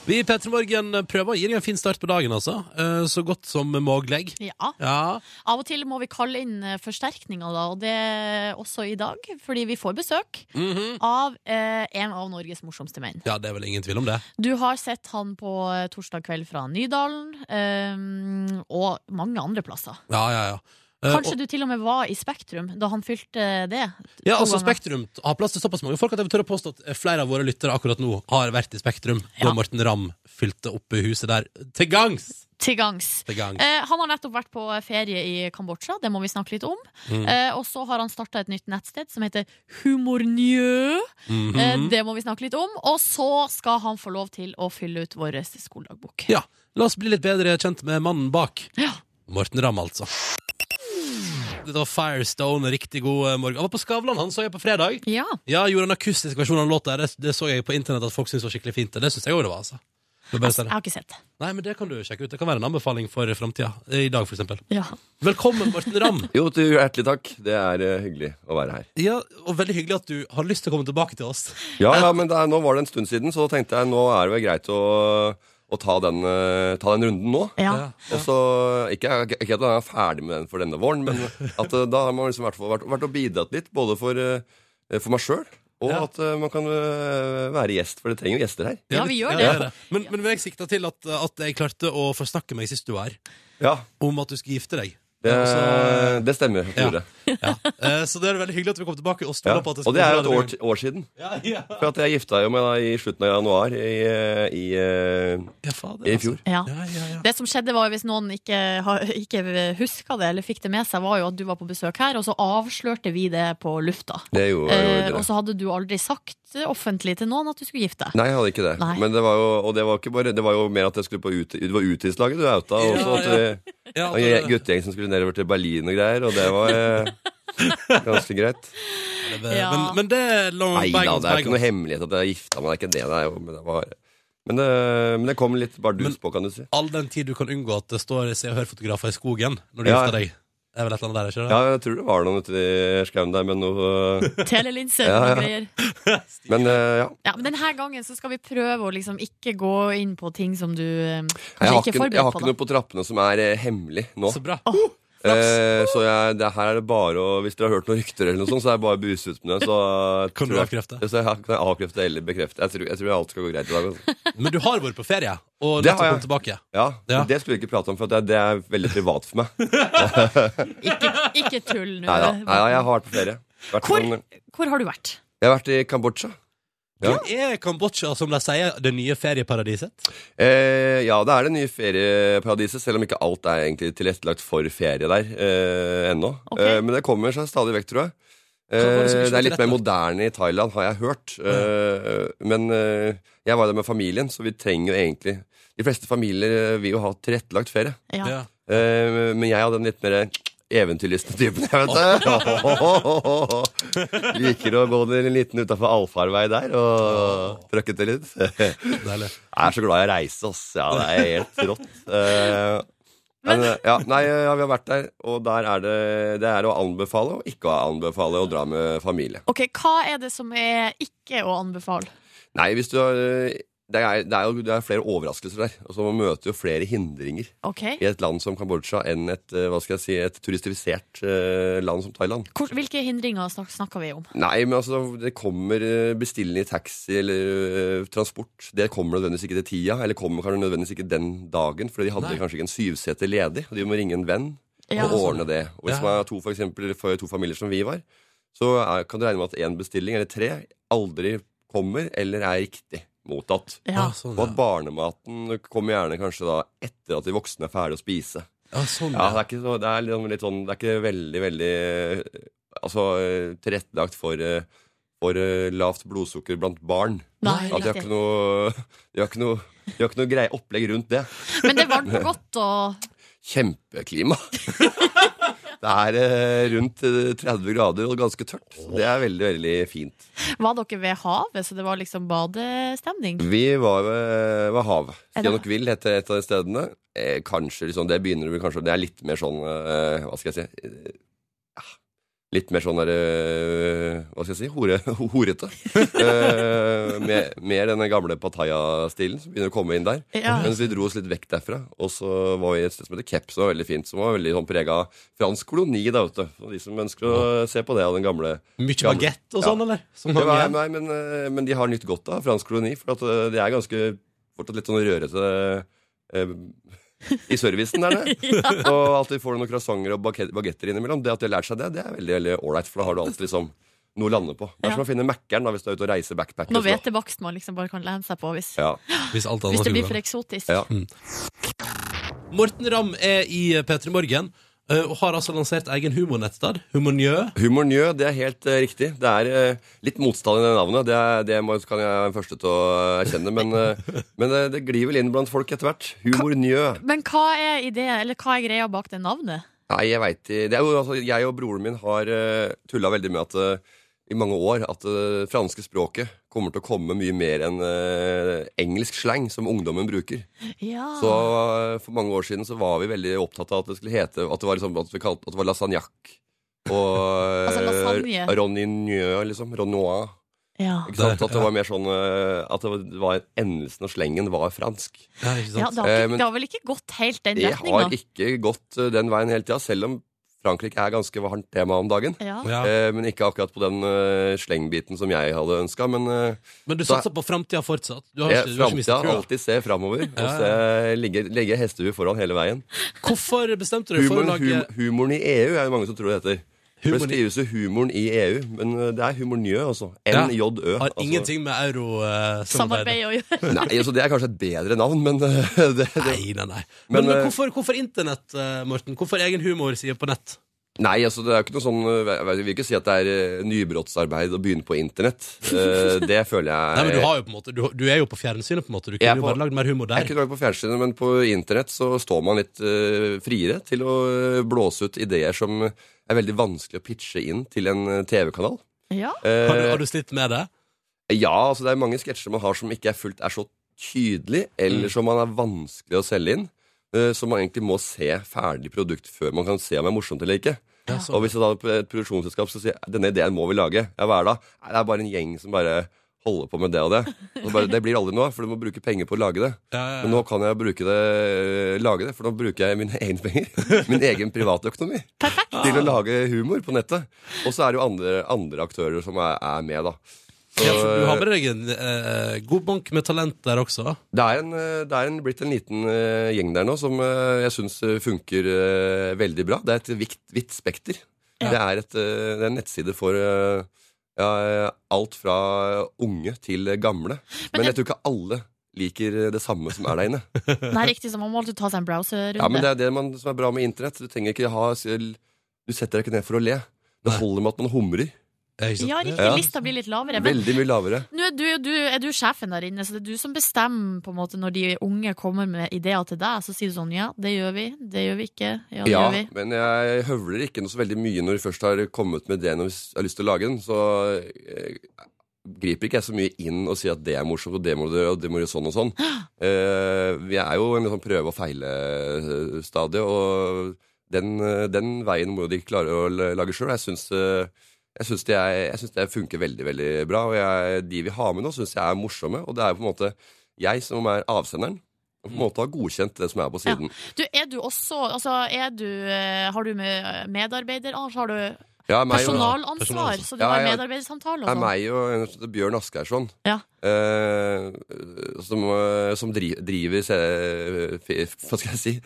Speaker 2: Vi i Petter Morgen eh, prøver å gi deg en fin start på dagen, altså. Eh, så godt som mogleg.
Speaker 3: Ja.
Speaker 2: Ja.
Speaker 3: Av og til må vi kalle inn eh, forsterkninger, da, og det også i dag, fordi vi får besøk
Speaker 2: Mhm.
Speaker 3: av eh, en av Norges morsomste menn.
Speaker 2: ja, det er vel ingen tvil om det.
Speaker 3: Du har sett han på eh, torsdag kveld fra Nydalen, eh, og mange andre plasser.
Speaker 2: Ja, ja, ja. Eh,
Speaker 3: Kanskje du til og med var i Spektrum da han fylte eh, det?
Speaker 2: Ja,
Speaker 3: to
Speaker 2: altså
Speaker 3: ganger.
Speaker 2: Spektrum har plass til såpass mange folk at jeg vil tørre å påstå at eh, flere av våre lyttere akkurat nå har vært i Spektrum da
Speaker 3: Ja.
Speaker 2: Morten Ramm fylte opp huset der til gangs!
Speaker 3: Til gangs.
Speaker 2: Til gangs.
Speaker 3: Eh, han har nettopp vært på ferie i Kambodsja, det må vi snakke litt om.
Speaker 2: Mm.
Speaker 3: Eh, og så har han starta et nytt nettsted som heter Humornjø.
Speaker 2: Mhm.
Speaker 3: Eh, det må vi snakke litt om. Og så skal han få lov til å fylle ut vår skoledagbok.
Speaker 2: Ja, La oss bli litt bedre kjent med mannen bak.
Speaker 3: Ja.
Speaker 2: Morten Ramm, altså. Dette var Firestone. Riktig god eh, morgen. Han var på Skavlan, han så jeg på fredag.
Speaker 3: Ja.
Speaker 2: Ja, Gjorde en akustisk versjon av låta. Det, det så jeg på internett at folk syntes var skikkelig fint. og Det syns jeg òg det var, altså. Det var bare å si
Speaker 3: Jeg
Speaker 2: det.
Speaker 3: har ikke sett det.
Speaker 2: Nei, men det kan du sjekke ut. Det kan være en anbefaling for framtida. I dag, for eksempel.
Speaker 3: Ja.
Speaker 2: Velkommen, Morten Ramm.
Speaker 7: Jo, tu- hjertelig takk. Det er eh, hyggelig å være her.
Speaker 2: Ja, og veldig hyggelig at du har lyst til å komme tilbake til oss.
Speaker 7: Ja, ja, men det er, nå var det en stund siden, så da tenkte jeg nå er det vel greit å, å ta, den, eh, ta den runden nå.
Speaker 3: Ja.
Speaker 7: Og så, ikke, ikke at jeg er ferdig med den for denne våren, men at eh, da har man liksom i hvert fall vært, vært og bidratt litt, både for, eh, for meg sjøl, og
Speaker 2: Ja.
Speaker 7: at eh, man kan eh, være gjest, for det trenger jo gjester her.
Speaker 3: Ja, vi gjør
Speaker 2: Ja,
Speaker 3: det.
Speaker 2: Men, men jeg sikta til at, at jeg klarte å forsnakke meg sist du var her,
Speaker 7: Ja,
Speaker 2: om at du skulle gifte deg. Altså, eh,
Speaker 7: det,
Speaker 2: Ja, så,
Speaker 7: det stemmer.
Speaker 2: Ja.
Speaker 7: Tore.
Speaker 2: ja. Eh, så det er veldig hyggelig at vi kom tilbake og
Speaker 7: Ja.
Speaker 2: stoler på at det
Speaker 7: Og det er jo
Speaker 2: skulle
Speaker 7: et
Speaker 2: bli
Speaker 7: år,
Speaker 2: bra.
Speaker 7: ti- år siden.
Speaker 2: Ja, ja.
Speaker 7: For at jeg gifta jo meg da i slutten av januar i, eh, i, eh,
Speaker 2: ja, fader,
Speaker 7: i
Speaker 2: altså.
Speaker 7: fjor.
Speaker 3: Ja.
Speaker 2: Ja, ja, ja.
Speaker 3: Det som skjedde var, hvis noen ikke, har- ikke huska det, eller fikk det med seg, var jo at du var på besøk her, og så avslørte vi det på lufta.
Speaker 7: Det gjorde, gjorde
Speaker 3: Eh,
Speaker 7: dere.
Speaker 3: og så hadde du aldri sagt offentlig til noen at du skulle gifte deg.
Speaker 7: Nei, jeg hadde ikke det.
Speaker 3: Nei.
Speaker 7: Men det var jo, og det var, ikke bare, det var jo mer at jeg skulle på ut, det var utidslaget du outa. Og
Speaker 2: Ja,
Speaker 7: så at vi-
Speaker 2: Ja,
Speaker 7: og jeg- guttegjeng som skulle nedover til Berlin og greier, og det var eh, ganske greit.
Speaker 2: det- det-
Speaker 3: Ja.
Speaker 2: Men, men det er long
Speaker 7: Nei da,
Speaker 2: bagels,
Speaker 7: det er ikke noe
Speaker 2: bagels.
Speaker 7: hemmelighet at jeg er gifta meg, det er ikke det. det er jo, men, det var, men, det, men det kom litt bardus
Speaker 2: Men-
Speaker 7: på, kan du si.
Speaker 2: All den tid du kan unngå at det står Se og Hør-fotografer i skogen når du
Speaker 7: Ja.
Speaker 2: gifter deg. Det er vel et eller annet der, ikke det?
Speaker 7: Ja, jeg tror det var noen ute i skauen der, men noe
Speaker 3: Telelinser
Speaker 7: Ja, ja.
Speaker 3: og greier.
Speaker 7: Men eh, ja.
Speaker 3: Ja, men denne gangen så skal vi prøve å liksom ikke gå inn på ting som du eh,
Speaker 7: Jeg
Speaker 3: kanskje
Speaker 7: har
Speaker 3: ikke er
Speaker 7: ikke, jeg har
Speaker 3: forberedt
Speaker 7: ikke
Speaker 3: på.
Speaker 7: noe på trappene som er eh, hemmelig nå.
Speaker 2: Så bra.
Speaker 7: Eh, så jeg, det her er det bare å Hvis dere har hørt noen rykter, eller noe sånt, så er det bare å buse ut med det. Så
Speaker 2: Kan du
Speaker 7: tror jeg-
Speaker 2: avkrefte?
Speaker 7: Så jeg, kan jeg avkrefte eller bekrefte. Jeg tror, jeg tror alt skal gå greit i dag. Altså.
Speaker 2: Men du har vært på ferie, og
Speaker 7: Det
Speaker 2: nettopp
Speaker 7: har
Speaker 2: kommet tilbake.
Speaker 7: Ja,
Speaker 2: Ja.
Speaker 7: Det skulle vi ikke prate om, for det, det er veldig privat for meg.
Speaker 3: Ikke, ikke tull nå.
Speaker 7: Nei da. Nei, da, jeg har vært på ferie. Vært
Speaker 3: Hvor?
Speaker 7: sånn-
Speaker 3: Hvor har du vært?
Speaker 7: jeg har vært i Kambodsja. Ja.
Speaker 2: Det Er Kambodsja, som de sier, det nye ferieparadiset?
Speaker 7: Eh, ja, det er det nye ferieparadiset, selv om ikke alt er egentlig tilrettelagt for ferie der eh, ennå.
Speaker 3: Ok.
Speaker 7: Eh, men det kommer seg stadig vekk, tror jeg.
Speaker 2: Hva var det
Speaker 7: Eh,
Speaker 2: som ikke
Speaker 7: det er
Speaker 2: var
Speaker 7: litt mer
Speaker 2: tilrettelagt?
Speaker 7: moderne i Thailand, har jeg hørt. Eh, men eh, jeg var der med familien, så vi trenger jo egentlig De fleste familier eh, vil jo ha tilrettelagt ferie.
Speaker 3: Ja.
Speaker 2: Ja.
Speaker 7: Eh, men jeg hadde den litt mer eventyrlystne typen, jeg, vet du. Liker å gå en liten utafor allfarvei der og trøkke til litt.
Speaker 2: Deilig.
Speaker 7: Jeg er så glad jeg reiser, ass. Ja, det er helt rått. Eh, men, eh, ja, nei, ja, vi har vært der, og der er det, det er å anbefale og ikke å anbefale å dra med familie.
Speaker 3: Ok, hva er det som er ikke å anbefale?
Speaker 7: Nei, hvis du har eh, det er, det er jo det er flere overraskelser der. Og så møter jo flere hindringer
Speaker 3: Ok,
Speaker 7: i et land som Kambodsja enn et, eh, hva skal jeg si, et turistifisert eh, land som Thailand.
Speaker 3: Hvor, Hvilke hindringer snak snakker vi om?
Speaker 7: Nei, men altså, det kommer eh, bestillende i taxi eller eh, transport. Det kommer nødvendigvis ikke til tida, eller kommer kanskje nødvendigvis ikke den dagen, for de hadde
Speaker 2: Nei.
Speaker 7: kanskje ikke en syvseter ledig, og de må ringe en venn
Speaker 3: Ja.
Speaker 7: og ordne det. Og hvis
Speaker 2: Ja.
Speaker 7: man er to, for eksempel, for to familier som vi var, så er, kan du regne med at én bestilling eller tre aldri kommer eller er riktig. mottatt.
Speaker 3: Ja.
Speaker 2: Ah, sånn,
Speaker 7: Og at barnematen kommer gjerne kanskje da etter at de voksne er ferdig å spise.
Speaker 2: Ja, sånn,
Speaker 7: Ja,
Speaker 2: ja.
Speaker 7: det er ikke, så, det er liksom litt sånn Det er ikke veldig, veldig eh, Altså eh, tilrettelagt for eh, for eh, lavt blodsukker blant barn.
Speaker 3: Nei,
Speaker 7: At de har
Speaker 3: riktig.
Speaker 7: ikke noe De har ikke noe, de har ikke noe greie opplegg rundt det.
Speaker 3: Men det er varmt og godt og
Speaker 7: Kjempeklima! Det er eh, rundt eh, 30 grader og ganske tørt. Så det er veldig, veldig fint.
Speaker 3: Var dere ved havet, så det var liksom badestemning?
Speaker 7: Vi var ved, ved havet.
Speaker 3: Er det-
Speaker 7: Kianokvil heter et av de stedene. Eh, kanskje liksom, Det begynner vel kanskje Det er litt mer sånn eh, Hva skal jeg si? Eh, ja, Litt mer sånn der eh, Hva skal jeg si? Hore, horete. Eh, mer, mer den gamle Pattaya-stilen som begynner å komme inn der.
Speaker 3: Ja.
Speaker 7: Mens vi dro oss litt vekk derfra. Og så var vi et sted som heter Kep, som var veldig fint. Som var veldig sånn prega av fransk koloni der ute. Og de som ønsker å se på det av den gamle
Speaker 2: Mye
Speaker 7: Gamle.
Speaker 2: bagett og
Speaker 7: Ja.
Speaker 2: sånn, eller? Som
Speaker 7: det
Speaker 2: hang
Speaker 7: var,
Speaker 2: igjen.
Speaker 7: nei, men, eh, men de har nytt godt av fransk koloni, for at eh, det er ganske fortsatt litt sånn rørete eh, i servicen der nede. Og at de får noen croissanter og bake- bagetter innimellom, det at de har lært seg det, det er veldig veldig ålreit, for da har du alltid liksom noe å lande på.
Speaker 3: Ja.
Speaker 7: Det er som å finne Mækkern da, hvis du er ute og reiser backpacker.
Speaker 3: Nå vet det bakst man liksom bare kan lene seg på hvis,
Speaker 7: Mm. Ja.
Speaker 2: Hvis alt annet
Speaker 3: hvis det
Speaker 2: skulle
Speaker 3: blir
Speaker 2: gå.
Speaker 3: for eksotisk.
Speaker 7: Ja.
Speaker 2: Morten Ramm er i P3 Morgen eh, og har altså lansert egen humornettstad, Humornjø.
Speaker 7: Humor Njø, det er helt eh, riktig. Det er eh, litt motstand i det navnet, det, er- det må, kan jeg være den første til å erkjenne, men, eh, men det, det glir vel inn blant folk etter hvert. Humor Njø.
Speaker 3: Men hva er ideen, eller hva er greia bak det navnet?
Speaker 7: Nei, jeg veit det. Er jo, altså, jeg og broren min har uh, tulla veldig med at eh, i mange år at eh, det franske språket kommer til å komme mye mer enn eh, engelsk slang som ungdommen bruker.
Speaker 3: Ja.
Speaker 7: Så eh, for mange år siden så var vi veldig opptatt av at det skulle hete At det var, liksom, at vi kalte, at det var lasagnac. Og
Speaker 3: Altså lasagne.
Speaker 7: roninjø, liksom. Ronois.
Speaker 3: ja.
Speaker 7: Ikke sant? At det var mer sånn eh, At det var endelsen og slengen var fransk.
Speaker 2: Ja, ikke sant?
Speaker 3: ja det, har
Speaker 7: Eh,
Speaker 3: ikke,
Speaker 7: men-
Speaker 3: det har vel ikke gått helt den
Speaker 7: Det har
Speaker 3: retninga?
Speaker 7: ikke gått eh, den veien hele tida, selv om Frankrike er ganske varmt tema om dagen.
Speaker 3: Ja.
Speaker 2: Ja.
Speaker 7: Eh, men ikke akkurat på den eh, slengbiten som jeg hadde ønska. Men eh,
Speaker 2: Men du satser på framtida fortsatt? Du har
Speaker 7: jeg,
Speaker 2: ikke, du har ikke
Speaker 7: framtida
Speaker 2: mistet trua.
Speaker 7: alltid se framover. Og
Speaker 2: Ja,
Speaker 7: se, ligge, legge hestehuet foran hele veien.
Speaker 2: Hvorfor bestemte du deg for å
Speaker 7: Humoren,
Speaker 2: lage
Speaker 7: hum, humoren i EU er det mange som tror det heter. For det
Speaker 2: Humoren i-
Speaker 7: skrives jo 'humoren i EU', men eh, det er humornjø, altså.
Speaker 2: Ja.
Speaker 7: NJØ.
Speaker 2: Har
Speaker 7: altså.
Speaker 2: ingenting med eh, eurosamarbeidet
Speaker 3: Samarbeid å gjøre.
Speaker 7: Nei, altså, det er kanskje et bedre navn, men eh, det, det,
Speaker 2: Nei, nei, nei. Men,
Speaker 7: Men,
Speaker 2: men
Speaker 7: eh,
Speaker 2: hvorfor, hvorfor internett, eh, Morten? Hvorfor egen humorside på nett?
Speaker 7: Nei, altså det er jo ikke noe sånn eh, Jeg vet- jeg vil ikke si at det er eh, nybrottsarbeid å begynne på internett. Eh, Det føler jeg
Speaker 2: Nei, men du, har jo på en måte, du, du er jo på fjernsynet, på en måte. Du
Speaker 7: Jeg er
Speaker 2: kunne jo
Speaker 7: på-
Speaker 2: bare lagd mer humor
Speaker 7: Jeg
Speaker 2: der.
Speaker 7: kunne lagd på fjernsynet, men på internett så står man litt eh, friere til å eh, blåse ut ideer som er veldig vanskelig å pitche inn til en eh, TV-kanal.
Speaker 3: Ja.
Speaker 7: Eh,
Speaker 2: Har du, har du slitt med det?
Speaker 7: Ja, altså det er mange sketsjer man har som ikke er fullt er så tydelig,
Speaker 2: Mm.
Speaker 7: eller som man er vanskelig å selge inn. eh, Så man egentlig må se ferdig produkt før man kan se om det er morsomt eller ikke.
Speaker 2: Ja,
Speaker 7: Og hvis det da er et produksjonsselskap som sier denne ideen må vi lage, ja, hva er det da? Nei, det er bare en gjeng som bare holder på med det og det. Og så bare, det blir aldri noe, for du må bruke penger på å lage det.
Speaker 2: Ja, ja, ja.
Speaker 7: Men nå kan jeg bruke det, eh, lage det, for nå bruker jeg mine egne penger. Min egen privatøkonomi. Til å lage humor på nettet. Og så er det jo andre, andre aktører som er, er med, da. Så,
Speaker 2: Ja, for du har med deg en eh, god bank med talent der også.
Speaker 7: det er, en, eh, det er en, blitt en liten eh, gjeng der nå som eh, jeg syns funker eh, veldig bra. Det er et vikt, vidt spekter. Det, er et, eh, det er en nettside for eh, ja, eh, alt fra unge til eh, gamle. Men,
Speaker 3: det-
Speaker 7: jeg tror ikke alle liker eh, det samme som er der inne.
Speaker 3: Nei, riktig, så man må alltid ta seg en browserrunde.
Speaker 7: Ja, men Det er det man, som er bra med internett. Du trenger ikke ha Du setter deg ikke ned for å le. Det
Speaker 2: Nei.
Speaker 7: holder med at man humrer.
Speaker 2: Ja, ikke sant?
Speaker 3: Ja, riktig,
Speaker 7: Ja.
Speaker 3: lista blir litt lavere. Men
Speaker 7: Veldig mye lavere.
Speaker 3: nå er du, jo- du, er du sjefen der inne, så det er du som bestemmer på en måte når de unge kommer med ideer til deg. Så sier du sånn ja, det gjør vi, det gjør vi ikke, ja, det
Speaker 7: Ja,
Speaker 3: gjør vi.
Speaker 7: men jeg høvler ikke noe så veldig mye når vi først har kommet med det når vi s- har lyst til å lage den. Så eh, griper ikke jeg så mye inn og sier at det er morsomt, og det må du gjøre, og det må du gjøre sånn og sånn. Eh, vi er jo i en sånn prøve- og feile-stadie, og den, eh, den veien må de klare å l- lage sjøl. Jeg syns eh, jeg syns det, er- jeg synes det funker veldig veldig bra, og jeg, de vi har med nå, syns jeg er morsomme. Og det er på en måte jeg som er avsenderen, og på en måte har godkjent det som er på
Speaker 3: Mm. Ja.
Speaker 7: siden.
Speaker 3: Du, er du også altså, er du, eh, Har du med medarbeider Anders, har du
Speaker 7: Ja, meg og-
Speaker 3: personalansvar?
Speaker 2: personalansvar.
Speaker 3: Så du
Speaker 7: Ja,
Speaker 3: har
Speaker 7: ja.
Speaker 3: medarbeidersamtale
Speaker 7: Det
Speaker 3: og
Speaker 7: er
Speaker 3: sånn?
Speaker 7: meg og en som heter Bjørn Asgeirsson.
Speaker 3: Ja.
Speaker 7: eh, som eh, som dri, driver se, f, Hva skal jeg si?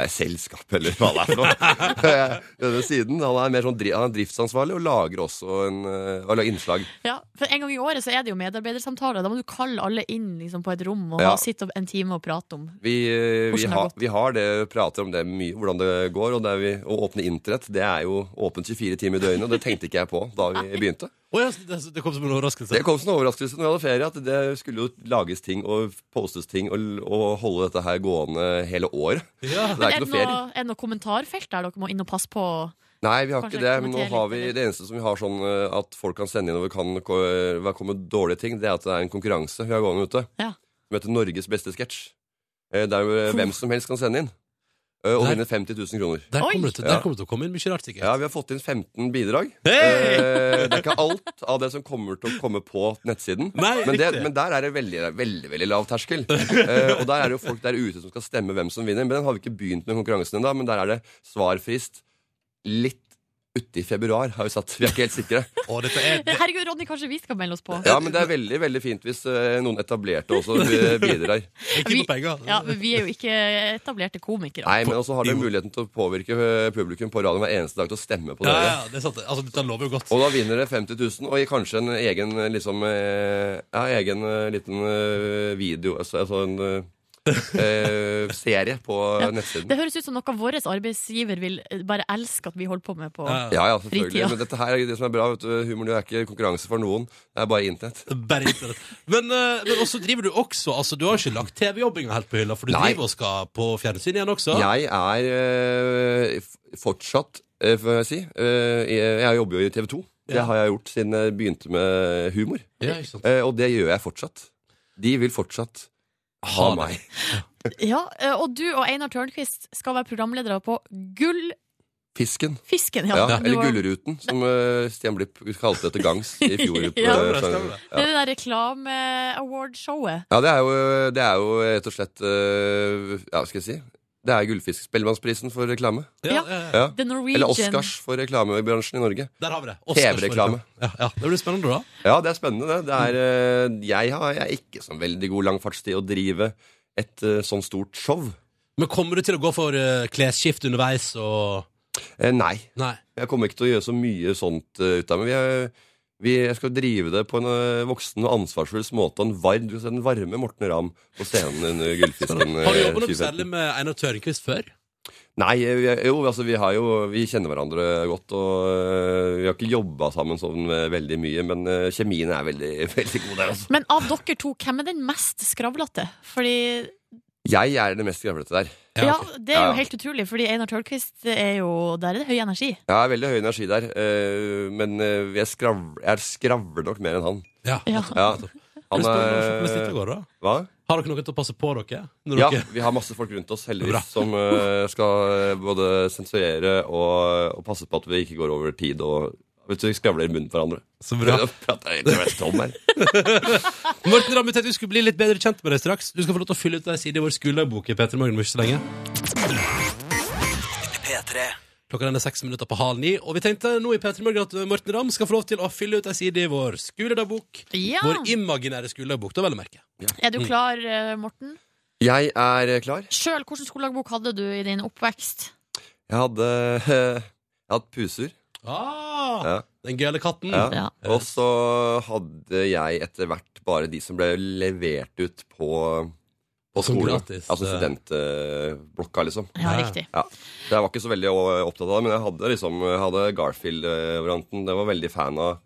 Speaker 7: eh, selskap, eller hva det er for noe. Eh, Denne siden, Han er mer sånn dri- han er driftsansvarlig og lager også en, eh, og lager innslag.
Speaker 3: Ja, for En gang i året så er det jo medarbeidersamtaler. Da må du kalle alle inn liksom, på et rom og
Speaker 7: Ja.
Speaker 3: ha- sitte opp en time og prate om.
Speaker 7: Vi, eh, vi,
Speaker 3: Hvordan det har
Speaker 7: har-
Speaker 3: gått.
Speaker 7: vi har det, prater om det mye, hvordan det går. Og det er vi, å åpne internett det er jo åpent 24 timer i døgnet, og det tenkte ikke jeg på da vi begynte.
Speaker 2: Å ja, så det, så det kom som en overraskelse.
Speaker 7: Det kom som en overraskelse når vi hadde ferie, at det skulle jo lages ting og postes ting og, og holde dette her gående hele året.
Speaker 2: Ja.
Speaker 7: Det er
Speaker 3: er
Speaker 7: ikke
Speaker 3: det
Speaker 7: noe ferie.
Speaker 3: noe, er det noe kommentarfelt der dere må inn og passe på?
Speaker 7: Nei, vi har
Speaker 3: Kanskje
Speaker 7: ikke det. Men nå
Speaker 3: kommentere
Speaker 7: har
Speaker 3: litt,
Speaker 7: vi
Speaker 3: eller?
Speaker 7: det eneste som vi har sånn eh, at folk kan sende inn og vi kan ko- være kommet dårlige ting, det er at det er en konkurranse vi har gående ute.
Speaker 3: Ja.
Speaker 7: Som heter Norges beste sketsj. Eh, Der eh, hvem som helst kan sende inn. eh, Og
Speaker 2: Der-
Speaker 7: vinne 50 000 kroner.
Speaker 2: Der
Speaker 3: Oi.
Speaker 2: kommer det til,
Speaker 7: Ja.
Speaker 2: der kommer det til å komme inn mye rart, sikkert.
Speaker 7: Ja, vi har fått inn 15 bidrag.
Speaker 2: Hey!
Speaker 7: Eh, Det er ikke alt av det som kommer til å komme på nettsiden.
Speaker 2: Nei,
Speaker 7: men, det,
Speaker 2: riktig.
Speaker 7: men der er det veldig, veldig veldig lav terskel. Eh, og der er det jo folk der ute som skal stemme hvem som vinner. Men den har vi ikke begynt med konkurransen ennå, men der er det svarfrist litt uti februar, har vi satt. Vi er ikke helt sikre.
Speaker 2: Å, dette er det,
Speaker 3: Herregud, Ronny, kanskje vi skal melde oss på?
Speaker 7: Ja, men det er veldig veldig fint hvis eh, noen etablerte også eh, bidrar.
Speaker 2: Ikke
Speaker 3: Vi-
Speaker 2: noe penger. altså.
Speaker 3: Ja, men Vi er jo ikke etablerte komikere.
Speaker 7: Nei, men også har dere muligheten til å påvirke eh, publikum på radioen hver eneste dag til å stemme på
Speaker 2: Ja,
Speaker 7: dere.
Speaker 2: ja, det er sant. det. Altså, dette lover jo godt.
Speaker 7: Og da vinner det 50 000, og i kanskje en egen liksom, eh, ja, egen eh, liten eh, video Altså, altså en eh, eh, serie på
Speaker 3: Ja,
Speaker 7: nettsiden.
Speaker 3: Det høres ut som noe vår arbeidsgiver vil eh, bare elske at vi holder på med på
Speaker 2: Ja, ja.
Speaker 7: Ja, ja, selvfølgelig.
Speaker 3: Fritida.
Speaker 7: Men dette her er det som er bra. vet du, Humoren er ikke konkurranse for noen. Det er bare internett.
Speaker 2: Bare internett. Men, eh, men også driver du også altså, Du har ikke lagt TV-jobbinga helt på hylla, for du
Speaker 7: Nei.
Speaker 2: driver og skal på fjernsyn igjen også.
Speaker 7: Jeg er eh, f- fortsatt, eh, får jeg si eh, Jeg jeg jobber jo i TV 2. Det
Speaker 2: Ja.
Speaker 7: har jeg gjort siden jeg begynte med humor.
Speaker 2: Ja, ikke sant?
Speaker 7: Eh, og det gjør jeg fortsatt. De vil fortsatt ha
Speaker 2: Ha det.
Speaker 7: meg.
Speaker 3: Ja, eh, Og du og Einar Tørnquist skal være programledere på Gullfisken.
Speaker 7: Fisken.
Speaker 3: Ja,
Speaker 7: Ja,
Speaker 3: Du
Speaker 7: eller
Speaker 3: var-
Speaker 7: Gullruten, som eh, Stian Blipp kalte det til gangs i fjor. på,
Speaker 3: Ja.
Speaker 7: eh,
Speaker 2: Stemmer det, stemmer det.
Speaker 3: Det er det der reklame-award-showet.
Speaker 7: ja, det er, jo, det er jo rett og slett eh, Ja, hva skal jeg si? Det er Gullfiskspellemannsprisen for reklame.
Speaker 2: Ja, ja, ja.
Speaker 7: Ja.
Speaker 3: The Norwegian.
Speaker 7: Eller Oscars for reklamebransjen i Norge.
Speaker 2: Der har vi det.
Speaker 7: TV-reklame.
Speaker 2: Ja, ja. Det blir spennende, da.
Speaker 7: Ja, det er spennende, det. det er, eh, jeg, har, jeg er ikke sånn veldig god langfartstid å drive et eh, sånn stort show.
Speaker 2: Men kommer du til å gå for eh, klesskift underveis og
Speaker 7: Eh, nei.
Speaker 2: Nei.
Speaker 7: Jeg kommer ikke til å gjøre så mye sånt eh, ut av meg. Vi er- Vi, jeg skal drive det på en eh, voksen og ansvarsfull måte. og En varm, du skal se den varme Morten Rahm på scenen under Gullfisken. eh,
Speaker 2: Har du jobbet noe
Speaker 7: 2015.
Speaker 2: særlig med Einar Tørnquist før?
Speaker 7: Nei, eh, vi, er- jo, altså, vi, har jo, vi kjenner hverandre godt, og eh, vi har ikke jobba sammen sånn eh, veldig mye, men eh, kjemien er veldig, veldig god der, altså.
Speaker 3: Men av dere to, hvem er den mest skravlete? Fordi
Speaker 7: Jeg er den mest skravlete der.
Speaker 3: Ja,
Speaker 2: ok.
Speaker 3: det er
Speaker 7: Ja,
Speaker 3: jo
Speaker 7: ja.
Speaker 3: helt utrolig, fordi Einar Tørnquist er jo Der er det høy energi.
Speaker 7: Jeg har veldig høy energi der, eh, men eh, jeg, skravler, jeg skravler nok mer enn han.
Speaker 2: Ja.
Speaker 3: Ja.
Speaker 7: Ja,
Speaker 2: Det blir
Speaker 7: han eh,
Speaker 2: spennende å se hvordan dette
Speaker 7: er
Speaker 2: går, da.
Speaker 7: Hva?
Speaker 2: Har dere noen til å passe på dere? Når
Speaker 7: Ja,
Speaker 2: dere...
Speaker 7: vi har masse folk rundt oss,
Speaker 2: Bra.
Speaker 7: heldigvis, som eh, skal eh, både sensurere og, og passe på at vi ikke går over tid og vet du, skravler i munnen på hverandre.
Speaker 2: Så bra.
Speaker 7: Nå prater jeg egentlig mest om her.
Speaker 2: Morten Ramm, vi tenkte vi skulle bli litt bedre kjent med deg straks. Du skal få lov til å fylle ut ei side i vår skoledagbok i P3 Morgen om ikke så lenge.
Speaker 5: P3
Speaker 2: Klokka den er seks minutter på halv ni, og vi tenkte nå i P3 Morgen at Morten Ramm skal få lov til å fylle ut ei side i vår skoledagbok.
Speaker 3: Ja.
Speaker 2: Vår imaginære skoledagbok, da vel å merke.
Speaker 3: Er
Speaker 7: Mm.
Speaker 3: du klar, eh, Morten?
Speaker 7: Jeg er eh, klar.
Speaker 3: Sjøl, hvilken skoledagbok hadde du i din oppvekst?
Speaker 7: Jeg hadde eh, jeg hadde puser,
Speaker 2: Ah,
Speaker 7: Ja.
Speaker 2: Den gøyale katten.
Speaker 7: Ja.
Speaker 3: Ja.
Speaker 7: og så hadde jeg etter hvert bare de som ble levert ut på, på
Speaker 2: Som
Speaker 7: skolen.
Speaker 2: gratis,
Speaker 7: Altså
Speaker 2: eh.
Speaker 7: studentblokka, liksom.
Speaker 3: Ja,
Speaker 2: Ja.
Speaker 3: riktig.
Speaker 7: Ja. Så jeg var ikke så veldig eh, opptatt av det, men jeg hadde, liksom, jeg hadde Garfield-varianten. Jeg var veldig fan av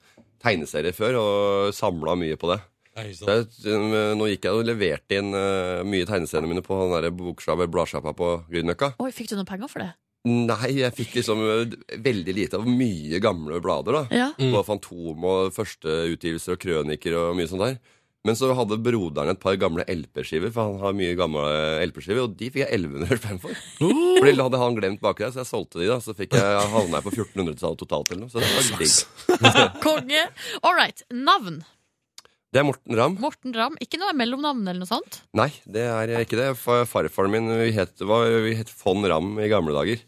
Speaker 7: tegneserier før og samla mye på det.
Speaker 2: Ja, ikke
Speaker 7: Så
Speaker 2: sant?
Speaker 7: Jeg, eh, nå gikk jeg og leverte inn eh, mye tegneseriene mine på den der boksjappa bladsjappa på Grünerløkka.
Speaker 3: Oi, fikk du noen penger for det?
Speaker 7: Nei, jeg fikk liksom eh, veldig lite av mye gamle blader, da.
Speaker 3: Ja.
Speaker 7: Det var Fantom og førsteutgivelser og krøniker og mye sånt der. Men så hadde broderen et par gamle LP-skiver, for han har mye gamle LP-skiver, og de fikk jeg 1100 spenn for. For de hadde han glemt baki der, så jeg solgte de, da. Så fikk jeg, havna jeg på 1400 totalt eller noe. Så det var digg.
Speaker 3: Konge. All right. Navn.
Speaker 7: Det er Morten Ramm.
Speaker 3: Morten Ramm. Ikke noe mellomnavn eller noe sånt?
Speaker 7: Nei, det er ikke det. Fa- Farfaren min vi het, var, vi het von Ramm i gamle dager.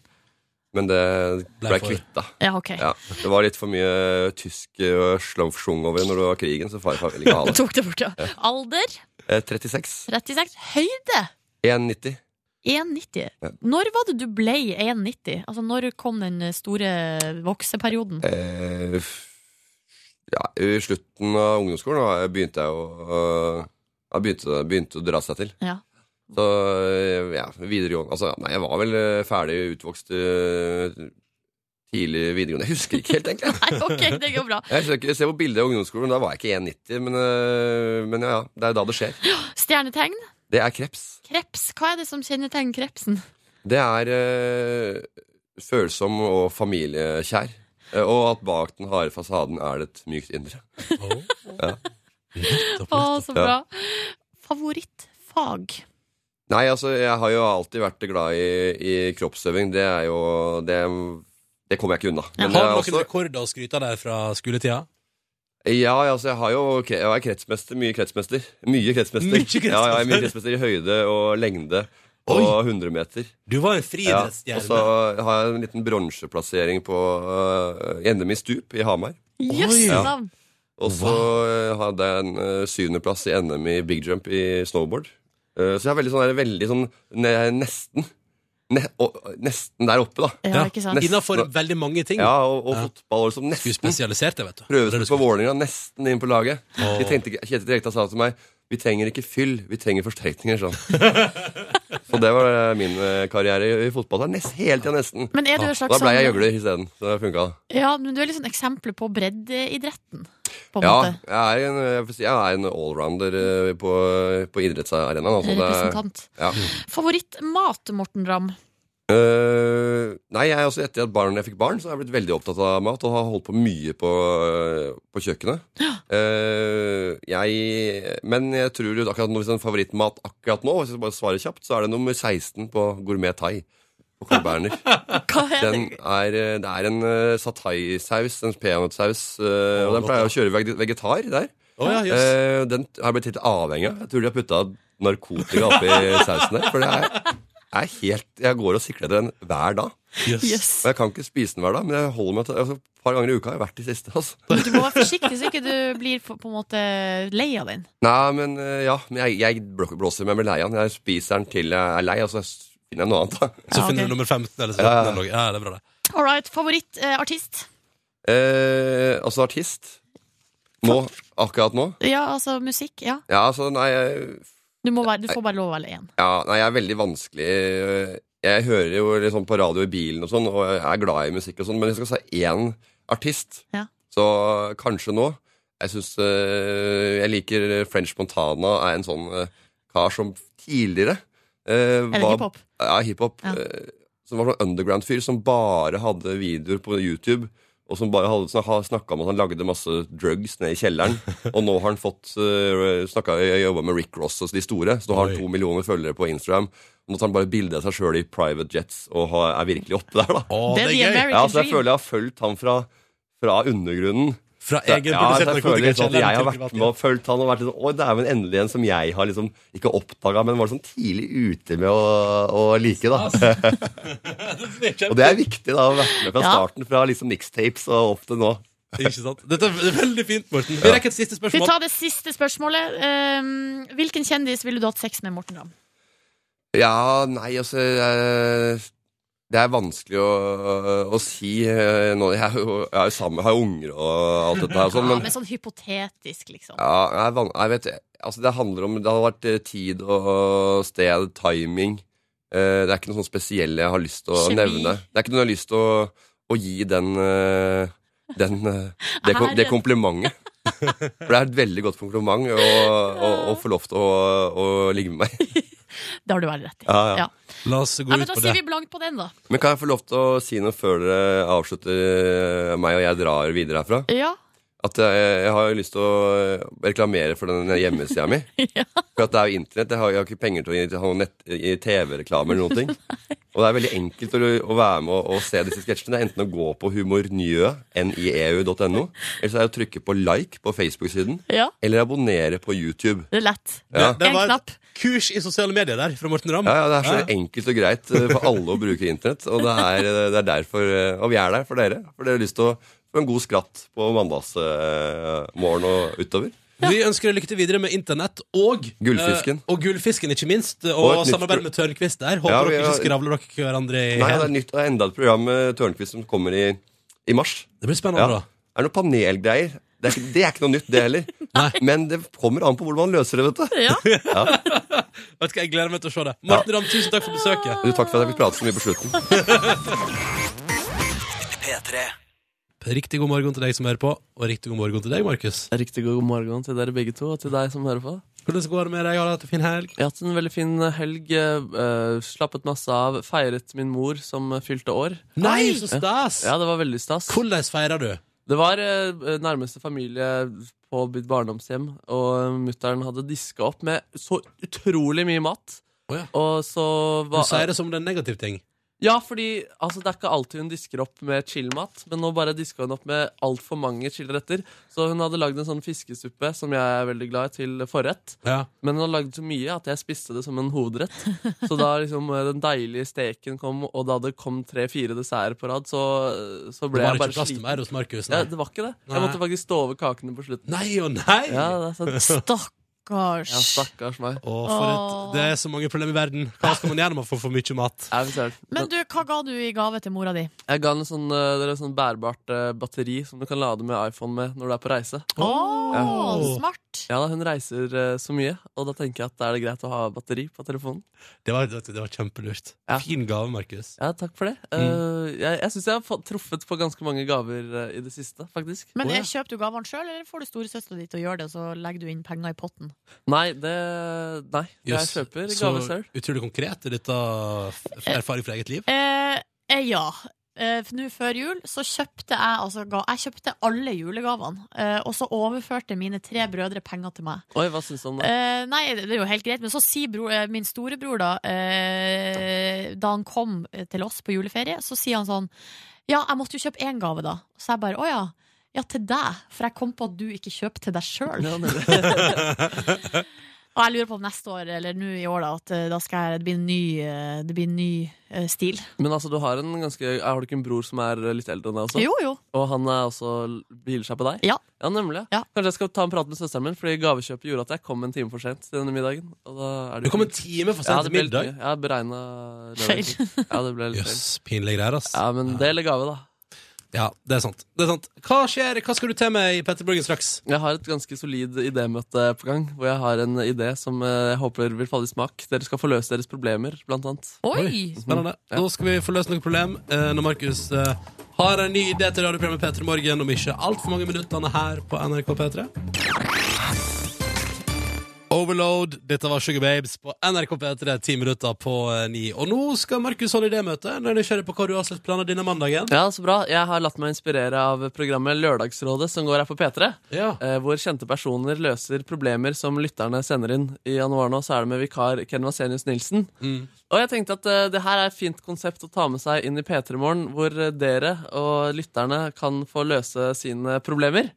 Speaker 7: Men det
Speaker 2: Blei
Speaker 7: ble
Speaker 2: for.
Speaker 7: kvitta.
Speaker 3: Ja, OK.
Speaker 7: Ja, det var litt for mye tysk og slumfsjung over når det var krigen, så farfar ville ikke ha det.
Speaker 3: Tok det bort, ja. Alder
Speaker 7: Eh, 36.
Speaker 3: 36. Høyde
Speaker 7: 1,90.
Speaker 3: 1,90.
Speaker 7: Ja.
Speaker 3: Når var det du ble 1,90? Altså, når kom den store vokseperioden?
Speaker 7: Eh, f- ja, I slutten av ungdomsskolen da, begynte jeg å eh, ja, begynte, begynte å dra seg til.
Speaker 3: Ja.
Speaker 7: Så eh, ja, videregående altså, ja, Nei, jeg var vel eh, ferdig utvokst eh, tidlig videregående. Jeg husker ikke helt, egentlig.
Speaker 3: Nei, ok, det går bra.
Speaker 7: Jeg ser, ikke, ser på bildet av ungdomsskolen, da var jeg ikke 1,90, men, eh, men ja, ja, det er da det skjer.
Speaker 3: Stjernetegn?
Speaker 7: Det er kreps.
Speaker 3: Kreps. Hva er det som kjennetegner krepsen?
Speaker 7: Det er eh, følsom og familiekjær. Eh, Og at bak den harde fasaden er det et mykt indre. Ja.
Speaker 2: Nettopp,
Speaker 3: Å,
Speaker 2: nettopp.
Speaker 3: så bra. Favorittfag?
Speaker 7: Nei, altså, jeg har jo alltid vært glad i, i kroppsøving. Det er jo Det, det kommer jeg ikke unna.
Speaker 3: Ja.
Speaker 7: Men
Speaker 2: Har du
Speaker 7: jeg,
Speaker 2: noen
Speaker 7: også,
Speaker 2: rekorder å skryte av der fra skoletida?
Speaker 7: ja, altså, jeg har jo kre- Jeg er kretsmester. Mye kretsmester. Mye kretsmester.
Speaker 2: Mye kretsmester.
Speaker 7: Ja, ja, jeg er mye kretsmester i høyde og lengde. Og
Speaker 2: Oi.
Speaker 7: 100 meter.
Speaker 2: Du var en
Speaker 7: Ja, og så
Speaker 2: friidrettsstjerne.
Speaker 7: har jeg en liten bronseplassering på øh, NM i stup i Hamar.
Speaker 3: Jøss
Speaker 2: Oi.
Speaker 3: navn!
Speaker 7: Og så eh, hadde jeg en eh, syvendeplass i NM i big jump i snowboard. Eh, Så jeg er veldig sånn, der, veldig sånn ne- nesten ne og, Nesten der oppe, da.
Speaker 2: Ja,
Speaker 3: Ja, ikke sant?
Speaker 7: nest-
Speaker 2: Innenfor veldig mange ting.
Speaker 7: Ja, Og, og
Speaker 2: Ja.
Speaker 7: fotball og liksom
Speaker 2: Du
Speaker 7: nesten.
Speaker 2: spesialiserte, vet du.
Speaker 7: Prøvespill på Vålerenga, nesten inn på laget.
Speaker 2: Åh.
Speaker 7: Jeg tenkte, ikke- Kjetil Rekdal sa til meg vi trenger ikke fyll, vi trenger forsterkninger. Sånn. så det var eh, min eh, karriere i, i fotball. Det er nest, hele tida nesten.
Speaker 3: Men er du en
Speaker 7: Da
Speaker 3: slags
Speaker 7: ble jeg
Speaker 3: sånn,
Speaker 7: gjøgler isteden. Så det funka.
Speaker 3: ja, men du er litt sånn eksempelet på breddeidretten, på en
Speaker 7: Ja,
Speaker 3: måte.
Speaker 7: jeg er en, eh, jeg får si jeg er en allrounder eh, på, på idrettsarenaen. Altså, det,
Speaker 3: Representant.
Speaker 7: Ja.
Speaker 3: Favorittmat, Morten Ramm?
Speaker 7: Øh, nei, jeg er også etter at barn, jeg fikk barn, så har jeg blitt veldig opptatt av mat og har holdt på mye på, øh, på kjøkkenet. Øh, jeg, men jeg tror jo akkurat nå, hvis en favorittmat akkurat nå, hvis jeg bare svarer kjapt, så er det nummer 16 på gourmet thai. På Carl Berner.
Speaker 3: Hva er det?
Speaker 7: Den er, øh, det er en øh, satai-saus, en peanøttsaus, øh, og den
Speaker 2: godt,
Speaker 7: pleier
Speaker 2: da.
Speaker 7: jeg å kjøre veg- vegetar der.
Speaker 2: Å, ja, jøss.
Speaker 7: Eh, den har jeg blitt litt avhengig av. Jeg tror de har putta narkotika oppi sausen der. For det er, er helt, jeg går og sikler etter den hver dag.
Speaker 2: Jøss.
Speaker 3: Jøs.
Speaker 7: Og jeg kan ikke spise den hver dag, men jeg holder meg til altså, et par ganger i uka har jeg vært de siste. Altså.
Speaker 3: Du må være forsiktig så ikke du blir for- på en måte lei av den.
Speaker 7: Nei, men eh, ja, men jeg, jeg blå- blåser meg med lei av den. Jeg spiser den til jeg er lei, og så s- finner jeg noe annet. Da.
Speaker 2: Så
Speaker 3: Ja,
Speaker 2: finner
Speaker 3: ok.
Speaker 2: du nummer 15 eller 17.
Speaker 7: Ja, ja.
Speaker 2: eller noe. Ja, det er bra, det.
Speaker 3: All right, favorittartist?
Speaker 7: Eh, altså artist Nå, akkurat nå
Speaker 3: ja, altså musikk, ja.
Speaker 7: Ja, altså, nei, jeg-
Speaker 3: Du, må være, du får bare lov å velge én.
Speaker 7: ja, nei, jeg er veldig vanskelig eh, Jeg hører jo liksom på radio i bilen og sånn, og jeg er glad i musikk og sånn, men hvis jeg skal si én artist,
Speaker 3: Ja.
Speaker 7: så kanskje nå Jeg syns Jeg liker French Montana er en sånn eh, kar som tidligere eh,
Speaker 3: Er det
Speaker 7: var-
Speaker 3: hiphop?
Speaker 7: Ja, hiphop.
Speaker 3: Ja.
Speaker 7: eh, Som var sånn underground-fyr som bare hadde videoer på YouTube. Og som bare hadde snakka om at han lagde masse drugs nede i kjelleren. Og nå har han fått eh, snakket- jeg jobba med Rick Ross og de store, så nå har han
Speaker 2: Oi.
Speaker 7: to millioner følgere på Instagram. Nå tar han bare bilde av seg sjøl i private jets og har, er virkelig oppe der, da.
Speaker 2: Å,
Speaker 3: Det er The American
Speaker 7: Ja, så jeg
Speaker 3: Dream.
Speaker 7: føler jeg har fulgt han fra, fra undergrunnen.
Speaker 2: Fra
Speaker 7: Så-
Speaker 2: egen
Speaker 7: ja, så
Speaker 2: produsert
Speaker 7: jeg føler liksom at
Speaker 2: narkotikakjeller
Speaker 7: jeg har
Speaker 2: til
Speaker 7: vært
Speaker 2: privat
Speaker 7: med og fulgt han og vært liksom, Å, det er jo en endelig en som jeg har liksom ikke oppdaga, men var sånn tidlig ute med å, å like, da.
Speaker 2: Altså. hjem.
Speaker 7: Og det er viktig, da, å være med fra
Speaker 3: Ja.
Speaker 7: starten, fra liksom mixtapes og opp til nå.
Speaker 2: Ikke sant? Dette er veldig fint, Morten. Vi rekker et siste
Speaker 3: Vi
Speaker 2: spørsmål.
Speaker 3: tar det siste spørsmålet. Um, hvilken kjendis ville du hatt sex med, Morten Ramm?
Speaker 7: Ja, nei, altså eh, Det er vanskelig å, å si eh, nå. Jeg er jo, jeg er jo sammen, har jo unger og alt dette her og sånn,
Speaker 3: Ja,
Speaker 7: men
Speaker 3: men sånn hypotetisk, liksom.
Speaker 7: Ja, jeg, er van- jeg vet Altså, det handler om Det hadde vært eh, tid og sted, timing. Eh, det er ikke noe sånn spesiell jeg har lyst til å
Speaker 3: Kjemi.
Speaker 7: nevne. Det er ikke noe jeg har lyst til å, å gi den, eh, den eh, det, kom- det
Speaker 3: Ære.
Speaker 7: komplimentet. For det er et veldig godt kompliment å, å, å få lov til å, å ligge med meg.
Speaker 3: Det har du veldig rett i.
Speaker 7: Ja, ja.
Speaker 3: Ja.
Speaker 2: La oss gå
Speaker 3: Ja, men
Speaker 2: ut
Speaker 3: da
Speaker 2: på
Speaker 3: sier
Speaker 2: det.
Speaker 3: vi blankt på den, da.
Speaker 7: Men kan jeg få lov til å si noe før dere avslutter eh, meg og jeg drar videre herfra?
Speaker 3: Ja.
Speaker 7: At jeg, jeg har jo lyst til å eh, reklamere for den hjemmesida mi.
Speaker 3: Ja.
Speaker 7: For at det er jo internett. Jeg har, jeg har ikke penger til å gi- ha noen nett- i TV-reklame eller noen ting. Og det er veldig enkelt å, å være med og, og se disse sketsjene. Det er enten å gå på humornjø, nieu.no, eller så er det å trykke på like på Facebook-siden,
Speaker 3: ja.
Speaker 7: eller abonnere på YouTube.
Speaker 3: Det er lett.
Speaker 7: Ja.
Speaker 2: Det
Speaker 3: En
Speaker 2: var
Speaker 3: knapp.
Speaker 2: et kurs i sosiale medier der fra Morten Ramm.
Speaker 7: Ja, ja, Det er så enkelt og greit eh, for alle å bruke internett. Og det er, det er derfor eh, Og vi er der for dere. For dere har lyst til å få en god skratt på mandagsmorgen og utover.
Speaker 2: Vi ønsker deg lykke til videre med internett og
Speaker 7: Gullfisken.
Speaker 2: eh, og gullfisken, ikke minst. Og,
Speaker 7: Og et nytt
Speaker 2: samarbeid
Speaker 7: pro-
Speaker 2: med Tørnquist der. Håper
Speaker 7: Ja, vi
Speaker 2: dere ikke
Speaker 7: har-
Speaker 2: skravler dere hverandre i
Speaker 7: Nei, det
Speaker 2: hjel.
Speaker 7: er nytt, det er enda et program med Tørnquist som kommer i, i mars.
Speaker 2: Det blir
Speaker 7: Ja.
Speaker 2: spennende, da.
Speaker 7: Er det noen panelgreier? Det er, ikke, det er ikke noe nytt, det heller.
Speaker 2: Nei.
Speaker 7: Men det kommer an på hvordan man løser det, vet du.
Speaker 3: Ja.
Speaker 2: Vet du hva, Jeg gleder meg til å se det. Martin Ramm, tusen takk for besøket.
Speaker 7: Du, Takk for at jeg fikk prate så mye på slutten.
Speaker 5: P3.
Speaker 2: Riktig god morgen til deg som hører på, og riktig god morgen til deg, Markus.
Speaker 4: Riktig god morgen til dere begge to, og til deg som hører på.
Speaker 2: Hvordan går det med deg? Har du hatt en fin helg?
Speaker 4: Jeg har hatt en veldig fin helg. eh, slappet masse av. Feiret min mor som eh, fylte år.
Speaker 2: Nei, så stas!
Speaker 4: Ja, det var veldig stas.
Speaker 2: Hvordan feirer du?
Speaker 4: Det var eh, nærmeste familie på mitt barndomshjem, og mutter'n hadde diska opp med så utrolig mye mat.
Speaker 2: Å ja.
Speaker 4: Og så
Speaker 2: Du
Speaker 4: var,
Speaker 2: sier det som det er en negativ ting.
Speaker 4: Ja, fordi altså, det er ikke alltid hun disker opp med chillmat, men nå bare diska hun opp med altfor mange chillretter. Så hun hadde lagd en sånn fiskesuppe som jeg er veldig glad i, til forrett.
Speaker 2: Ja.
Speaker 4: Men hun hadde lagd så mye at jeg spiste det som en hovedrett. Så da liksom eh, den deilige steken kom, og da det kom tre-fire desserter på rad, så, eh, så
Speaker 2: Det
Speaker 4: ble
Speaker 2: var
Speaker 4: jeg
Speaker 2: ikke
Speaker 4: bare
Speaker 2: plass til
Speaker 4: sliten.
Speaker 2: mer hos Markus.
Speaker 4: Ja,
Speaker 2: Nei,
Speaker 4: det var ikke det.
Speaker 2: Nei.
Speaker 4: Jeg måtte faktisk stå over kakene på slutten.
Speaker 2: nei og nei!
Speaker 4: Ja, det er sant.
Speaker 3: Stakkars.
Speaker 4: Ja, stakkars meg.
Speaker 2: Å, for et,
Speaker 3: Åh.
Speaker 2: det er så mange problemer i verden. Hva skal man gjøre når man får for mye mat?
Speaker 4: Jeg, vet ikke.
Speaker 3: Men du, hva ga du i gave til mora di?
Speaker 4: jeg ga henne sånn, eh, det er sånn bærbart eh, batteri som du kan lade med iPhone med når du er på reise.
Speaker 3: Å,
Speaker 2: Ja.
Speaker 3: smart!
Speaker 4: Ja da, Hun reiser eh, så mye, og da tenker jeg at da er det greit å ha batteri på telefonen.
Speaker 2: Det var, det, var kjempelurt.
Speaker 4: Ja.
Speaker 2: Fin gave, Markus.
Speaker 4: Ja, Takk for det. Eh, jeg jeg syns jeg har fått, truffet på ganske mange gaver eh, i det siste, faktisk.
Speaker 3: Men
Speaker 2: Å, ja.
Speaker 3: eh, kjøper du gavene sjøl, eller får du storesøstera di til å gjøre det, og så legger du inn penger i potten?
Speaker 4: Nei, det Nei. Jeg
Speaker 2: Jøss,
Speaker 4: kjøper
Speaker 2: så
Speaker 4: gave selv.
Speaker 2: utrolig konkret i dette f- erfaring fra eget liv.
Speaker 3: Eh, eh, ja. Eh, for Nå før jul så kjøpte jeg altså ga, Jeg kjøpte alle julegavene. Eh, og så overførte mine tre brødre penger til meg.
Speaker 4: Oi, hva syns du om det?
Speaker 3: Eh, nei, det er jo helt greit, men så sier bro, eh, min storebror, da, eh, da han kom eh, til oss på juleferie, så sier han sånn Ja, jeg måtte jo kjøpe én gave, da. Så jeg bare Å ja. Ja, til deg, for jeg kom på at du ikke kjøper til deg sjøl.
Speaker 4: Ja, nemlig.
Speaker 3: Og jeg lurer på om neste år, eller nå i år, da, at eh, da skal jeg, det blir en ny, eh, det blir en ny eh, stil.
Speaker 4: Men altså, du har en ganske Har du ikke en bror som er eh, litt eldre enn deg også?
Speaker 3: Jo, jo.
Speaker 4: Og han er også hviler seg på deg?
Speaker 3: Ja.
Speaker 4: ja nemlig.
Speaker 3: Ja.
Speaker 4: Kanskje jeg skal ta en prat med søsteren min, fordi gavekjøpet gjorde at jeg kom en time for sent til denne middagen. Og da er
Speaker 2: Du
Speaker 4: det
Speaker 2: kom en time for
Speaker 4: ja,
Speaker 2: sent
Speaker 4: det
Speaker 2: til
Speaker 4: ble litt
Speaker 2: middag.
Speaker 4: mye. Jeg har beregna
Speaker 3: Feil.
Speaker 4: Ja, det ble litt
Speaker 2: Jøss,
Speaker 4: feil.
Speaker 2: pinlige greier, ass.
Speaker 4: Ja, men del i gave, da.
Speaker 2: Ja, det er sant. Det er sant. Hva skjer? Hva skal du til med i Petter Borgen straks?
Speaker 4: Jeg har et ganske solid idémøte på gang, hvor jeg har en idé som eh, jeg håper vil falle i smak. Dere skal få løst deres problemer, blant annet.
Speaker 3: Oi!
Speaker 2: Spennende.
Speaker 4: Ja.
Speaker 2: Nå skal vi få løst noen problem eh, når Markus eh, har en ny idé til radioprogrammet Petter Morgen om ikke altfor mange minuttene her på NRK P3. Overload. Dette var Sugar Babes på NRK P3, ti minutter på eh, ni. Og nå skal Markus holde idémøte. Nå er jeg nysgjerrig på hva du har slags planer denne mandagen.
Speaker 4: Ja, så bra. Jeg har latt meg inspirere av programmet Lørdagsrådet, som går her på P3.
Speaker 2: Ja.
Speaker 4: eh, Hvor kjente personer løser problemer som lytterne sender inn. I januar nå så er det med vikar Ken Vasenius Nilsen. Og jeg tenkte at eh, det her er et fint konsept å ta med seg inn i P3 Morgen, hvor eh, dere og lytterne kan få løse sine problemer.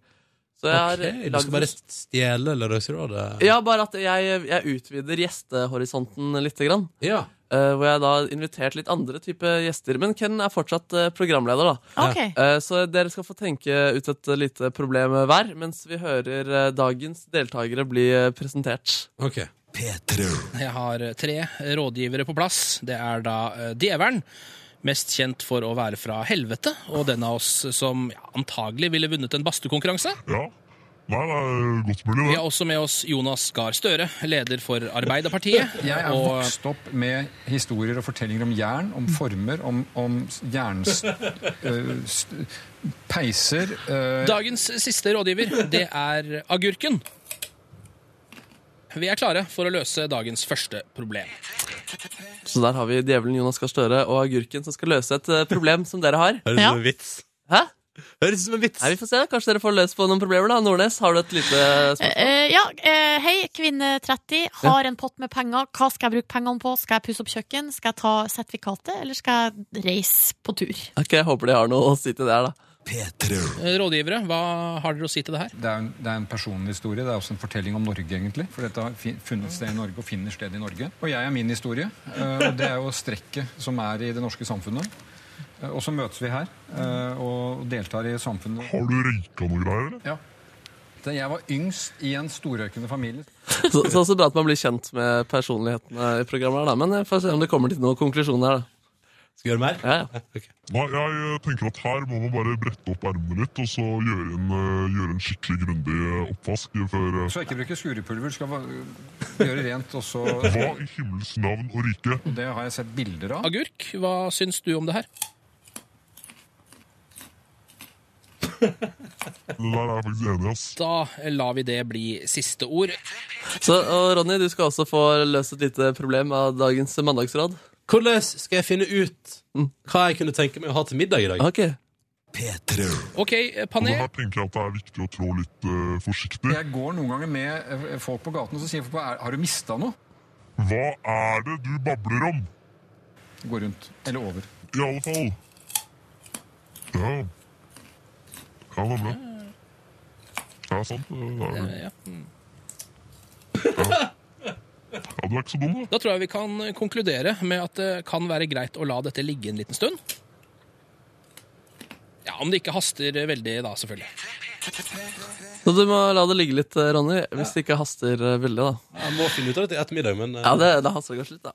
Speaker 4: Så jeg har
Speaker 2: Ok, du
Speaker 4: lagd-
Speaker 2: skal bare stjele Lørdagsrådet?
Speaker 4: Ja, bare at jeg, jeg utvider gjestehorisonten litt. Grann.
Speaker 2: ja.
Speaker 4: Eh, hvor jeg da har invitert litt andre type gjester. Men Ken er fortsatt eh, programleder, da.
Speaker 3: Ah, Ok.
Speaker 4: Eh, Så dere skal få tenke ut et lite problem hver, mens vi hører eh, dagens deltakere bli eh, presentert.
Speaker 2: Ok.
Speaker 8: Jeg har tre rådgivere på plass. Det er da eh, Djevelen, mest kjent for å være fra helvete, og den av oss som ja, antagelig ville vunnet en badstuekonkurranse.
Speaker 9: Ja. Nei, det er godt mulig,
Speaker 8: Vi
Speaker 9: det.
Speaker 8: har også med oss Jonas Gahr Støre, leder for Arbeiderpartiet.
Speaker 10: Jeg er
Speaker 8: og
Speaker 10: vokst opp med historier og fortellinger om jern, om former, om, om jerns... øh, s- peiser øh,
Speaker 8: dagens siste rådgiver, det er Agurken. Vi er klare for å løse dagens første problem.
Speaker 4: Så der har vi djevelen Jonas Gahr Støre og agurken som skal løse et eh, problem som dere har.
Speaker 2: Høres ut
Speaker 3: Ja.
Speaker 2: som en vits.
Speaker 4: Hæ?
Speaker 2: Høres ut som en vits.
Speaker 4: Nei, vi får se. Kanskje dere får løst på noen problemer, da. Nordnes, har du et lite spørsmål?
Speaker 3: Eh, ja, eh, hei, kvinne 30. Har en pott med penger. Hva skal jeg bruke pengene på? Skal jeg pusse opp kjøkken? Skal jeg ta sertifikatet, eller skal jeg reise på tur?
Speaker 4: Ok, jeg håper de har noe å si til det her, da.
Speaker 8: Eh, Rådgivere, hva har dere å si til det her?
Speaker 10: det, er en, det er en personlig historie. Det er også en fortelling om Norge, egentlig. For dette har fi- funnet sted i Norge og finner sted i Norge. Og jeg er min historie. eh, Og det er jo strekket som er i det norske samfunnet. Eh, Og så møtes vi her eh, og deltar i samfunnet.
Speaker 9: Har du røyka noe greier, eller?
Speaker 10: Ja. siste. Jeg var yngst i en storrøykende familie.
Speaker 4: Så, så også bra at man blir kjent med personlighetene i programmet. her, Da. Men jeg får se om det kommer til noen konklusjoner. Da.
Speaker 2: Skal vi gjøre mer?
Speaker 4: Ja, ja.
Speaker 9: Nei, jeg eh, tenker at her må man bare brette opp ermene litt, og så gjøre en, eh, gjøre en skikkelig grundig eh, oppvask før eh,
Speaker 10: Så ikke bruke skurepulver. Skal va- gjøre rent, og så
Speaker 9: Hva i himmels navn og rike?
Speaker 10: Det har jeg sett bilder av.
Speaker 8: Agurk, hva syns du om det her?
Speaker 9: Det der er jeg faktisk enig i, ass.
Speaker 8: Da lar vi det bli siste ord.
Speaker 4: Så, og Ronny, du skal også få løst et lite problem av dagens mandagsråd.
Speaker 2: Hvordan skal jeg finne ut hva jeg kunne tenke meg å ha til middag i dag?
Speaker 4: Ok.
Speaker 8: OK,
Speaker 9: Og det
Speaker 8: panel.
Speaker 9: her tenker jeg at det er viktig å trå litt eh, forsiktig.
Speaker 10: Jeg går noen ganger med eh, folk på gaten, og så sier folk "Er- har du mista noe?
Speaker 9: Hva er det du babler om?
Speaker 10: Går rundt. Eller over.
Speaker 9: I alle fall. Ja. Ja, nemlig. Det er sant. Det er...
Speaker 8: Ja.
Speaker 9: Ja, du er ikke så dum, da.
Speaker 8: Da tror jeg vi kan eh, konkludere med at det kan være greit å la dette ligge en liten stund. Ja, Om det ikke haster veldig, da, selvfølgelig.
Speaker 4: Så du må la det ligge litt, eh, Ronny, hvis det ikke haster eh, veldig. da.
Speaker 2: Jeg må finne ut av det til ettermiddag, men eh,
Speaker 4: Ja, det, det haster kanskje litt, da.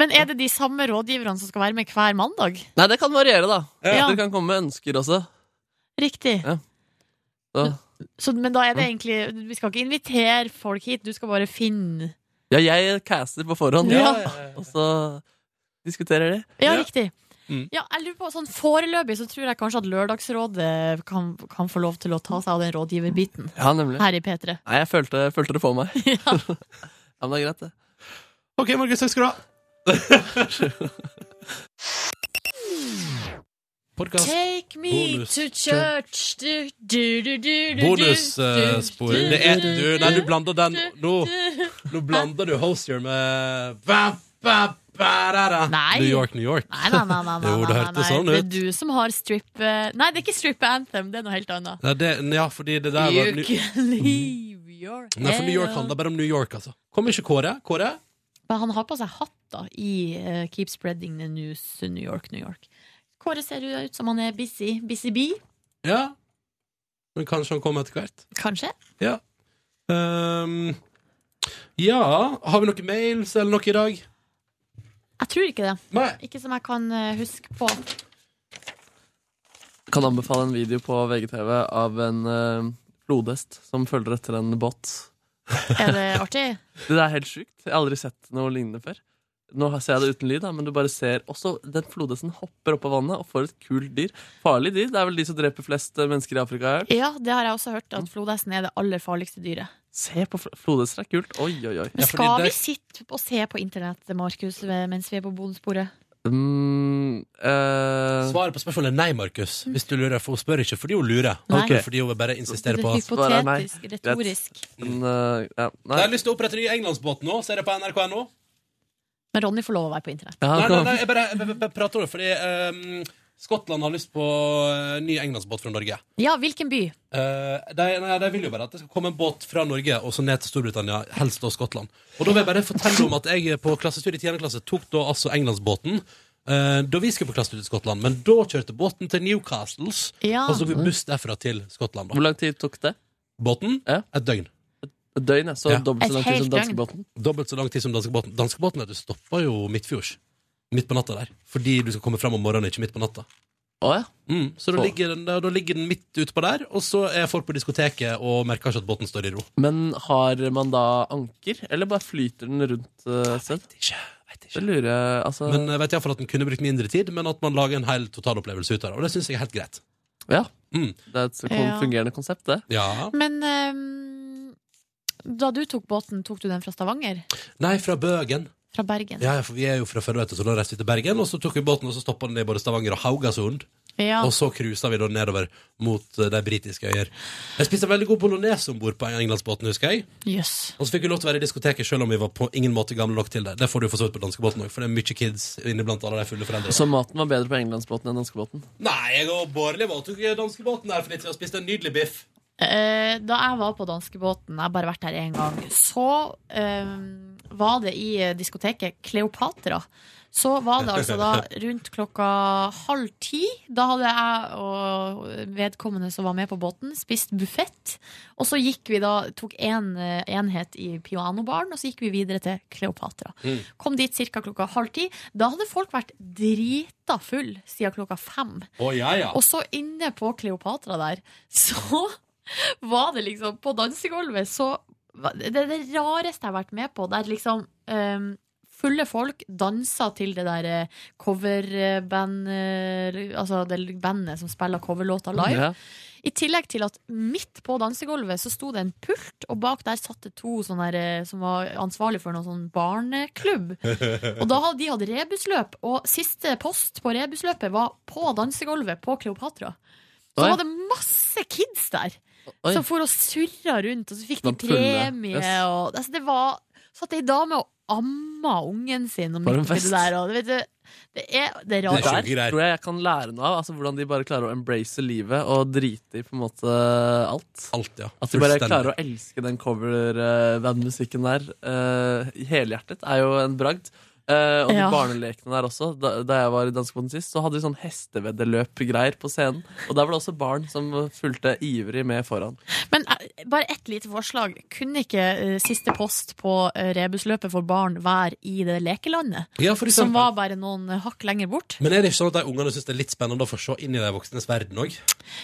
Speaker 3: Men er det de samme rådgiverne som skal være med hver mandag?
Speaker 4: Nei, det kan variere, da.
Speaker 3: Ja.
Speaker 4: Dere kan komme med ønsker også.
Speaker 3: Riktig.
Speaker 4: Ja. Så.
Speaker 3: Så, men da er det egentlig Vi skal ikke invitere folk hit, du skal bare finne
Speaker 4: Ja, jeg caster på forhånd,
Speaker 3: Ja.
Speaker 4: og så diskuterer de.
Speaker 3: Ja,
Speaker 2: Ja.
Speaker 3: riktig.
Speaker 2: Mm.
Speaker 3: Ja, jeg lurer på, sånn Foreløpig så tror jeg kanskje at Lørdagsrådet kan, kan få lov til å ta seg av den rådgiverbiten
Speaker 4: Ja, nemlig.
Speaker 3: her i P3.
Speaker 4: Nei, jeg følte, følte det på meg.
Speaker 3: Ja.
Speaker 4: Ja, men det er greit, det.
Speaker 2: OK, Markus, takk skal du ha. Podcast.
Speaker 3: Take me
Speaker 2: Bonus.
Speaker 3: to church du, du, du, du, du,
Speaker 2: Bonusspor.
Speaker 3: du,
Speaker 2: eh,
Speaker 3: du,
Speaker 2: Det er
Speaker 3: du,
Speaker 2: du
Speaker 3: du,
Speaker 2: Nei, du blander den Nå,
Speaker 3: du.
Speaker 2: nå blander du Hostier med ba, ba, ba, da, da.
Speaker 3: Nei.
Speaker 2: New York, New York.
Speaker 3: Nei, nei, nei, nei, nei,
Speaker 2: Jo, det
Speaker 3: nei,
Speaker 2: hørtes
Speaker 3: nei.
Speaker 2: sånn
Speaker 3: Det
Speaker 2: ut.
Speaker 3: er du som har strip eh, Nei, det er ikke strip anthem, det er noe helt annet.
Speaker 2: Nei, det, ja, fordi det der var
Speaker 3: You
Speaker 2: New,
Speaker 3: can leave your
Speaker 2: Nei, for New York
Speaker 3: head
Speaker 2: handler bare om New York, altså. Kom ikke Kåre? Kåre?
Speaker 3: Men han har på seg hatt da i eh, Keep Spreading the News New York, New York. Kåre ser jo ut som han er busy. Busy bee,
Speaker 2: Ja. Men kanskje han kommer etter hvert.
Speaker 3: kanskje?
Speaker 2: Ja. Ehm, ja Har vi noen mails eller noe i dag?
Speaker 3: Jeg tror ikke det.
Speaker 2: Nei.
Speaker 3: Ikke som jeg kan eh, huske på.
Speaker 4: Kan anbefale en video på VGTV av en eh, flodhest som følger etter en båt.
Speaker 3: Er det artig?
Speaker 4: Det er helt sjukt. Jeg har aldri sett noe lignende før. Nå ser jeg det uten lyd, da, men du bare ser også den flodhesten hopper opp av vannet og får et kult dyr. Farlig dyr. Det er vel de som dreper flest eh, mennesker i Afrika. Her.
Speaker 3: Ja, det har jeg også hørt, at flodhesten er det aller farligste dyret.
Speaker 4: Se på fl- flodhester, det er kult. Oi, oi,
Speaker 2: Ja,
Speaker 4: oi.
Speaker 3: Men
Speaker 2: fordi
Speaker 3: skal vi
Speaker 2: det-
Speaker 3: sitte og se på internett, Markus, ved- mens vi er på bonusbordet?
Speaker 4: Mm, eh,
Speaker 2: Svaret på spørsmålet er nei, Markus. Hvis du lurer, for Hun spør ikke fordi hun lurer,
Speaker 3: Nei.
Speaker 2: men fordi hun bare
Speaker 3: Det
Speaker 2: insisterer
Speaker 3: er
Speaker 2: på at
Speaker 4: Svaret er nei.
Speaker 3: hypotetisk, retorisk.
Speaker 4: men, eh, ja, nei.
Speaker 2: Jeg har lyst til å opprette ny englandsbåt nå. Ser jeg på NRK.no?
Speaker 3: Men Ronny får lov å være på internett.
Speaker 4: Ja,
Speaker 2: Nei, nei,
Speaker 4: kom.
Speaker 2: nei, jeg bare, jeg bare- bare prater om det, fordi ehm, Skottland har lyst på eh, ny englandsbåt fra Norge.
Speaker 3: Ja, hvilken by?
Speaker 2: Eh, de, nei, de vil jo bare at det skal komme en båt fra Norge og så ned til Storbritannia, helst da Skottland. Og da vil jeg bare fortelle om at jeg på klassetur i 10. klasse tok da altså englandsbåten. eh, da vi skulle på klassetur til Skottland, men da kjørte båten til Newcastles.
Speaker 3: Ja.
Speaker 2: Og så tok vi buss derfra til Skottland.
Speaker 4: Hvor
Speaker 2: da
Speaker 4: lang tid tok det?
Speaker 2: Båten
Speaker 4: Ja.
Speaker 2: et døgn.
Speaker 4: Et døgn, ja. Så
Speaker 2: Ja.
Speaker 4: dobbelt så
Speaker 3: Et
Speaker 4: lang tid som
Speaker 3: helt døgn.
Speaker 4: danskebåten.
Speaker 2: Dobbelt så lang tid som danskebåten. Danskebåten vet du, stoppa jo midtfjords. Midt på natta der. Fordi du skal komme fram om morgenen, ikke midt på natta.
Speaker 4: Å, ja.
Speaker 2: Mm, så da
Speaker 4: Få.
Speaker 2: ligger, den, da ligger den midt utpå der, og så er folk på diskoteket og merker ikke at båten står i ro.
Speaker 4: Men har man da anker, eller bare flyter den rundt eh, et sted?
Speaker 2: Ikke, vet
Speaker 4: Det
Speaker 2: ikke.
Speaker 4: lurer jeg altså,
Speaker 2: Men jeg vet iallfall at den kunne brukt mindre tid, men at man lager en hel totalopplevelse ut av det. Og det syns jeg er helt greit.
Speaker 4: Ja.
Speaker 2: Mm.
Speaker 4: Det er et kon-
Speaker 3: Ja.
Speaker 4: fungerende konsept, det.
Speaker 2: Ja.
Speaker 3: Men ehm, da du tok båten, tok du den fra Stavanger?
Speaker 2: Nei, fra Bøgen.
Speaker 3: Fra Bergen?
Speaker 2: Ja, ja, for vi er jo fra før, vet du, så da reiste vi til Bergen, og så tok vi båten, og så stoppa den i både Stavanger og Haugasund.
Speaker 3: Ja.
Speaker 2: Og så cruisa vi da nedover mot eh, de britiske øyer. Jeg spiste veldig god bolognese om bord på englandsbåten, husker jeg.
Speaker 3: Jøss.
Speaker 2: Og så fikk vi lov til å være i diskoteket selv om vi var på ingen måte gamle nok til det. Det får du for så vidt på danskebåten òg, for det er mye kids inne blant alle de fulle foreldrene.
Speaker 4: Så maten var bedre på englandsbåten enn danskebåten.
Speaker 2: Nei, jeg og Bårdli valgte ikke danskebåten der for litt siden og spiste en nydelig biff.
Speaker 3: Eh, da jeg var på danskebåten, jeg har bare vært der én gang, så ehm, var det i eh, diskoteket eh, Kleopatra. Så var det altså da rundt klokka halv ti. Da hadde jeg og vedkommende som var med på båten, spist buffett. Og så gikk vi da, tok en eh, enhet i pianobaren, og så gikk vi videre til Kleopatra. Kom dit ca. klokka halv ti. Da hadde folk vært drita full siden klokka fem.
Speaker 2: Å, ja, ja.
Speaker 3: Og så inne på Kleopatra der, så var det liksom På dansegulvet så var- Det er det rareste jeg har vært med på. Der liksom ehm, fulle folk danser til det der eh, coverband eh, Altså det bandet som spiller coverlåter live.
Speaker 4: Ja.
Speaker 3: I tillegg til at midt på dansegulvet så sto det en pult, og bak der satt det to sånne her, eh, som var ansvarlig for noen sånn barneklubb. Og da hadde de hatt rebusløp, og siste post på rebusløpet var på dansegulvet på Kleopatra.
Speaker 4: Oi.
Speaker 3: Så var det masse kids der
Speaker 4: Oi.
Speaker 3: som for og surra rundt, og så fikk de
Speaker 4: Som fulle,
Speaker 3: premie.
Speaker 4: yes.
Speaker 3: Og, altså det var Satt ei dame og amma ungen sin og
Speaker 4: For en
Speaker 3: midt oppi det
Speaker 4: fest.
Speaker 3: der. Og, vet du, det er, det er rart.
Speaker 4: Der tror jeg jeg kan lære noe av. Altså Hvordan de bare klarer å embrace livet og drite i på en måte alt. At de bare
Speaker 2: Fullstendig.
Speaker 4: klarer å elske den cover-bandmusikken der eh, i helhjertet, er jo en bragd. Eh, og de
Speaker 3: Ja.
Speaker 4: barnelekene der også. Da, da jeg var i Danskebåten sist, så hadde de sånn hesteveddeløp-greier på scenen. Og der var det også barn som fulgte ivrig med foran.
Speaker 3: Men eh, bare ett lite forslag. Kunne ikke eh, siste post på eh, rebusløpet for barn være i det lekelandet?
Speaker 2: Ja, for
Speaker 3: som
Speaker 2: eksempel.
Speaker 3: var bare noen eh, hakk lenger bort?
Speaker 2: Men er det ikke sånn at de ungene syns det er litt spennende å få se inn i de voksnes verden òg?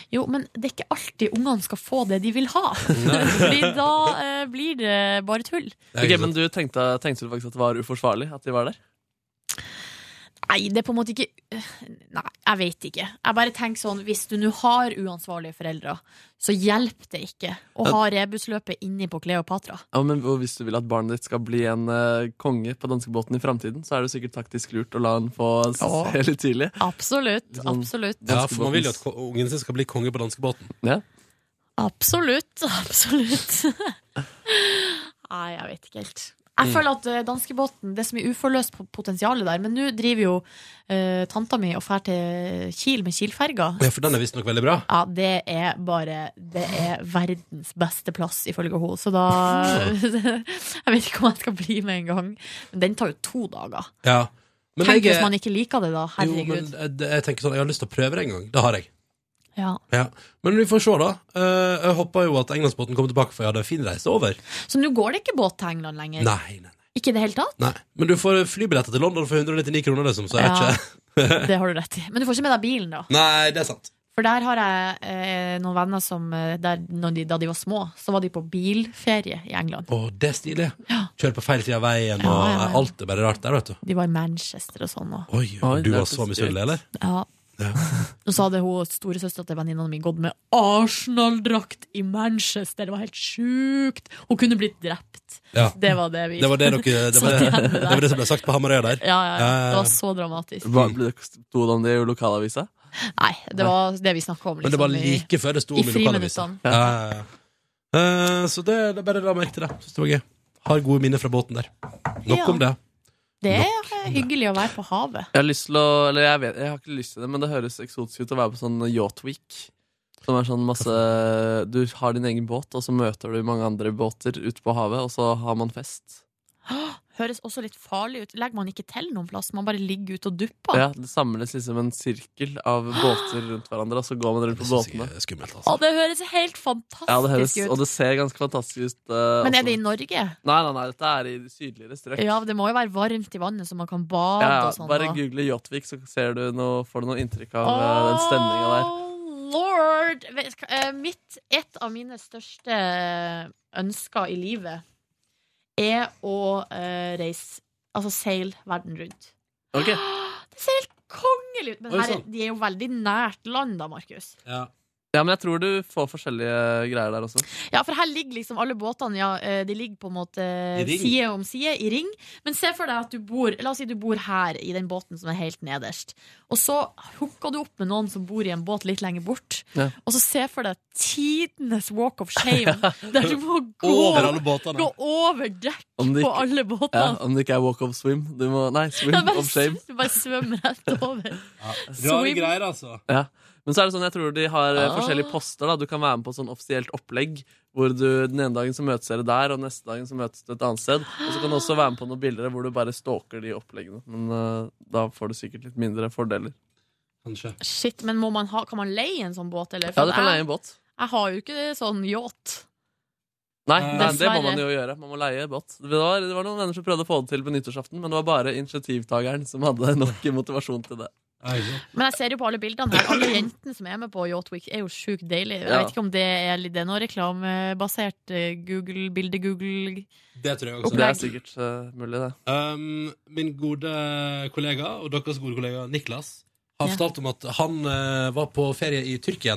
Speaker 3: Jo, men det er ikke alltid ungene skal få det de vil ha. Fordi da eh, blir det bare tull.
Speaker 4: Ok,
Speaker 2: sånn
Speaker 4: men du tenkte, tenkte du faktisk at det var uforsvarlig at de var der?
Speaker 3: Nei, det er på en måte ikke eh, Nei, jeg vet ikke. Jeg bare tenker sånn, hvis du nå har uansvarlige foreldre, så hjelper det ikke å ha rebusløpet inni på Kleopatra.
Speaker 4: Ja, men Hvis du vil at barnet ditt skal bli en eh, konge på danskebåten i framtiden, så er det sikkert taktisk lurt å la han få se
Speaker 3: Ja.
Speaker 4: litt tidlig.
Speaker 3: Absolutt.
Speaker 4: Sånn-
Speaker 3: Absolutt.
Speaker 2: Ja, for man vil jo at ko- ungen sin skal bli konge på danskebåten.
Speaker 4: Ja.
Speaker 3: Absolutt. Absolutt. Nei, jeg vet ikke helt. Jeg
Speaker 2: Mm.
Speaker 3: føler at eh, danskebåten, det er så mye uforløst po- potensial der, men nå driver jo eh, tanta mi og drar til Kiel med Kielferga.
Speaker 2: Ja, for den er visstnok veldig bra.
Speaker 3: Ja, det er bare Det er verdens beste plass, ifølge henne. Så da
Speaker 2: Mm.
Speaker 3: Jeg vet ikke om jeg skal bli med en gang. Men den tar jo to dager.
Speaker 2: Ja. Men
Speaker 3: Tenk
Speaker 2: jeg,
Speaker 3: hvis man ikke liker det, da.
Speaker 2: jo, men
Speaker 3: Herregud.
Speaker 2: jeg, jeg tenker sånn, jeg har lyst til å prøve det en gang. Det har jeg.
Speaker 3: Ja.
Speaker 2: Ja. Men vi får se, da. Eh, Jeg håper jo at Englandsbåten kommer tilbake, for jeg hadde en fin reise over.
Speaker 3: Så nå går det ikke båt til England lenger?
Speaker 2: Nei, nei,
Speaker 3: Ikke i det hele tatt?
Speaker 2: nei. Men du får flybilletter til London for 199 kroner, liksom, så jeg
Speaker 3: Ja.
Speaker 2: vet ikke
Speaker 3: Det har du rett i. Men du får ikke med deg bilen, da.
Speaker 2: Nei, det er sant.
Speaker 3: For der har jeg eh, noen venner som eh, der, når de, Da de var små, så var de på bilferie i England.
Speaker 2: Å, det er stilig. Kjøre på feil side av veien, og
Speaker 3: Ja, ja, ja.
Speaker 2: alt er bare rart der, vet du.
Speaker 3: De var i Manchester og sånn. Og,
Speaker 2: Oi,
Speaker 4: Oi,
Speaker 2: du
Speaker 4: det
Speaker 2: var
Speaker 4: hørtes
Speaker 2: så misunnelig, eller?
Speaker 3: ja.
Speaker 2: Ja.
Speaker 3: og så hadde hun storesøstera til venninna mi gått med Arsenal-drakt i Manchester. Det var helt sjukt! Hun kunne blitt drept.
Speaker 2: Ja.
Speaker 3: Det var det vi
Speaker 2: Det var det, dere, det, var
Speaker 3: satt
Speaker 2: det,
Speaker 3: igjen med
Speaker 2: det,
Speaker 3: der.
Speaker 2: var det som ble sagt på Hamarøya der.
Speaker 3: ja, ja, ja. Det
Speaker 2: Ja, ja.
Speaker 3: var så dramatisk.
Speaker 4: Hva ble det sto det om det i lokalavisa?
Speaker 3: Nei, det var det vi snakka om.
Speaker 2: Men det var
Speaker 3: liksom, i-
Speaker 2: like før det sto
Speaker 3: i
Speaker 2: om i lokalavisa.
Speaker 3: friminuttene.
Speaker 2: Ja. ja, ja. Eh, så det, det er bare la merke til det. Synes det var gøy. Har gode minner fra båten der. Nok
Speaker 3: Ja.
Speaker 2: om det.
Speaker 3: Det er hyggelig å være på havet.
Speaker 4: Jeg har lyst til å, eller jeg, vet, jeg har ikke lyst til det, men det høres eksotisk ut å være på sånn Yacht Week. Som er sånn masse Du har din egen båt, og så møter du mange andre båter ute på havet, og så har man fest.
Speaker 3: Høres også litt farlig ut. Legger man ikke til noen plass? Man bare ligger ute og dupper?
Speaker 4: Ja, Det samles liksom en sirkel av båter rundt hverandre, og så går man rundt på båtene.
Speaker 2: altså.
Speaker 3: Å, det høres helt fantastisk
Speaker 4: Ja, det høres,
Speaker 3: ut.
Speaker 4: og det ser ganske fantastisk ut. eh, altså.
Speaker 3: Men er det i Norge?
Speaker 4: Nei, nei, nei, dette er i de sydligere strøk.
Speaker 3: Ja, det må jo være varmt i vannet, så man kan bade
Speaker 4: Ja,
Speaker 3: og sånn.
Speaker 4: bare
Speaker 3: og-
Speaker 4: google Jåtvik, så ser du noe, får du noe inntrykk av eh, den stemninga der.
Speaker 3: Lord! Vet du hva, eh, Mitt, et av mine største eh, ønsker i livet er å eh, reise Altså seile verden rundt.
Speaker 4: Ok.
Speaker 3: Det ser helt kongelig ut! Men
Speaker 4: Oi,
Speaker 3: her, er-
Speaker 4: sann.
Speaker 3: de er jo veldig nært land, da, Markus.
Speaker 2: Ja.
Speaker 4: men jeg tror du får forskjellige greier der også.
Speaker 3: Ja, for her ligger liksom alle båtene ja, eh, De ligger på en måte
Speaker 4: ring.
Speaker 3: side om side i ring. Men se for deg at du bor La oss si du bor her i den båten som er helt nederst. Og så hooker du opp med noen som bor i en båt litt lenger bort.
Speaker 4: Ja.
Speaker 3: Og så se for deg tidenes walk of shame, der du må gå
Speaker 4: Over alle båtene.
Speaker 3: Gå over dekk
Speaker 4: Om det
Speaker 3: på
Speaker 4: ikke-
Speaker 3: alle
Speaker 4: Ja,
Speaker 3: båtene.
Speaker 4: om det ikke er walk of swim. Du må, nei, swim
Speaker 3: Ja, bare,
Speaker 4: of shame.
Speaker 3: du bare svømmer rett over.
Speaker 2: Rare
Speaker 3: Swim.
Speaker 2: greier, altså.
Speaker 4: Ja. Men Men så er det sånn, jeg tror de har eh,
Speaker 11: Ah.
Speaker 4: forskjellige poster. da Du kan være med på sånn offisielt opplegg. Hvor du Den ene dagen så møtes dere der, og neste dagen så møtes du et annet sted. Og så kan du også være med på noen bilder hvor du bare stalker de oppleggene. Men eh, da får du sikkert litt mindre fordeler.
Speaker 2: Kanskje
Speaker 3: Shit, men må man ha, kan man leie en sånn båt, eller?
Speaker 4: Ja, du kan
Speaker 3: jeg-
Speaker 4: leie en båt.
Speaker 3: Jeg har jo ikke sånn yacht.
Speaker 4: Nei,
Speaker 3: Eh,
Speaker 4: nei, det må
Speaker 3: dessverre.
Speaker 4: man jo gjøre. Man må leie båt. Det var, det var noen venner som prøvde å få det til på nyttårsaften, men det var bare initiativtakeren som hadde nok motivasjon til det.
Speaker 3: Men jeg ser jo på alle bildene her. Alle jentene som er med på Yacht Week, er jo sjukt deilige. Jeg
Speaker 4: Ja.
Speaker 3: vet ikke om det er, litt- det er noe reklamebasert eh, Google, bilde-Google
Speaker 2: Det tror jeg også.
Speaker 4: Det er sikkert eh, mulig, det.
Speaker 2: Um, min gode kollega, og deres gode kollega Niklas, har fortalt om at han eh, var på ferie i Tyrkia.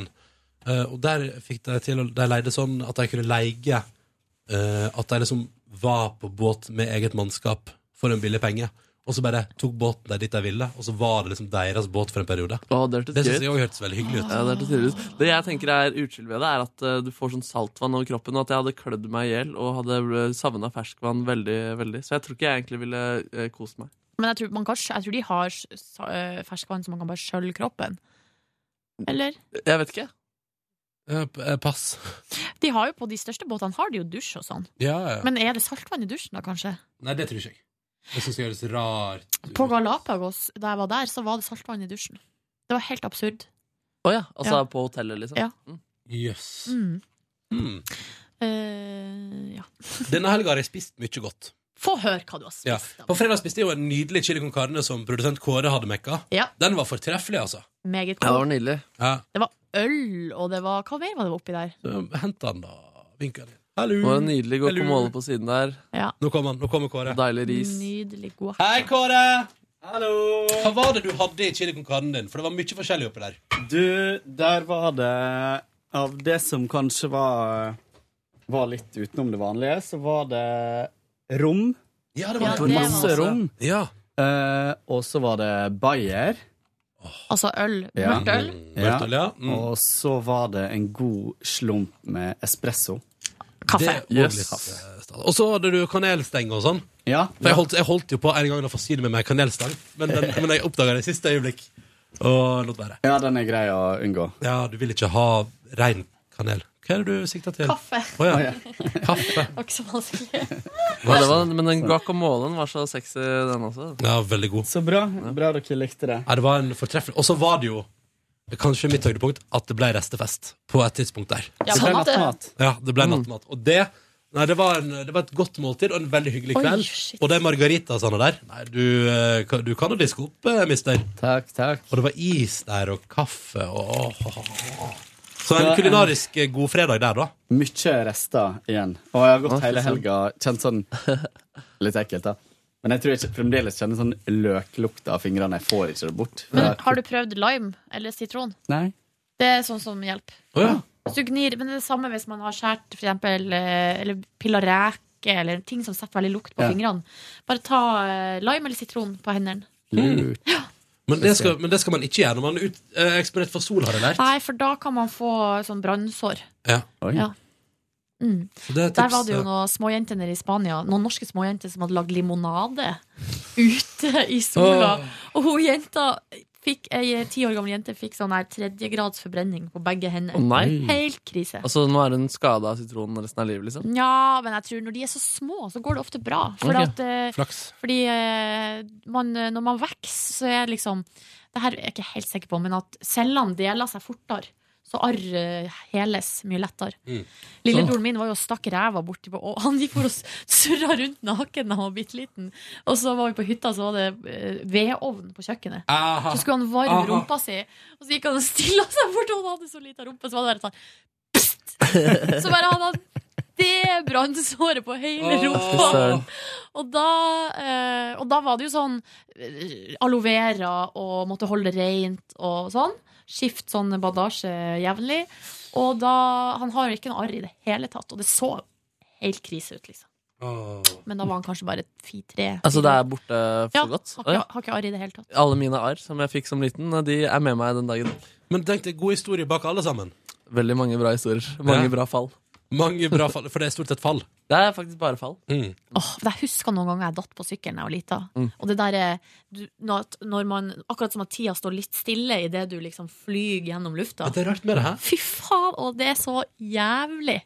Speaker 2: eh, og der fikk de til å De leide sånn at de kunne leie eh, At de liksom var på båt med eget mannskap for en billig penge. Og så bare tok båten der dit de ville, og så var det liksom deres båt for en periode.
Speaker 4: det
Speaker 2: det synes jeg også hørtes veldig hyggelig ut.
Speaker 4: Ja, det, hørtes hyggelig ut. det jeg tenker er utskill ved det, er at eh, du får sånn saltvann over kroppen, og at jeg hadde klødd meg i hjel og hadde savna ferskvann veldig, veldig. Så jeg tror ikke jeg egentlig ville eh, kost meg.
Speaker 3: Men jeg tror, man kan, jeg tror de har s- sa- eh, ferskvann så man kan bare skjølve kroppen. Eller?
Speaker 4: Jeg vet ikke.
Speaker 2: pass.
Speaker 3: De har jo På de største båtene har de jo dusj og sånn.
Speaker 2: Ja, ja.
Speaker 3: Men er det saltvann i dusjen, da, kanskje?
Speaker 2: Nei, det tror ikke jeg. Det synes jeg høres rart
Speaker 3: På Galapagos, da jeg var der, så var det saltvann i dusjen. Det var helt absurd.
Speaker 4: Å ja. Altså
Speaker 3: Ja.
Speaker 4: på hotellet, liksom.
Speaker 3: Ja.
Speaker 4: Mm.
Speaker 2: Jøss.
Speaker 3: Mm.
Speaker 2: Mm.
Speaker 3: Eh, ja.
Speaker 2: Denne helga har jeg spist mye godt.
Speaker 3: Få høre hva du har spist.
Speaker 2: Ja. På fredag spiste jeg jo en nydelig chili con carne som produsent Kåre hadde mekka.
Speaker 3: Ja.
Speaker 2: Den var fortreffelig, altså.
Speaker 3: Meget godt.
Speaker 4: nydelig.
Speaker 2: Ja.
Speaker 3: Det var øl, og det var Hva mer var det oppi der?
Speaker 2: Så Hent den, da. Vink den inn. Hallo.
Speaker 4: Det var en nydelig
Speaker 2: Hallo.
Speaker 4: guacamole på siden der.
Speaker 3: Ja.
Speaker 2: Nå kommer han. Nå kommer Kåre.
Speaker 4: Deilig ris.
Speaker 3: Nydelig god
Speaker 2: Hei, Kåre! Hallo! Hva var det du hadde i chili con carnen din? For det var mye forskjellig oppi der.
Speaker 12: Du, der var det Av det som kanskje var Var litt utenom det vanlige, så var det rom.
Speaker 2: Ja,
Speaker 3: det var Ja, det. det var
Speaker 12: Masse
Speaker 3: også.
Speaker 12: rom.
Speaker 2: Ja.
Speaker 12: Eh, og så var det Bayer.
Speaker 3: Altså øl. Mørkt øl.
Speaker 12: Ja.
Speaker 2: Mørkt øl, ja. Mm.
Speaker 12: Og så var det en god slump med espresso.
Speaker 2: Det var litt, eh, stas. Og så hadde du kanelsteng og sånn.
Speaker 12: Ja.
Speaker 2: For jeg holdt, jeg holdt jo på en gang å forsyne meg med kanelstang, men, den, men jeg oppdaga det i siste øyeblikk. Og lot være.
Speaker 12: Ja, den er grei å unngå.
Speaker 2: Ja, du vil ikke ha rein kanel. Hva er det du sikter til?
Speaker 3: Kaffe.
Speaker 2: Å ja. Kaffe.
Speaker 3: Det var ikke så vanskelig.
Speaker 4: Ja, det var, men den guacamolen var så sexy, den også.
Speaker 2: Ja, veldig god.
Speaker 12: Så bra. Bra dere likte det.
Speaker 2: Ja, det var en fortreffelig Og så var det jo kanskje mitt høydepunkt at det ble restefest på et tidspunkt der.
Speaker 12: Ja, Det ble nattmat. nattmat.
Speaker 2: Ja, det
Speaker 3: Mm.
Speaker 2: ble nattmat. Og det Nei, det var, en, det var et godt måltid og en veldig hyggelig
Speaker 12: Oi,
Speaker 2: kveld.
Speaker 12: shit.
Speaker 2: og de margaritasene der Nei, du, eh, kan- du kan jo diske opp, eh, mister.
Speaker 12: Takk, takk.
Speaker 2: Og det var is der, og kaffe, og Så
Speaker 12: Det
Speaker 2: en
Speaker 12: var en-
Speaker 2: kulinarisk eh, god fredag der, da.
Speaker 12: Mye rester igjen. Og jeg har
Speaker 2: Å,
Speaker 12: gått
Speaker 2: fy
Speaker 12: hele
Speaker 2: søren.
Speaker 12: helga kjent sånn Litt ekkelt, da. Men jeg tror jeg ikke- fremdeles kjenner sånn løklukt av fingrene. Jeg får ikke det bort.
Speaker 3: Men har du prøvd lime eller sitron?
Speaker 12: Nei.
Speaker 3: Det er sånn som hjelper. Hvis du gnir, men det er det samme hvis man har skåret for eksempel, eh, eller pilla reker eller ting som setter veldig lukt på
Speaker 2: Ja.
Speaker 3: fingrene. Bare ta eh, lime eller sitron på hendene.
Speaker 2: Lurt. Men, det skal, men det skal man ikke gjøre når man er ut, eh, eksponert for sol, har jeg lært.
Speaker 3: Nei, for da kan man få sånn brannsår.
Speaker 2: Ja.
Speaker 3: Ja. Mm.
Speaker 2: Så det er
Speaker 3: Der
Speaker 2: tips,
Speaker 3: var det jo
Speaker 2: eh.
Speaker 3: noen småjenter nede i Spania, noen norske småjenter som hadde lagd limonade ute i sola. Og hun jenta fikk, ei ti år gammel jente fikk sånn her tredjegrads forbrenning på begge hender.
Speaker 4: Å, nei.
Speaker 3: Helt krise.
Speaker 4: Altså, nå er hun skada av sitronen resten av livet, liksom.
Speaker 3: Ja, men jeg tror når de er så små, så går det ofte bra. For
Speaker 4: Ok,
Speaker 3: at, eh,
Speaker 4: flaks.
Speaker 3: Fordi eh, man, eh, når man vokser, så er liksom Det her er jeg ikke helt sikker på, men at cellene deler seg fortere. Så arr eh, heles mye lettere.
Speaker 2: Mm.
Speaker 3: Lillebroren min var jo og stakk ræva borti på og Han gikk for å s- surra rundt naken da han var bitte liten. Og så var vi på hytta, så var det eh, vedovn på kjøkkenet.
Speaker 2: Aha.
Speaker 3: Så skulle han varme
Speaker 2: Aha.
Speaker 3: rumpa si, og så gikk han og stilla seg bort, og han hadde så lita rumpe, så var det bare sånn Pst! Så bare han hadde det brannsåret på hele
Speaker 4: Åh. Fy
Speaker 3: rumpa.
Speaker 4: søren.
Speaker 3: Og da, eh, og da var det jo sånn eh, aloe vera og måtte holde det rent og sånn. Skift sånn bandasje jevnlig. Og da Han har jo ikke noe arr i det hele tatt, og det så helt krise ut, liksom. Men da var han kanskje bare fi-tre.
Speaker 4: Altså, det er borte for
Speaker 3: ja,
Speaker 4: godt.
Speaker 3: Har ikke, har ikke arr i det hele tatt.
Speaker 4: Alle mine arr som jeg fikk som liten, de er med meg den dagen.
Speaker 2: Men tenk deg god historie bak alle sammen.
Speaker 4: Veldig mange bra historier. Mange
Speaker 2: Ja.
Speaker 4: bra fall.
Speaker 2: Mange bra fall, for det er stort sett fall.
Speaker 4: Det er faktisk bare fall.
Speaker 2: Mm.
Speaker 3: Åh, for jeg husker noen ganger jeg datt på sykkelen da jeg var lita.
Speaker 4: Mm.
Speaker 3: Og det der er du, når, når man, Akkurat som at tida står litt stille idet du liksom flyr gjennom lufta.
Speaker 2: Det er rart med det her.
Speaker 3: Fy faen, og det er så jævlig!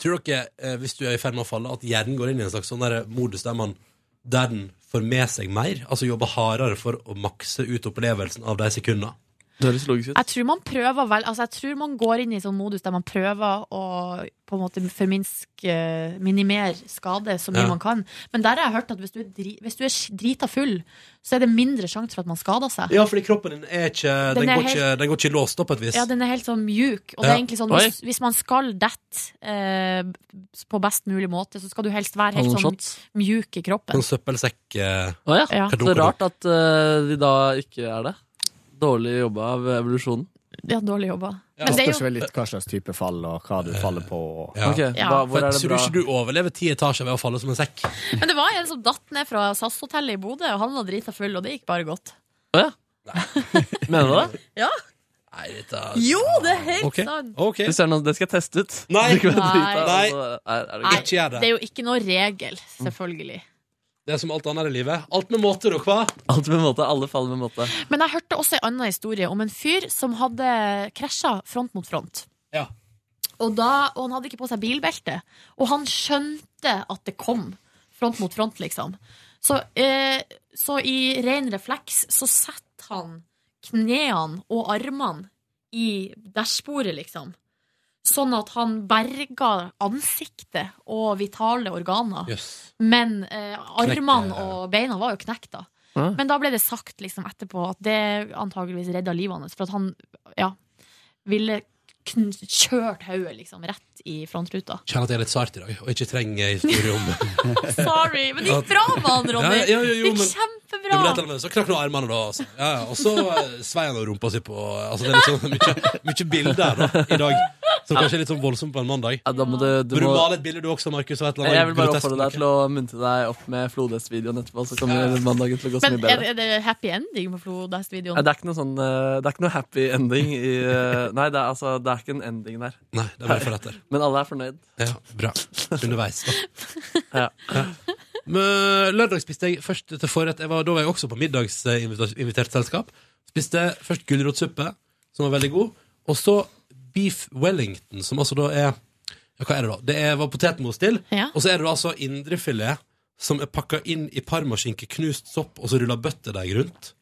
Speaker 2: Tror dere, eh, hvis du er i ferd med å falle, at hjernen går inn i en slags sånn der modus der man der den får med seg mer? Altså jobber hardere for å makse ut opplevelsen av de sekundene?
Speaker 4: Det høres logisk
Speaker 3: Jeg tror man prøver vel Altså jeg tror man går inn i sånn modus der man prøver å på en måte forminske minimere skade så mye
Speaker 2: Ja.
Speaker 3: man kan. Men der har jeg hørt at hvis du er, dri, hvis du er sk- drita full, så er det mindre sjanse for at man skader seg.
Speaker 2: Ja, fordi kroppen din er ikke Den,
Speaker 3: Den er
Speaker 2: går, ikke,
Speaker 3: helt-
Speaker 2: den går ikke låst opp på et vis.
Speaker 3: Ja, den er helt sånn mjuk. Og det
Speaker 2: Ja.
Speaker 3: er egentlig sånn
Speaker 2: Oi.
Speaker 3: hvis, hvis man skal dette eh, på best mulig måte, så skal du helst være helt
Speaker 4: Noen
Speaker 3: sånn
Speaker 4: shots?
Speaker 3: mjuk i kroppen.
Speaker 2: Sånn søppelsekk eh,
Speaker 4: Å ja.
Speaker 3: Ja.
Speaker 4: Så rart at eh, vi da ikke er det. Dårlig jobba av evolusjonen.
Speaker 3: Ja, dårlig jobba.
Speaker 12: Det
Speaker 3: Men det er
Speaker 12: spørs
Speaker 3: jo
Speaker 12: vel litt hva slags type fall og hva du faller på. Og...
Speaker 2: ja.
Speaker 4: Ok, Ja. hva- hvor er det
Speaker 2: Så du
Speaker 4: bra?
Speaker 2: ikke du overlever ti etasjer ved å falle som en sekk?
Speaker 3: Men det var en som datt ned fra SAS-hotellet i Bodø, og han var drita full, og det gikk bare godt.
Speaker 4: Å ja. Mener du det?
Speaker 3: Ja.
Speaker 2: Nei, dette
Speaker 3: Jo, det er helt
Speaker 4: Ok.
Speaker 3: sant!
Speaker 2: Ok.
Speaker 4: Hvis det er noe, det skal jeg teste ut.
Speaker 2: Nei.
Speaker 4: Det kan være
Speaker 3: Nei.
Speaker 4: drita,
Speaker 2: Nei.
Speaker 4: altså, er- er det
Speaker 3: Nei,
Speaker 4: gøy?
Speaker 2: Ikke gjør det.
Speaker 3: det er jo ikke noe regel, selvfølgelig.
Speaker 2: Det er som alt annet i livet. Alt med måter og hva?
Speaker 4: Alt med måte. Alle faller med måte.
Speaker 3: Men jeg hørte også en annen historie om en fyr som hadde krasja front mot front.
Speaker 2: Ja.
Speaker 3: Og, da, og han hadde ikke på seg bilbelte. Og han skjønte at det kom front mot front, liksom. Så, eh, så i ren refleks så setter han knærne og armene i dashbordet, liksom. Sånn at han berga ansiktet og vitale organer.
Speaker 2: Jøss.
Speaker 3: Men eh, armene og beina var jo knekt, da.
Speaker 4: Ja.
Speaker 3: Men da ble det sagt liksom etterpå at det antageligvis redda livet hans. For at han ja, ville kn kjørt hodet liksom rett i frontruta.
Speaker 2: Kjenner at jeg er litt sart i dag, og ikke trenger historie om
Speaker 3: Sorry! Men det gikk bra med han, Ronny!
Speaker 2: Ja, ja, jo, jo,
Speaker 3: det
Speaker 2: men-
Speaker 3: gikk kjempebra!
Speaker 2: Det ble et eller annet, så knakk nå armene, da. Altså. Ja, ja. Og så eh, svei han og rumpa si på altså, Det er litt sånn mye, mye bilder da, i dag, som kanskje er litt sånn voldsomt på en mandag.
Speaker 4: Ja, da må du, du
Speaker 2: Bør du
Speaker 4: må
Speaker 2: male et bilde, du også, Markus? av et eller annet
Speaker 4: Jeg vil bare
Speaker 2: grotesk
Speaker 4: oppfordre deg til å munte deg opp med flodhest-videoen etterpå, så kommer
Speaker 2: Ja.
Speaker 4: mandagen til å gå så
Speaker 3: Men
Speaker 4: mye
Speaker 3: er
Speaker 4: bedre.
Speaker 3: det, er det happy ending på
Speaker 4: Ja,
Speaker 3: Flodhest-videoen?
Speaker 4: det er ikke noe sånn eh, Det er ikke noe happy ending i eh, Nei, det er, altså, det er ikke en ending der.
Speaker 2: Nei, det er bare for etter.
Speaker 4: Men alle er fornøyd.
Speaker 2: Ja, bra. Underveis, da.
Speaker 4: Ja.
Speaker 2: Men lørdag spiste jeg først til forrett jeg var, Da var jeg også på middagsinvitert selskap. Spiste først gulrotsuppe, som var veldig god, og så beef wellington, som altså da er ja, Hva er det, da? Det er, var potetmos til,
Speaker 3: Ja.
Speaker 2: og så er det da altså indrefilet som er pakka inn i parmaskinke, knust sopp, og så ruller bøttedeig rundt.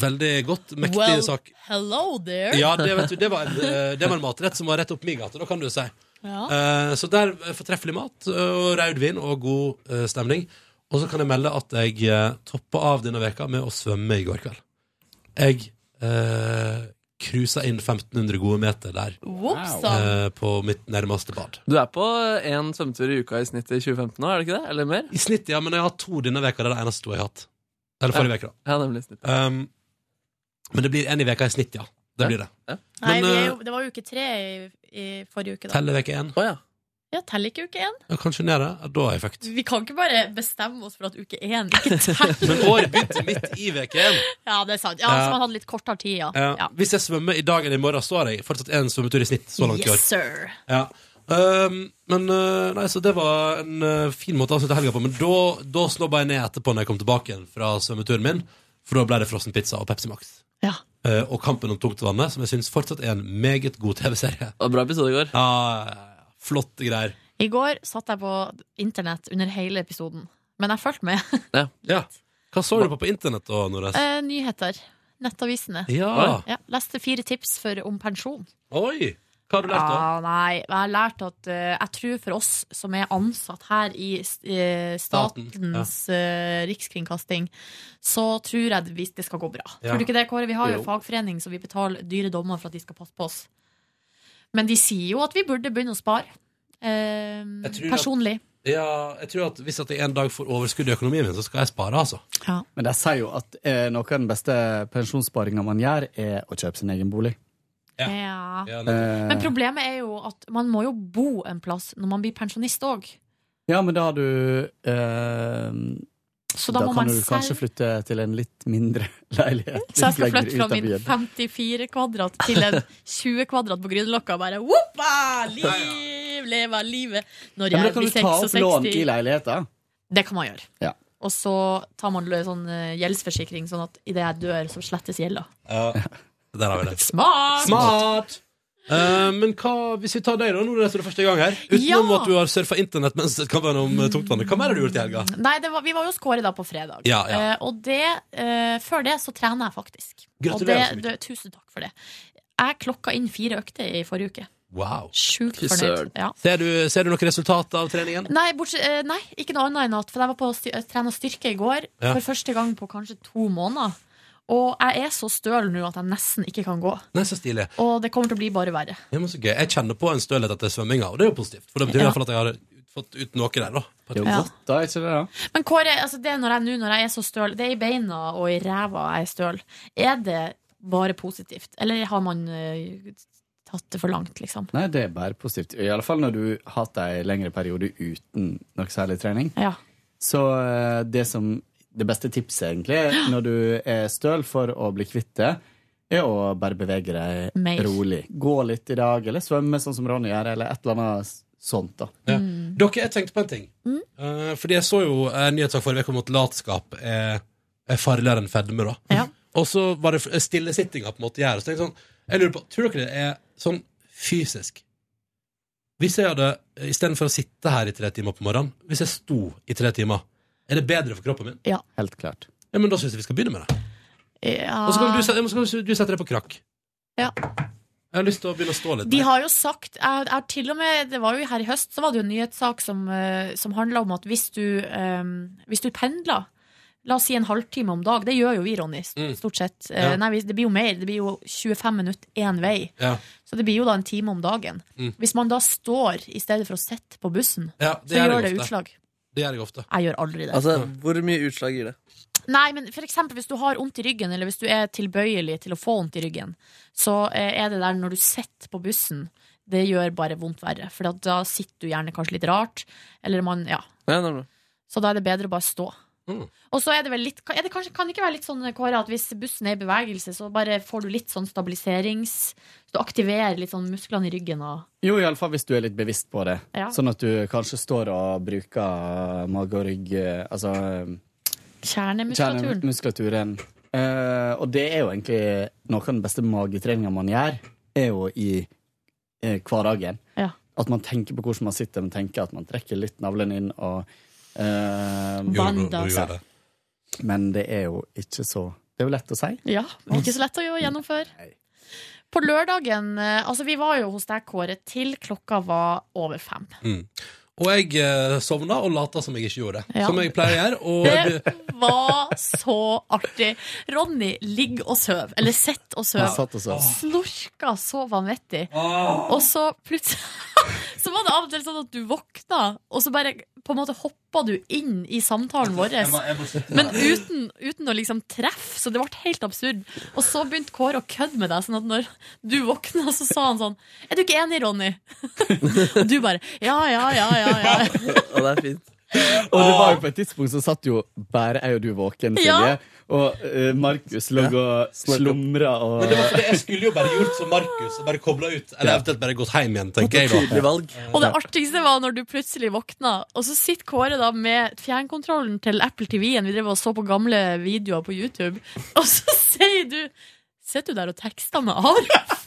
Speaker 2: Veldig godt. Mektig sak.
Speaker 3: hello there!
Speaker 2: Ja, det, vet du, det, var en, eh, det var en matrett som var rett opp min gate, da kan du si.
Speaker 3: Ja.
Speaker 2: Eh, Så der eh, fortreffelig mat eh, og rødvin og god eh, stemning. Og så kan jeg melde at jeg eh, toppa av denne veka med å svømme i går kveld. Jeg eh, cruisa inn 1500 gode meter der
Speaker 3: Whoopsa.
Speaker 2: eh, på mitt nærmeste bad.
Speaker 4: Du er på én svømmetur i uka i snitt i 2015 nå, er det ikke det? Eller mer?
Speaker 2: I snitt, ja, men jeg har hatt to denne veka. Det er det eneste to jeg har hatt. Eller forrige veka, da.
Speaker 4: Ja, nemlig i snitt.
Speaker 2: Um, men det blir én i veka i snitt, ja. Det blir det.
Speaker 3: Nei,
Speaker 2: Men
Speaker 3: vi er
Speaker 2: eh,
Speaker 3: jo, det var jo uke tre i, i forrige uke, da.
Speaker 2: teller veke én,
Speaker 4: Å ja.
Speaker 3: Ja, teller ikke uke én.
Speaker 2: ja, kanskje ned det. Ja, Da er jeg fucked.
Speaker 3: Vi kan ikke bare bestemme oss for at uke én ikke teller.
Speaker 2: Men året begynte midt i veke én.
Speaker 3: Ja, det er sant. Ja,
Speaker 2: Ja.
Speaker 3: Så man hadde litt kortere tid, ja.
Speaker 2: Ja. Hvis jeg svømmer i dag eller i morgen, så har jeg fortsatt én svømmetur i snitt så langt i år.
Speaker 3: Yes, sir.
Speaker 2: Ja. Ehm, men eh, nei, så det var en eh, fin måte å avslutte helga på. Men da, da snobba jeg ned etterpå når jeg kom tilbake igjen fra svømmeturen min. For da ble det frossen pizza og Pepsi Max.
Speaker 3: Ja.
Speaker 2: Eh, og Kampen om tungtvannet, som jeg syns fortsatt er en meget god TV-serie.
Speaker 4: Det var en bra episode i går.
Speaker 2: Ja, ja, ja. flotte greier.
Speaker 3: I går satt jeg på internett under hele episoden, men jeg fulgte med.
Speaker 2: Ja. Hva så du på på internett da, Nordnes?
Speaker 3: Eh, Nyheter. Nettavisene.
Speaker 2: Ja.
Speaker 3: Leste fire tips for, om pensjon.
Speaker 2: Oi! Hva har du lært, da?
Speaker 3: Ja, nei, jeg har lært at eh, jeg tror for oss som er ansatt her i eh,
Speaker 2: Staten,
Speaker 3: statens eh, rikskringkasting, så tror jeg hvis det skal gå bra.
Speaker 2: Ja.
Speaker 3: Tror du ikke det, Kåre? Vi har jo
Speaker 2: Jo.
Speaker 3: fagforening, så vi betaler dyre dommer for at de skal passe på oss. Men de sier jo at vi burde begynne å spare. Eh,
Speaker 2: Jeg tror at-
Speaker 3: personlig.
Speaker 2: Ja, jeg tror at Hvis at jeg en dag får overskudd i økonomien min, så skal jeg spare, altså.
Speaker 12: Men de sier jo at eh, noe av den beste pensjonssparinga man gjør, er å kjøpe sin egen bolig.
Speaker 2: Ja.
Speaker 3: Ja.
Speaker 2: Ja,
Speaker 12: Eh,
Speaker 3: Men problemet er jo at man må jo bo en plass når man blir pensjonist òg.
Speaker 12: ja, men da har du eh,
Speaker 3: Så da må
Speaker 12: kan
Speaker 3: man
Speaker 12: du kanskje
Speaker 3: selv-
Speaker 12: flytte til en litt mindre leilighet.
Speaker 3: Så jeg skal
Speaker 12: litt lenger
Speaker 3: flytte fra
Speaker 12: ut av
Speaker 3: min
Speaker 12: byen.
Speaker 3: 54 kvadrat til en 20 kvadrat på Grünerløkka og bare woppa! Liv, leve livet! Når
Speaker 12: Ja,
Speaker 3: jeg
Speaker 12: men da kan
Speaker 3: blir
Speaker 12: du ta opp lån i
Speaker 3: 66.
Speaker 12: leiligheten.
Speaker 3: Det kan man gjøre.
Speaker 12: Ja.
Speaker 3: Og så tar man lø- sånn eh, gjeldsforsikring, sånn at idet jeg dør, så slettes gjelda.
Speaker 2: Ja. Der har vi det.
Speaker 3: Smart!
Speaker 2: Smart! Eh, men hva, hvis vi tar deg, da, nå er det så det er første gang her Utenom
Speaker 3: Ja!
Speaker 2: at du har surfa internett mens kampen om eh, tungtvannet. Hva mer har du gjort i helga?
Speaker 3: Nei, det var, vi var jo hos Kåre da på fredag.
Speaker 2: Ja, ja.
Speaker 3: Eh, og det, eh, før det så trener jeg faktisk. Og det,
Speaker 2: Gratulerer så mye.
Speaker 3: det, tusen takk for det. Jeg klokka inn fire økter i forrige uke.
Speaker 2: Wow.
Speaker 3: Sjukt fornøyd. Ja.
Speaker 2: Ser, du, ser du noe resultat av treningen?
Speaker 3: Nei, bortsett, eh, nei, ikke noe annet enn at For jeg var på sty- eh, trena styrke i går
Speaker 2: Ja.
Speaker 3: For første gang på kanskje to måneder Og jeg er så støl nå at jeg nesten ikke kan gå
Speaker 2: Nei, så stilig.
Speaker 3: Og det kommer til å bli bare verre
Speaker 2: Ja, men så gøy. Jeg kjenner på en stølhet etter svømminga, og det er jo positivt. For det betyr i
Speaker 3: Ja.
Speaker 2: hvert fall at jeg har fått ut noe der, da. På et
Speaker 3: Det er jo
Speaker 2: vis.
Speaker 3: godt, Men Kåre, altså det er når jeg, nå når jeg er så støl Det er i beina og i ræva jeg er støl Er det bare positivt? Eller har man eh, tatt det for langt liksom?
Speaker 12: Nei, det er bare positivt. I alle fall når du har hatt ei lengre periode uten noe særlig trening.
Speaker 3: Ja.
Speaker 12: Så eh, det som Det beste tipset, egentlig, er når du er støl for å bli kvitt det, er å bare bevege deg
Speaker 3: Mer.
Speaker 12: rolig. Gå litt i dag, eller svømme sånn som Ronny gjør, eller et eller annet s- sånt, da.
Speaker 2: Ja. Dere, jeg tenkte på en ting. Eh, fordi jeg så jo en nyhetssak forrige uke om at latskap er, er farligere enn fedme, da. Og så var det f- stillesittinga på en måte gjør. Så tenkte jeg sånn, jeg lurer på, tror dere det er sånn fysisk Hvis jeg hadde, istedenfor å sitte her i tre timer på morgenen, hvis jeg sto i tre timer, er det bedre for kroppen min?
Speaker 3: Ja.
Speaker 12: Helt klart.
Speaker 2: Ja, men da syns jeg vi skal begynne med det.
Speaker 3: Ja.
Speaker 2: Og så kan du, se- ja, men så kan du, du sette deg på krakk.
Speaker 3: Ja.
Speaker 2: Jeg har lyst til å begynne å stå litt.
Speaker 3: De har jo sagt jeg, jeg, har til og med, Det var jo her i høst Så var det jo en nyhetssak som, eh, som handla om at hvis du, eh, hvis du pendler La oss si en halvtime om dag Det gjør jo vi, Ronny, st-
Speaker 11: Mm.
Speaker 3: stort sett Eh,
Speaker 11: Ja.
Speaker 3: Nei, vi- det blir jo mer Det blir jo 25 minutter én vei
Speaker 2: Ja.
Speaker 3: Så det blir jo da en time om dagen
Speaker 2: Mm.
Speaker 3: Hvis man da står i stedet for å sette på bussen
Speaker 2: Ja,
Speaker 3: Så
Speaker 2: det gjør
Speaker 3: gjør
Speaker 2: jeg
Speaker 3: det
Speaker 2: ofte.
Speaker 3: utslag
Speaker 2: Det gjør jeg ofte.
Speaker 3: Jeg gjør aldri det.
Speaker 4: Altså, Hvor mye utslag gir det?
Speaker 3: Nei, men for eksempel hvis du har vondt i ryggen, eller hvis du er tilbøyelig til å få vondt i ryggen, så eh, er det der når du sitter på bussen, det gjør bare vondt verre. For at da sitter du gjerne kanskje litt rart, eller man Ja.
Speaker 4: Ja, nei, nei.
Speaker 3: Så da er det bedre å bare stå.
Speaker 2: Mm.
Speaker 3: Og så er det vel litt er det kanskje, Kan det ikke være litt sånn, Kåre, at hvis bussen er i bevegelse, så bare får du litt sånn stabiliserings Så du aktiverer litt sånn musklene i ryggen og
Speaker 12: Jo, iallfall hvis du er litt bevisst på det.
Speaker 3: Ja.
Speaker 12: Sånn at du kanskje står og bruker mage og rygg eh, Altså
Speaker 3: kjernemuskulaturen.
Speaker 12: kjernemuskulaturen. Eh, og det er jo egentlig noe av den beste magetreninga man gjør, er jo i eh, hverdagen.
Speaker 3: Ja.
Speaker 12: At man tenker på hvordan man sitter, man tenker at man trekker litt navlen inn og eh,
Speaker 3: Gjorde du- du gjorde det?
Speaker 12: Men det er jo ikke så Det er jo lett å si.
Speaker 3: Ja, men ikke så lett å jo gjennomføre. På lørdagen eh, Altså, vi var jo hos deg, Kåre, til klokka var over fem.
Speaker 2: Mm. Og jeg eh, sovna og lata som jeg ikke gjorde.
Speaker 3: Ja.
Speaker 2: Som jeg pleier å gjøre. Og
Speaker 3: Det var så artig. Ronny ligger og sover. Eller sitter og
Speaker 2: Han satt og
Speaker 3: sover.
Speaker 2: sov.
Speaker 3: Snorka så vanvittig.
Speaker 2: Åh.
Speaker 3: Og så plutselig Så var det av og til sånn at du våkna, og så bare på en måte hoppa du inn i samtalen vår. Men uten, uten å liksom treffe, så det ble helt absurd. Og så begynte Kåre å kødde med deg, sånn at når du våkna, så sa han sånn Er du ikke enig, Ronny? Og du bare Ja, ja, ja, ja. ja.
Speaker 4: Og det er fint.
Speaker 12: Og det var jo på et tidspunkt så satt jo bare jeg og du våken, Silje.
Speaker 2: Ja.
Speaker 12: Og eh, Markus lå og slumra og
Speaker 2: Men det var fordi jeg skulle jo bare gjort som Markus og bare kobla ut. Eller eventuelt bare gått hjem igjen, tenker jeg. da
Speaker 12: Tydelig valg.
Speaker 3: Og det artigste var når du plutselig våkna, og så sitter Kåre da med fjernkontrollen til Apple TV-en. Vi drev og så på gamle videoer på YouTube, og så sier du Sitter du der og tekster med Arif?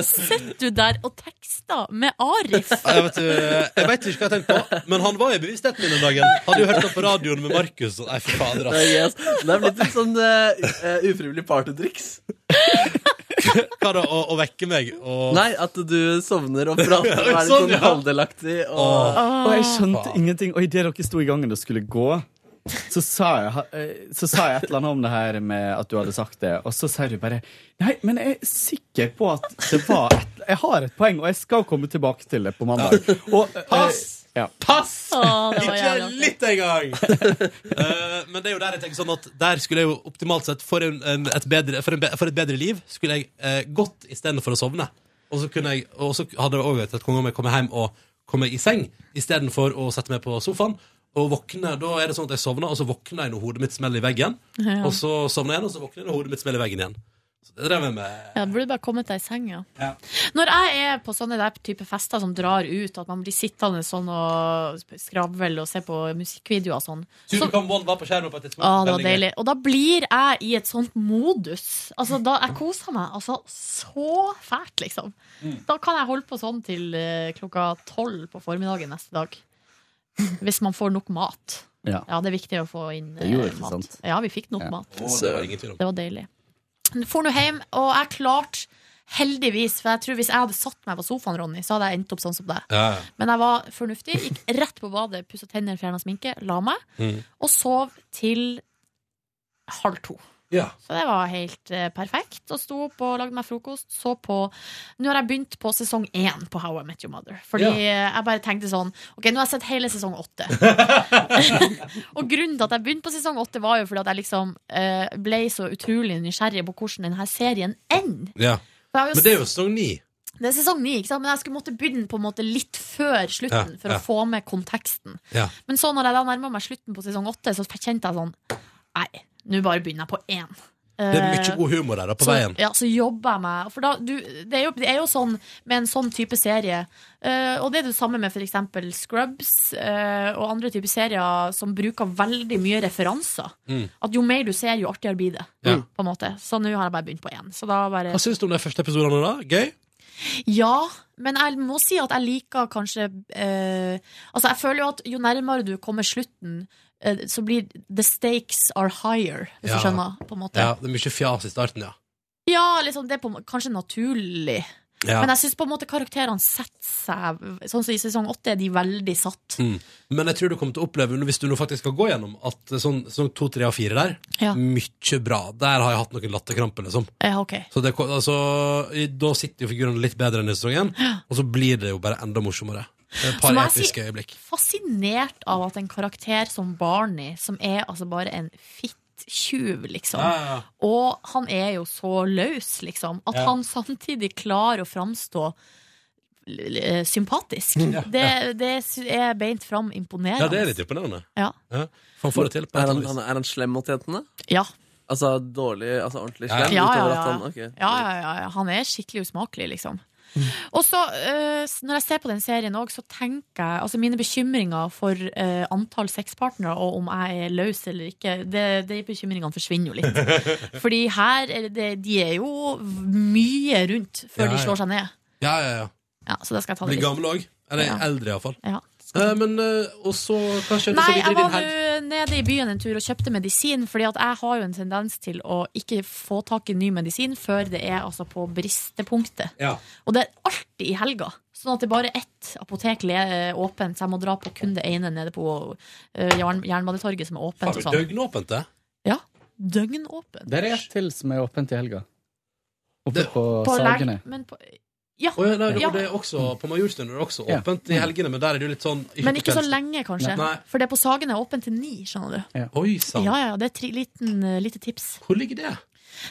Speaker 3: Sitter du der og tekster med Arif?
Speaker 2: Jeg vet, eh, jeg vet ikke hva jeg tenkte på, men han var i bevisstheten min den dagen. Hadde jo hørt det på radioen med Markus. og- Nei, fy fader,
Speaker 4: Det er, gøy, ass.
Speaker 2: ass.
Speaker 4: det er blitt litt sånn eh, eh, ufrivillig partydriks.
Speaker 2: Hva da, å, å vekke meg og
Speaker 4: Nei, at du sovner og prater og er litt
Speaker 2: Sånn,
Speaker 4: sånn
Speaker 2: ja.
Speaker 4: halvdelaktig. Og...
Speaker 12: Og jeg skjønte ingenting. Og idet dere sto i gangen og skulle gå, så sa, jeg, eh, så sa jeg et eller annet om det her med at du hadde sagt det, og så sier du bare Nei, men jeg er sikker på at det var et, Jeg har et poeng, og jeg skal komme tilbake til det på mandag. Og, eh,
Speaker 2: Pass!
Speaker 12: Ja.
Speaker 2: Pass!
Speaker 3: Å, det var
Speaker 2: ikke
Speaker 3: jævlig
Speaker 2: litt engang! Eh, men det er jo der jeg tenker sånn at der skulle jeg jo optimalt sett for, en, en, et, bedre, for, en, be- for et bedre liv skulle jeg eh, gått istedenfor å sovne. Og så, kunne jeg, og så hadde det også vært et konge om jeg kom hjem og kom meg i seng istedenfor å sette meg på sofaen. Og våkner, Da er det sånn at jeg sovner, og så våkner jeg når hodet mitt smeller i veggen.
Speaker 3: Ja.
Speaker 2: Og så sovner jeg igjen, og så våkner jeg når hodet mitt smeller i veggen igjen. Så det drev jeg med.
Speaker 3: Ja, det burde bare kommet deg i senga.
Speaker 2: Ja.
Speaker 3: Når jeg er på sånne der type fester som drar ut, at man blir sittende sånn og skravle og se på musikkvideoer og sånn
Speaker 2: Supercom World var på skjermen på et tidspunkt.
Speaker 3: Å, det var
Speaker 2: Veldig gøy.
Speaker 3: deilig. Og da blir jeg i et sånt modus. Altså, da Jeg koser meg altså så fælt, liksom.
Speaker 2: Mm.
Speaker 3: Da kan jeg holde på sånn til eh, klokka tolv på formiddagen neste dag. Hvis man får nok mat.
Speaker 12: Ja.
Speaker 3: det er viktig å få inn
Speaker 12: Det gjorde
Speaker 3: eh,
Speaker 12: ikke
Speaker 3: mat.
Speaker 12: sant?
Speaker 3: Ja, vi fikk nok
Speaker 12: Ja.
Speaker 3: mat.
Speaker 12: Å, det var ingen tvil om.
Speaker 3: Det var deilig. For nå hjem, og jeg klarte heldigvis For jeg tror hvis jeg hadde satt meg på sofaen, Ronny, så hadde jeg endt opp sånn som deg.
Speaker 2: Ja.
Speaker 3: Men jeg var fornuftig, gikk rett på badet, pussa tenner, fjerna sminke, la meg,
Speaker 2: Mm.
Speaker 3: og sov til halv to.
Speaker 2: Ja.
Speaker 3: Så det var helt eh, perfekt. Og sto opp og lagde meg frokost. Så på Nå har jeg begynt på sesong én på How I Met Your Mother. Fordi
Speaker 11: Ja.
Speaker 3: eh, jeg bare tenkte sånn Ok, nå har jeg sett hele sesong åtte. og grunnen til at jeg begynte på sesong åtte, var jo fordi at jeg liksom eh, ble så utrolig nysgjerrig på hvordan denne serien ender.
Speaker 2: Ja.
Speaker 3: For jeg har
Speaker 2: Men det er jo sesong ni.
Speaker 3: det er sesong ni, ikke sant? men jeg skulle måtte begynne på en måte litt før slutten
Speaker 2: Ja,
Speaker 3: for
Speaker 2: ja.
Speaker 3: å få med konteksten.
Speaker 2: Ja.
Speaker 3: Men så når jeg da nærma meg slutten på sesong åtte, så kjente jeg sånn Nei, nå bare begynner jeg på én.
Speaker 2: Det er
Speaker 3: Eh,
Speaker 2: mye god humor der da, på
Speaker 3: så,
Speaker 2: veien.
Speaker 3: Ja, så jobber jeg meg For da, du, det, er jo, det er jo sånn med en sånn type serie eh, Og det er det samme med for eksempel Scrubs eh, Og andre typer serier Som bruker veldig mye referanser
Speaker 2: Mm.
Speaker 3: At jo mer du ser, jo artigere blir det
Speaker 2: Ja.
Speaker 3: På en måte Så nå har jeg bare begynt på en Så da bare
Speaker 2: Hva syns du om de første episodene? da? Gøy?
Speaker 3: ja, men jeg må si at jeg liker kanskje eh, Altså, jeg føler jo at jo nærmere du kommer slutten, eh, så blir the stakes are higher, hvis
Speaker 2: Ja.
Speaker 3: du skjønner, på en måte.
Speaker 2: Ja, det er mye fjas i starten, ja.
Speaker 3: Ja, liksom, det er på, en må- kanskje naturlig.
Speaker 2: Ja.
Speaker 3: Men jeg syns på en måte karakterene setter seg Sånn som i sesong åtte er de veldig satt.
Speaker 2: Mm. Men jeg tror du kommer til å oppleve, hvis du nå faktisk skal gå gjennom, at sånn, sånn to, tre og fire der,
Speaker 3: Ja.
Speaker 2: mye bra. Der har jeg hatt noen latterkramper, liksom.
Speaker 3: Ja, ok.
Speaker 2: Så det, altså, i- da sitter jo figurene litt bedre enn i sesongen, og så blir det jo bare enda morsommere. Et
Speaker 3: Så
Speaker 2: par
Speaker 3: må jeg si-
Speaker 2: episke øyeblikk.
Speaker 3: Fascinert av at en karakter som Barney, som er altså bare en fittjuv, liksom
Speaker 2: Ja, ja, ja.
Speaker 3: Og han er jo så løs, liksom. At
Speaker 2: Ja.
Speaker 3: han samtidig klarer å framstå l- l- sympatisk.
Speaker 2: Ja,
Speaker 3: Det, det sy- er beint fram imponerende.
Speaker 2: Ja, det er litt imponerende.
Speaker 3: Ja.
Speaker 2: Han får det til. på et
Speaker 4: Er
Speaker 2: eller
Speaker 4: han,
Speaker 2: annet vis.
Speaker 4: han, er han slem mot jentene?
Speaker 3: Ja.
Speaker 4: Altså dårlig, altså ordentlig
Speaker 3: Ja,
Speaker 4: slem?
Speaker 3: ja, ja,
Speaker 4: utover
Speaker 3: ja.
Speaker 4: at han- ok.
Speaker 3: ja, ja, ja, ja. Han er skikkelig usmakelig, liksom.
Speaker 2: Mm.
Speaker 3: Og så, eh, s- når jeg ser på den serien òg, så tenker jeg Altså, mine bekymringer for eh, antall sexpartnere og om jeg er løs eller ikke, det, de bekymringene forsvinner jo litt. Fordi her er det, De er jo mye rundt før
Speaker 2: Ja,
Speaker 3: de
Speaker 2: ja.
Speaker 3: slår seg ned.
Speaker 2: Ja, ja, ja.
Speaker 3: Ja, så det skal jeg ta det
Speaker 2: Blir
Speaker 3: litt.
Speaker 2: gammel òg. Eller
Speaker 3: Ja.
Speaker 2: eldre, iallfall.
Speaker 3: Ja.
Speaker 2: Eh, men, eh, og så hva skjedde så
Speaker 3: Nei,
Speaker 2: videre i
Speaker 3: jeg
Speaker 2: din
Speaker 3: var
Speaker 2: helg?
Speaker 3: nå nede i byen en tur og kjøpte medisin, fordi at jeg har jo en tendens til å ikke få tak i ny medisin før det er altså på bristepunktet.
Speaker 2: Ja.
Speaker 3: Og det er alltid i helga. Sånn at det er bare ett apotek le- åpent, så jeg må dra på kun det ene nede på eh, Jern Jernbanetorget som er
Speaker 2: Faen,
Speaker 3: åpent.
Speaker 2: det
Speaker 3: Og
Speaker 2: er
Speaker 3: sånn.
Speaker 2: døgnåpent, det.
Speaker 3: Ja, døgnåpent.
Speaker 12: Der er et til som er åpent i helga. Oppe på,
Speaker 3: På leg-
Speaker 12: Sagene.
Speaker 3: men på, ja,
Speaker 2: Å ja, nei, det-
Speaker 3: ja.
Speaker 2: Det er også, på Majorstuen er det også
Speaker 12: Ja.
Speaker 2: åpent i helgene, men der er det jo litt sånn
Speaker 3: Men
Speaker 2: på
Speaker 3: ikke så
Speaker 2: kvelds-
Speaker 3: lenge, kanskje.
Speaker 2: Nei.
Speaker 3: For det er på Sagene åpent til ni, skjønner du.
Speaker 2: Oi sann.
Speaker 3: Ja, ja, det er et tri- liten, eh, lite tips.
Speaker 2: Hvor ligger det?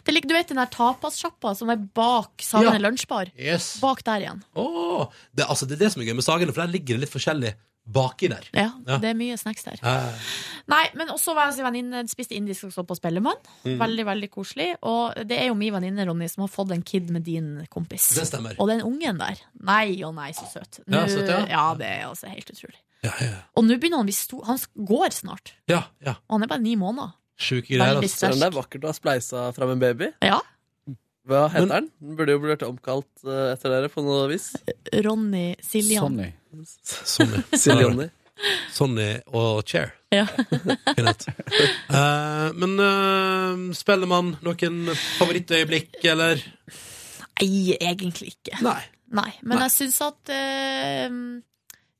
Speaker 3: det ligger, du vet den der tapassjappa som er bak Sagene
Speaker 2: Ja.
Speaker 3: lunsjbar?
Speaker 2: Yes.
Speaker 3: Bak der igjen.
Speaker 2: Åh, det, altså, det er det som er gøy med sagene, for der ligger det litt forskjellig baki der.
Speaker 3: Ja,
Speaker 2: Ja.
Speaker 3: det er mye snacks der.
Speaker 2: Eh,
Speaker 3: Nei, men også var jeg hos en venninne, spiste indisk og så på Spellemann.
Speaker 2: Mm.
Speaker 3: Veldig, veldig koselig. Og det er jo min venninne, Ronny, som har fått en kid med din kompis.
Speaker 2: Det stemmer.
Speaker 3: Og den ungen der. Nei og nei, så søt.
Speaker 2: Ja, søt, ja.
Speaker 3: det er altså helt utrolig. Og nå begynner han å bli stor. Han går snart.
Speaker 2: ja, ja.
Speaker 3: Og han er bare ni måneder.
Speaker 2: Sjuke
Speaker 3: greier,
Speaker 4: greier.
Speaker 3: Veldig altså. sterkt.
Speaker 4: Det er vakkert å ha spleisa fram en baby.
Speaker 3: Ja.
Speaker 4: Hva heter den? Den burde jo blitt omkalt eh, etter dere på noe vis.
Speaker 3: Ronny Siljan.
Speaker 2: Sonny.
Speaker 4: Silje Jonny.
Speaker 2: Sonny og Chair.
Speaker 3: Ja.
Speaker 2: Eh, men eh, Spellemann, noen favorittøyeblikk, eller?
Speaker 3: Nei, egentlig ikke.
Speaker 2: Nei.
Speaker 3: men jeg syns at eh,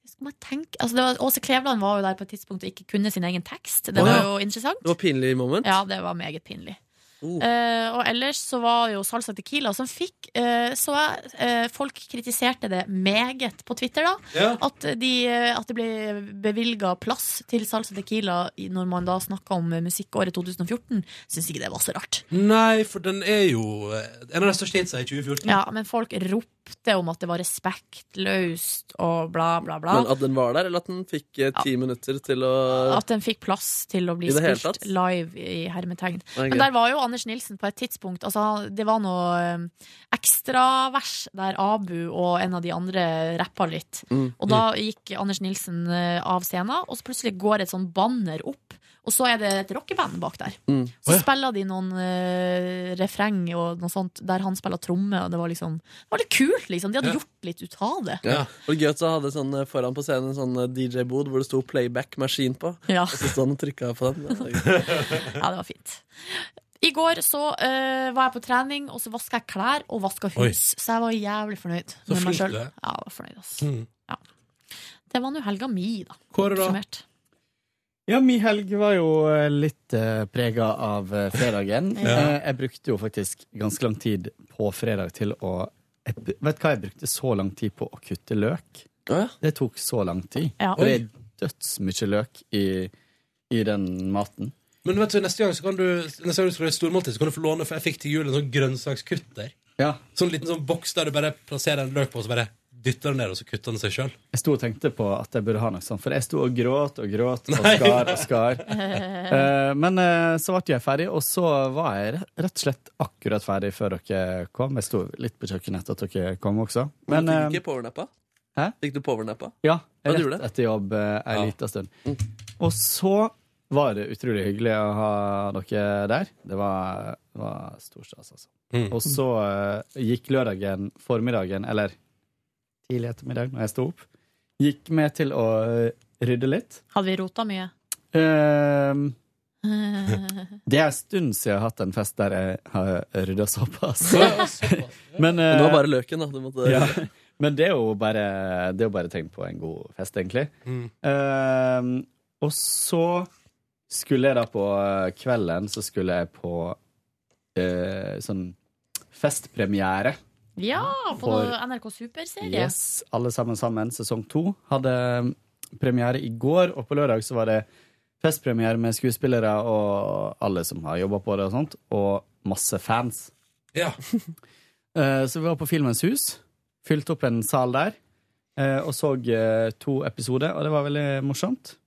Speaker 3: skal man tenke, altså det var, Åse Kleveland var jo der på et tidspunkt og ikke kunne sin egen tekst. Det
Speaker 4: Å,
Speaker 3: var
Speaker 4: ja.
Speaker 3: jo interessant.
Speaker 4: Det var pinlig moment.
Speaker 3: Ja, det var meget pinlig.
Speaker 4: Oh.
Speaker 3: Eh, og ellers så var jo Salsa Tequila som fikk eh, Så jeg, eh, folk kritiserte det meget på Twitter, da.
Speaker 11: Ja.
Speaker 3: At, de, eh, at det ble bevilga plass til Salsa Tequila i- når man da snakka om musikkåret 2014. Syns ikke det var så rart.
Speaker 2: Nei, for den er jo eh, en av de største hitsa i 2014.
Speaker 3: Ja, Men folk ropte ropte om at det var respektløst og bla, bla, bla.
Speaker 4: Men at den var der, eller at den fikk eh, ti minutter til å
Speaker 3: At den fikk plass til å bli
Speaker 4: I det hele
Speaker 3: spilt
Speaker 4: tatt?
Speaker 3: live i hermetegn.
Speaker 4: Ok.
Speaker 3: Men der var jo Anders Nilsen på et tidspunkt altså, han- Det var noe ekstravers der Abu og en av de andre rappa litt.
Speaker 11: Mm.
Speaker 3: Og da gikk Anders Nilsen eh, av scenen, og så plutselig går et sånn banner opp. Og så er det et rockeband bak der.
Speaker 4: Mm.
Speaker 3: Så spiller de noen eh, refreng og noe sånt der han spiller tromme, og det var liksom Det var litt kult, liksom. De hadde
Speaker 4: Ja.
Speaker 3: gjort litt ut av det.
Speaker 4: ja. Og gøy at så hadde sånn eh, foran på scenen en sånn eh, DJ-bod hvor det sto playback-maskin på.
Speaker 3: Ja.
Speaker 4: Og så sto han og trykka på den.
Speaker 3: Ja, det var fint. I går så eh, var jeg på trening, og så vaska jeg klær og vaska hus.
Speaker 4: Oi.
Speaker 3: Så jeg var jævlig fornøyd
Speaker 4: Så
Speaker 3: med meg
Speaker 4: flink
Speaker 3: sjøl.
Speaker 4: du
Speaker 3: Ja,
Speaker 4: er.
Speaker 3: jeg var fornøyd, altså.
Speaker 12: Mm.
Speaker 3: Det var nå helga mi, da.
Speaker 2: Kåre, da?
Speaker 3: Oppsummert.
Speaker 12: Ja, min helg var jo eh, litt uh, prega av eh, fredagen.
Speaker 3: Ja.
Speaker 12: Eh, jeg brukte jo faktisk ganske lang tid på fredag til å jeg, br- Vet du hva jeg brukte så lang tid på å kutte løk? Det tok så lang tid.
Speaker 2: Ja.
Speaker 12: Og det er dødsmye løk i, i den maten.
Speaker 2: Men vet du, neste gang så kan du Neste gang du skal gjøre stormåltid, så kan du få låne, for jeg fikk til jul en sånn grønnsakskutt der. Sånn liten sånn boks der du bare plasserer en løk på, og så bare dytter den ned, og så kutter den seg sjøl.
Speaker 12: Jeg sto og tenkte på at jeg burde ha noe sånt, for jeg sto og gråt og gråt og
Speaker 2: Nei.
Speaker 12: skar og skar. Eh, men eh, så ble jeg ferdig, og så var jeg re- rett og slett akkurat ferdig før dere kom. Jeg sto litt på kjøkkenet etter at dere kom også.
Speaker 4: Men, fikk
Speaker 12: Men
Speaker 4: du
Speaker 12: eh,
Speaker 4: ikke powernappa?
Speaker 12: Hæ?
Speaker 4: Fikk du powernappa?
Speaker 12: ja,
Speaker 4: Ja, du gjorde det.
Speaker 12: rett
Speaker 4: Mm.
Speaker 12: etter jobb eh, ei lita stund. Og så var det utrolig hyggelig å ha dere der. Det var, var storstas, altså. Og så eh, gikk lørdagen formiddagen, eller tidlig ettermiddag når jeg sto opp, gikk med til å eh, rydde litt.
Speaker 3: Hadde vi rota mye?
Speaker 12: Ehm,
Speaker 3: Nei,
Speaker 12: det er en stund siden jeg har hatt en fest der jeg har rydda såpass. Men,
Speaker 4: Men det var
Speaker 12: eh,
Speaker 4: bare løken, da. Du måtte...
Speaker 12: ja. Men det er jo bare, det er jo bare tegn på en god fest, egentlig.
Speaker 4: Mm.
Speaker 12: Ehm, og så skulle jeg da på eh, kvelden Så skulle jeg på eh, sånn festpremiere.
Speaker 3: Ja, på
Speaker 12: For-
Speaker 3: noe NRK Superserie.
Speaker 12: Yes, Alle sammen sammen, sesong to. Hadde um, premiere i går, og på lørdag så var det festpremiere med skuespillere og alle som har jobba på det og sånt, og masse fans.
Speaker 2: Ja.
Speaker 12: Eh, Så vi var på Filmens hus, fylte opp en sal der, eh, og så eh, to episoder, og det var veldig morsomt.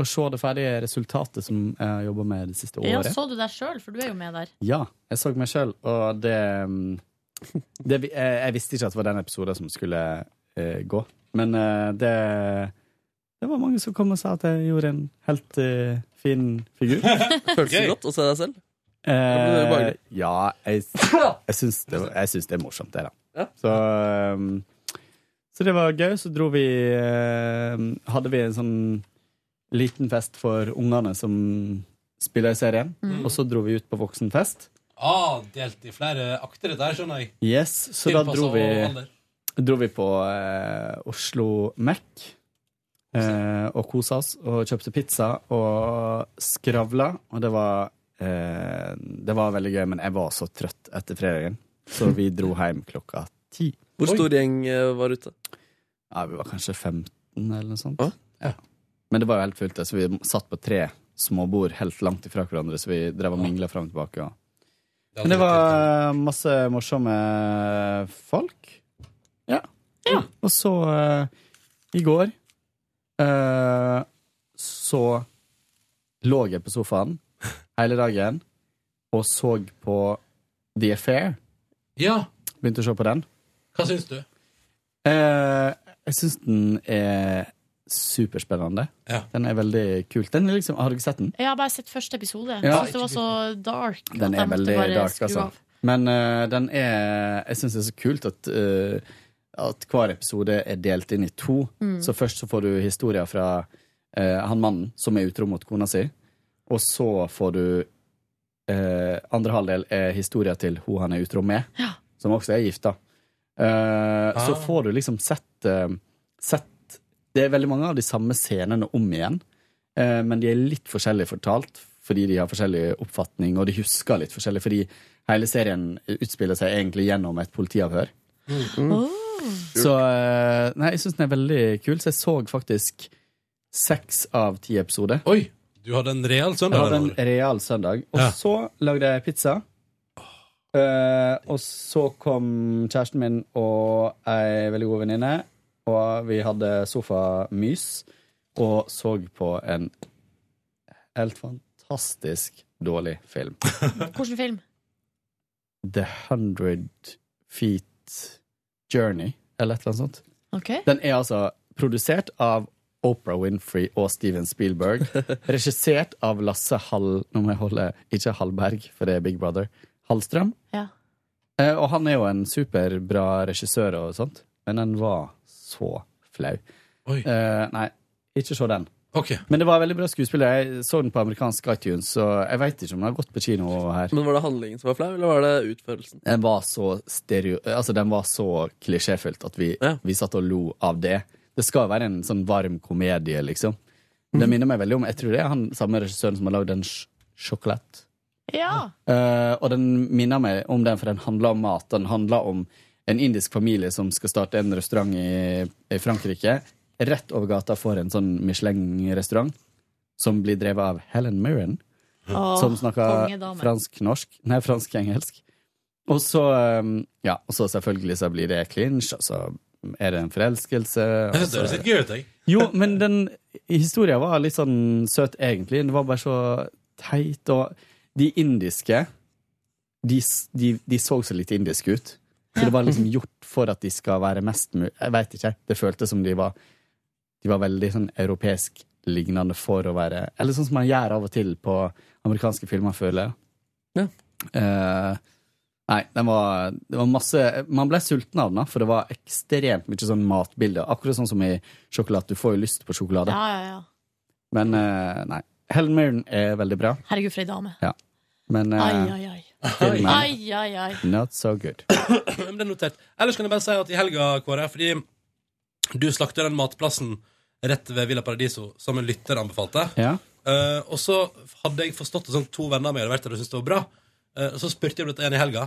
Speaker 12: Å se det ferdige resultatet som jeg har jobba med det siste
Speaker 3: Ja,
Speaker 12: året.
Speaker 3: så du deg sjøl, for du er jo med der.
Speaker 12: Ja, jeg så meg sjøl, og det, mm, det jeg, jeg visste ikke at det var den episoden som skulle eh, gå. Men eh, det Det var mange som kom og sa at jeg gjorde en helt eh, fin figur.
Speaker 4: Føltes det godt å se deg selv? det
Speaker 12: Eh,
Speaker 4: behagelig?
Speaker 12: ja, jeg, jeg, syns det, jeg syns det er morsomt, det, da. Så, um, så det var gøy. Så dro vi eh, Hadde vi en sånn liten fest for ungene som spiller i serien.
Speaker 2: Mm.
Speaker 12: Og så dro vi ut på voksenfest.
Speaker 2: Ah, delt i flere akter, dette her, skjønner jeg.
Speaker 12: Yes, så da
Speaker 2: Tilpasset
Speaker 12: dro vi,
Speaker 2: alder.
Speaker 12: dro vi på eh, Oslo Mac. Eh, og kosa oss og kjøpte pizza og skravla. Og det var, eh, det var veldig gøy, men jeg var så trøtt etter fredagen, så vi dro hjem klokka ti.
Speaker 4: Hvor stor gjeng eh, var ute?
Speaker 12: Ja, Vi var kanskje 15 eller noe sånt. Ja. Men det var jo helt fullt, så vi satt på tre små bord helt langt ifra hverandre, så vi drev og mingla fram og tilbake. Og... Men det var eh, masse morsomme folk. Ja. Og så eh, i går eh, så lå jeg på sofaen hele dagen og så på The Affair.
Speaker 2: Ja.
Speaker 12: Begynte å se på den.
Speaker 2: Hva syns du?
Speaker 12: Eh, jeg syns den er superspennende. Den er veldig kul. Den er liksom, har dere sett den?
Speaker 3: Jeg har bare sett første episode.
Speaker 12: Ja.
Speaker 3: Jeg synes det var så dark. at
Speaker 12: Den
Speaker 3: jeg
Speaker 12: er
Speaker 3: måtte
Speaker 12: veldig
Speaker 3: bare
Speaker 12: dark,
Speaker 3: skru
Speaker 12: altså.
Speaker 3: av.
Speaker 12: Men eh, den er Jeg syns det er så kult at, eh, at hver episode er delt inn i to.
Speaker 13: Mm.
Speaker 12: Så først så får du historier fra eh, han mannen som er utro mot kona si, og så får du eh, Andre halvdel er historier til hun han er utro med, som også er gifta. Eh, Så får du liksom sett, eh, sett Det er veldig mange av de samme scenene om igjen, eh, men de er litt forskjellig fortalt fordi de har forskjellig oppfatning, og de husker litt forskjellig, fordi hele serien utspiller seg egentlig gjennom et politiavhør. Så eh, Nei, jeg syns den er veldig kul, så jeg så faktisk seks av ti episoder.
Speaker 2: Oi! Du hadde en real søndag?
Speaker 12: Jeg hadde
Speaker 2: der,
Speaker 12: en real søndag. Og
Speaker 2: Ja.
Speaker 12: så lagde jeg pizza. Eh, og så kom kjæresten min og ei veldig god venninne, og vi hadde sofamys og så på en helt fantastisk dårlig film.
Speaker 3: Hvilken film?
Speaker 12: The Hundred Feet Journey, eller et eller annet sånt.
Speaker 3: Ok.
Speaker 12: Den er altså produsert av Oprah Winfrey og Steven Spielberg. Regissert av Lasse Hall... Nå må jeg holde Ikke Hallberg, for det er Big Brother. Hallstrøm.
Speaker 3: Ja.
Speaker 12: Eh, Og han er jo en superbra regissør og sånt, men den var så flau. Eh, nei, ikke se den. Men det var veldig bra skuespill. Jeg så den på amerikansk iTunes, så jeg veit ikke om den har gått på kino her.
Speaker 4: Men Var det handlingen som var flau, eller var det utførelsen?
Speaker 12: Den var så stereo... Altså, den var så klisjéfylt at vi, vi satt og lo av det. Det skal være en sånn varm komedie, liksom. Det minner meg veldig om Jeg tror det er han samme regissøren som har lagd den sj- Chocolate.
Speaker 3: Ja.
Speaker 12: Eh, og den minner meg om den, for den handler om mat. Den handler om en indisk familie som skal starte en restaurant i, i Frankrike. Rett over gata får en sånn Michelin-restaurant som blir drevet av Helen Mirren.
Speaker 11: Åh,
Speaker 12: som snakker
Speaker 11: kongedame.
Speaker 12: fransk-norsk. Nei, fransk-engelsk. Og så, eh, ja, og så selvfølgelig så blir det clinch, og så er det en forelskelse. og
Speaker 2: Det høres
Speaker 12: så-
Speaker 2: litt gøy ut, jeg.
Speaker 12: jo, men den historien var litt sånn søt, egentlig. Den var bare så teit. Og de indiske De, s- de, de så så litt indiske ut. Så det var liksom gjort for at de skal være mest mulig Jeg veit ikke. Det føltes som de var De var veldig sånn europeisk-lignende for å være Eller sånn som man gjør av og til på amerikanske filmer, føler jeg. Eh, nei, den var, det var masse Man ble sulten av den, da, for det var ekstremt mye sånn matbilder. Akkurat sånn som i sjokolade. Du får jo lyst på sjokolade.
Speaker 3: Ja, ja, ja.
Speaker 12: Men eh, nei. Helen Mirren er veldig bra,
Speaker 3: Herregud, for ei dame.
Speaker 12: ja. men eh,
Speaker 3: Ai, ai, ai.
Speaker 12: filmen
Speaker 3: Ai, ai, ai.
Speaker 12: Not so good.
Speaker 2: Men det er notert. Ellers kan jeg bare si at i helga, Kåre, fordi du slakter den matplassen rett ved Villa Paradiso, som en lytter anbefalte.
Speaker 12: Ja.
Speaker 2: Eh, og så hadde jeg forstått det sånn to venner av meg hadde vært der og syntes det var bra. Eh, så spurte jeg om dette igjen i helga,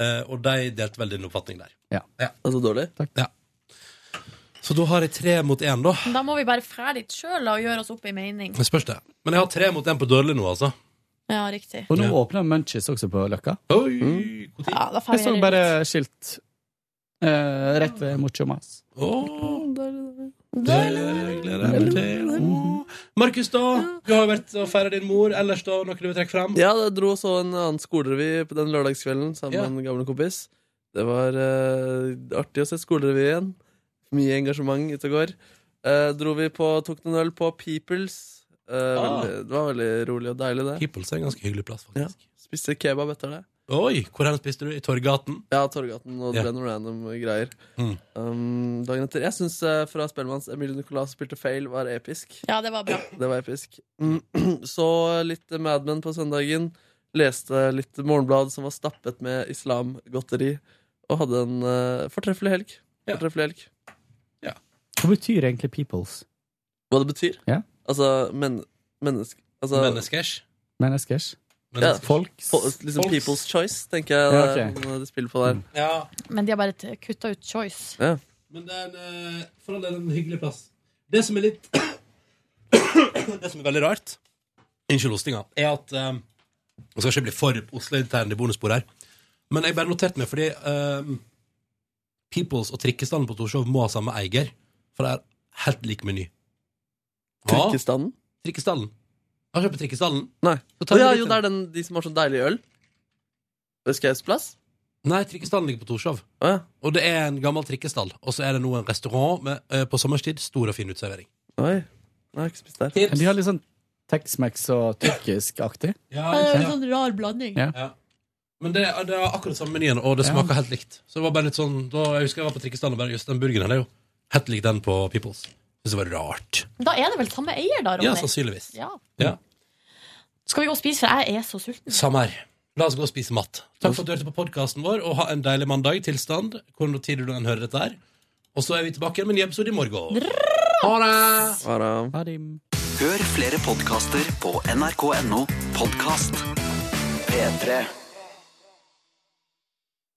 Speaker 2: eh, og de delte vel din oppfatning der.
Speaker 12: Ja.
Speaker 4: Altså dårlig?
Speaker 2: Ja. Så da har jeg tre mot én, da.
Speaker 3: Men Da må vi bare fære dit sjøl og gjøre oss opp ei mening.
Speaker 2: Det spørs det. Men jeg har tre mot én på dårlig nå, altså.
Speaker 3: Ja, riktig.
Speaker 12: Og nå åpner Munchies også på Løkka.
Speaker 2: Oi,
Speaker 3: Ja, da
Speaker 12: Jeg
Speaker 3: feirer
Speaker 12: så
Speaker 3: vi
Speaker 12: bare skilt eh, rett ved Mucho Mas.
Speaker 2: Det gleder jeg meg til. Markus, da. Du har jo vært og feira din mor. Ellers, da? Noe du vil trekke fram?
Speaker 4: Ja, jeg dro og så en annen skolerevy på den lørdagskvelden sammen
Speaker 2: Ja.
Speaker 4: med en gammel kompis. Det var eh, artig å se skolerevy igjen. Mye engasjement ute og går. Eh, dro vi på, tok noen øl på Peoples. Eh,
Speaker 2: Ah.
Speaker 4: veldig, det var veldig rolig og deilig, det.
Speaker 2: Peoples er en ganske hyggelig plass, faktisk.
Speaker 4: Spiste kebab etter det.
Speaker 2: Oi, hvor hen spiste du? I Torgaten?
Speaker 4: Ja, Torgaten og
Speaker 2: Ja.
Speaker 4: det ble noen random greier.
Speaker 2: Mm.
Speaker 4: Um, dagen etter. Jeg syns eh, fra Spellemanns Emilie Nicolas spilte feil, var episk.
Speaker 3: Ja, det var bra.
Speaker 4: Det var episk. Mm. Så litt Mad Men på søndagen. Leste litt morgenblad som var stappet med islamgodteri. Og hadde en eh, fortreffelig helg. Fortreffelig helg.
Speaker 12: Hva betyr egentlig peoples?
Speaker 4: Hva det betyr?
Speaker 12: Ja.
Speaker 4: Altså men, menneske... Altså,
Speaker 2: Menneskers?
Speaker 12: Menneskers?
Speaker 4: Ja,
Speaker 12: Folks?
Speaker 4: fol- liksom People's Choice, tenker jeg
Speaker 12: Ja,
Speaker 4: det er
Speaker 12: ok. Mm.
Speaker 4: noe de spiller på der.
Speaker 2: Ja.
Speaker 3: Men de har bare t- kutta ut Choice.
Speaker 4: Ja.
Speaker 2: Men det er en, eh, for all del en hyggelig plass. Det som er litt Det som er veldig rart, unnskyld hostinga, er at eh, Jeg skal ikke bli for Oslo-intern i bonusbord her, men jeg bare noterte meg fordi eh, Peoples og trikkestanden på Torshov må ha samme eier, for det er helt lik meny. Ja.
Speaker 4: Trikkestanden?
Speaker 2: Trikkestallen. Har du kjøpt på Trikkestallen?
Speaker 4: Nei.
Speaker 2: Så
Speaker 4: Å
Speaker 2: tar vi
Speaker 4: ja,
Speaker 2: litt-
Speaker 4: jo, det er den, de som har sånn deilig øl. Østgausplass?
Speaker 2: Nei, trikkestallen ligger på Torshov. Og det er en gammel trikkestall. Og så er det nå en restaurant med, eh, på sommerstid. Stor og fin uteservering.
Speaker 4: Oi. Jeg har ikke spist der.
Speaker 12: De har litt sånn Tex-Mex og tyrkisk-aktig.
Speaker 2: Ja,
Speaker 3: Det er en
Speaker 2: ja.
Speaker 3: sånn rar blanding.
Speaker 12: Ja.
Speaker 2: Ja. Men det, er- det er akkurat samme menyen, og det smaker helt likt. Så det var bare litt sånn da, Jeg husker jeg var på trikkestallen og bare Just den burgeren her er jo helt lik den på Peoples. Synes det var rart.
Speaker 3: Da er det vel samme eier, da, Ronny?
Speaker 2: Ja, sannsynligvis.
Speaker 3: Ja.
Speaker 2: Ja.
Speaker 3: Skal vi gå og spise, for jeg er så sulten.
Speaker 2: Samme her. La oss gå og spise mat. Takk for at du hørte på podkasten vår, og ha en deilig mandag. Tilstand. Hvor når tid du enn hører dette her. Og så er vi tilbake igjen med en ny episode i morgen. Ha det!
Speaker 4: Ha det.
Speaker 5: Hør flere podkaster på nrk.no podkast. P3.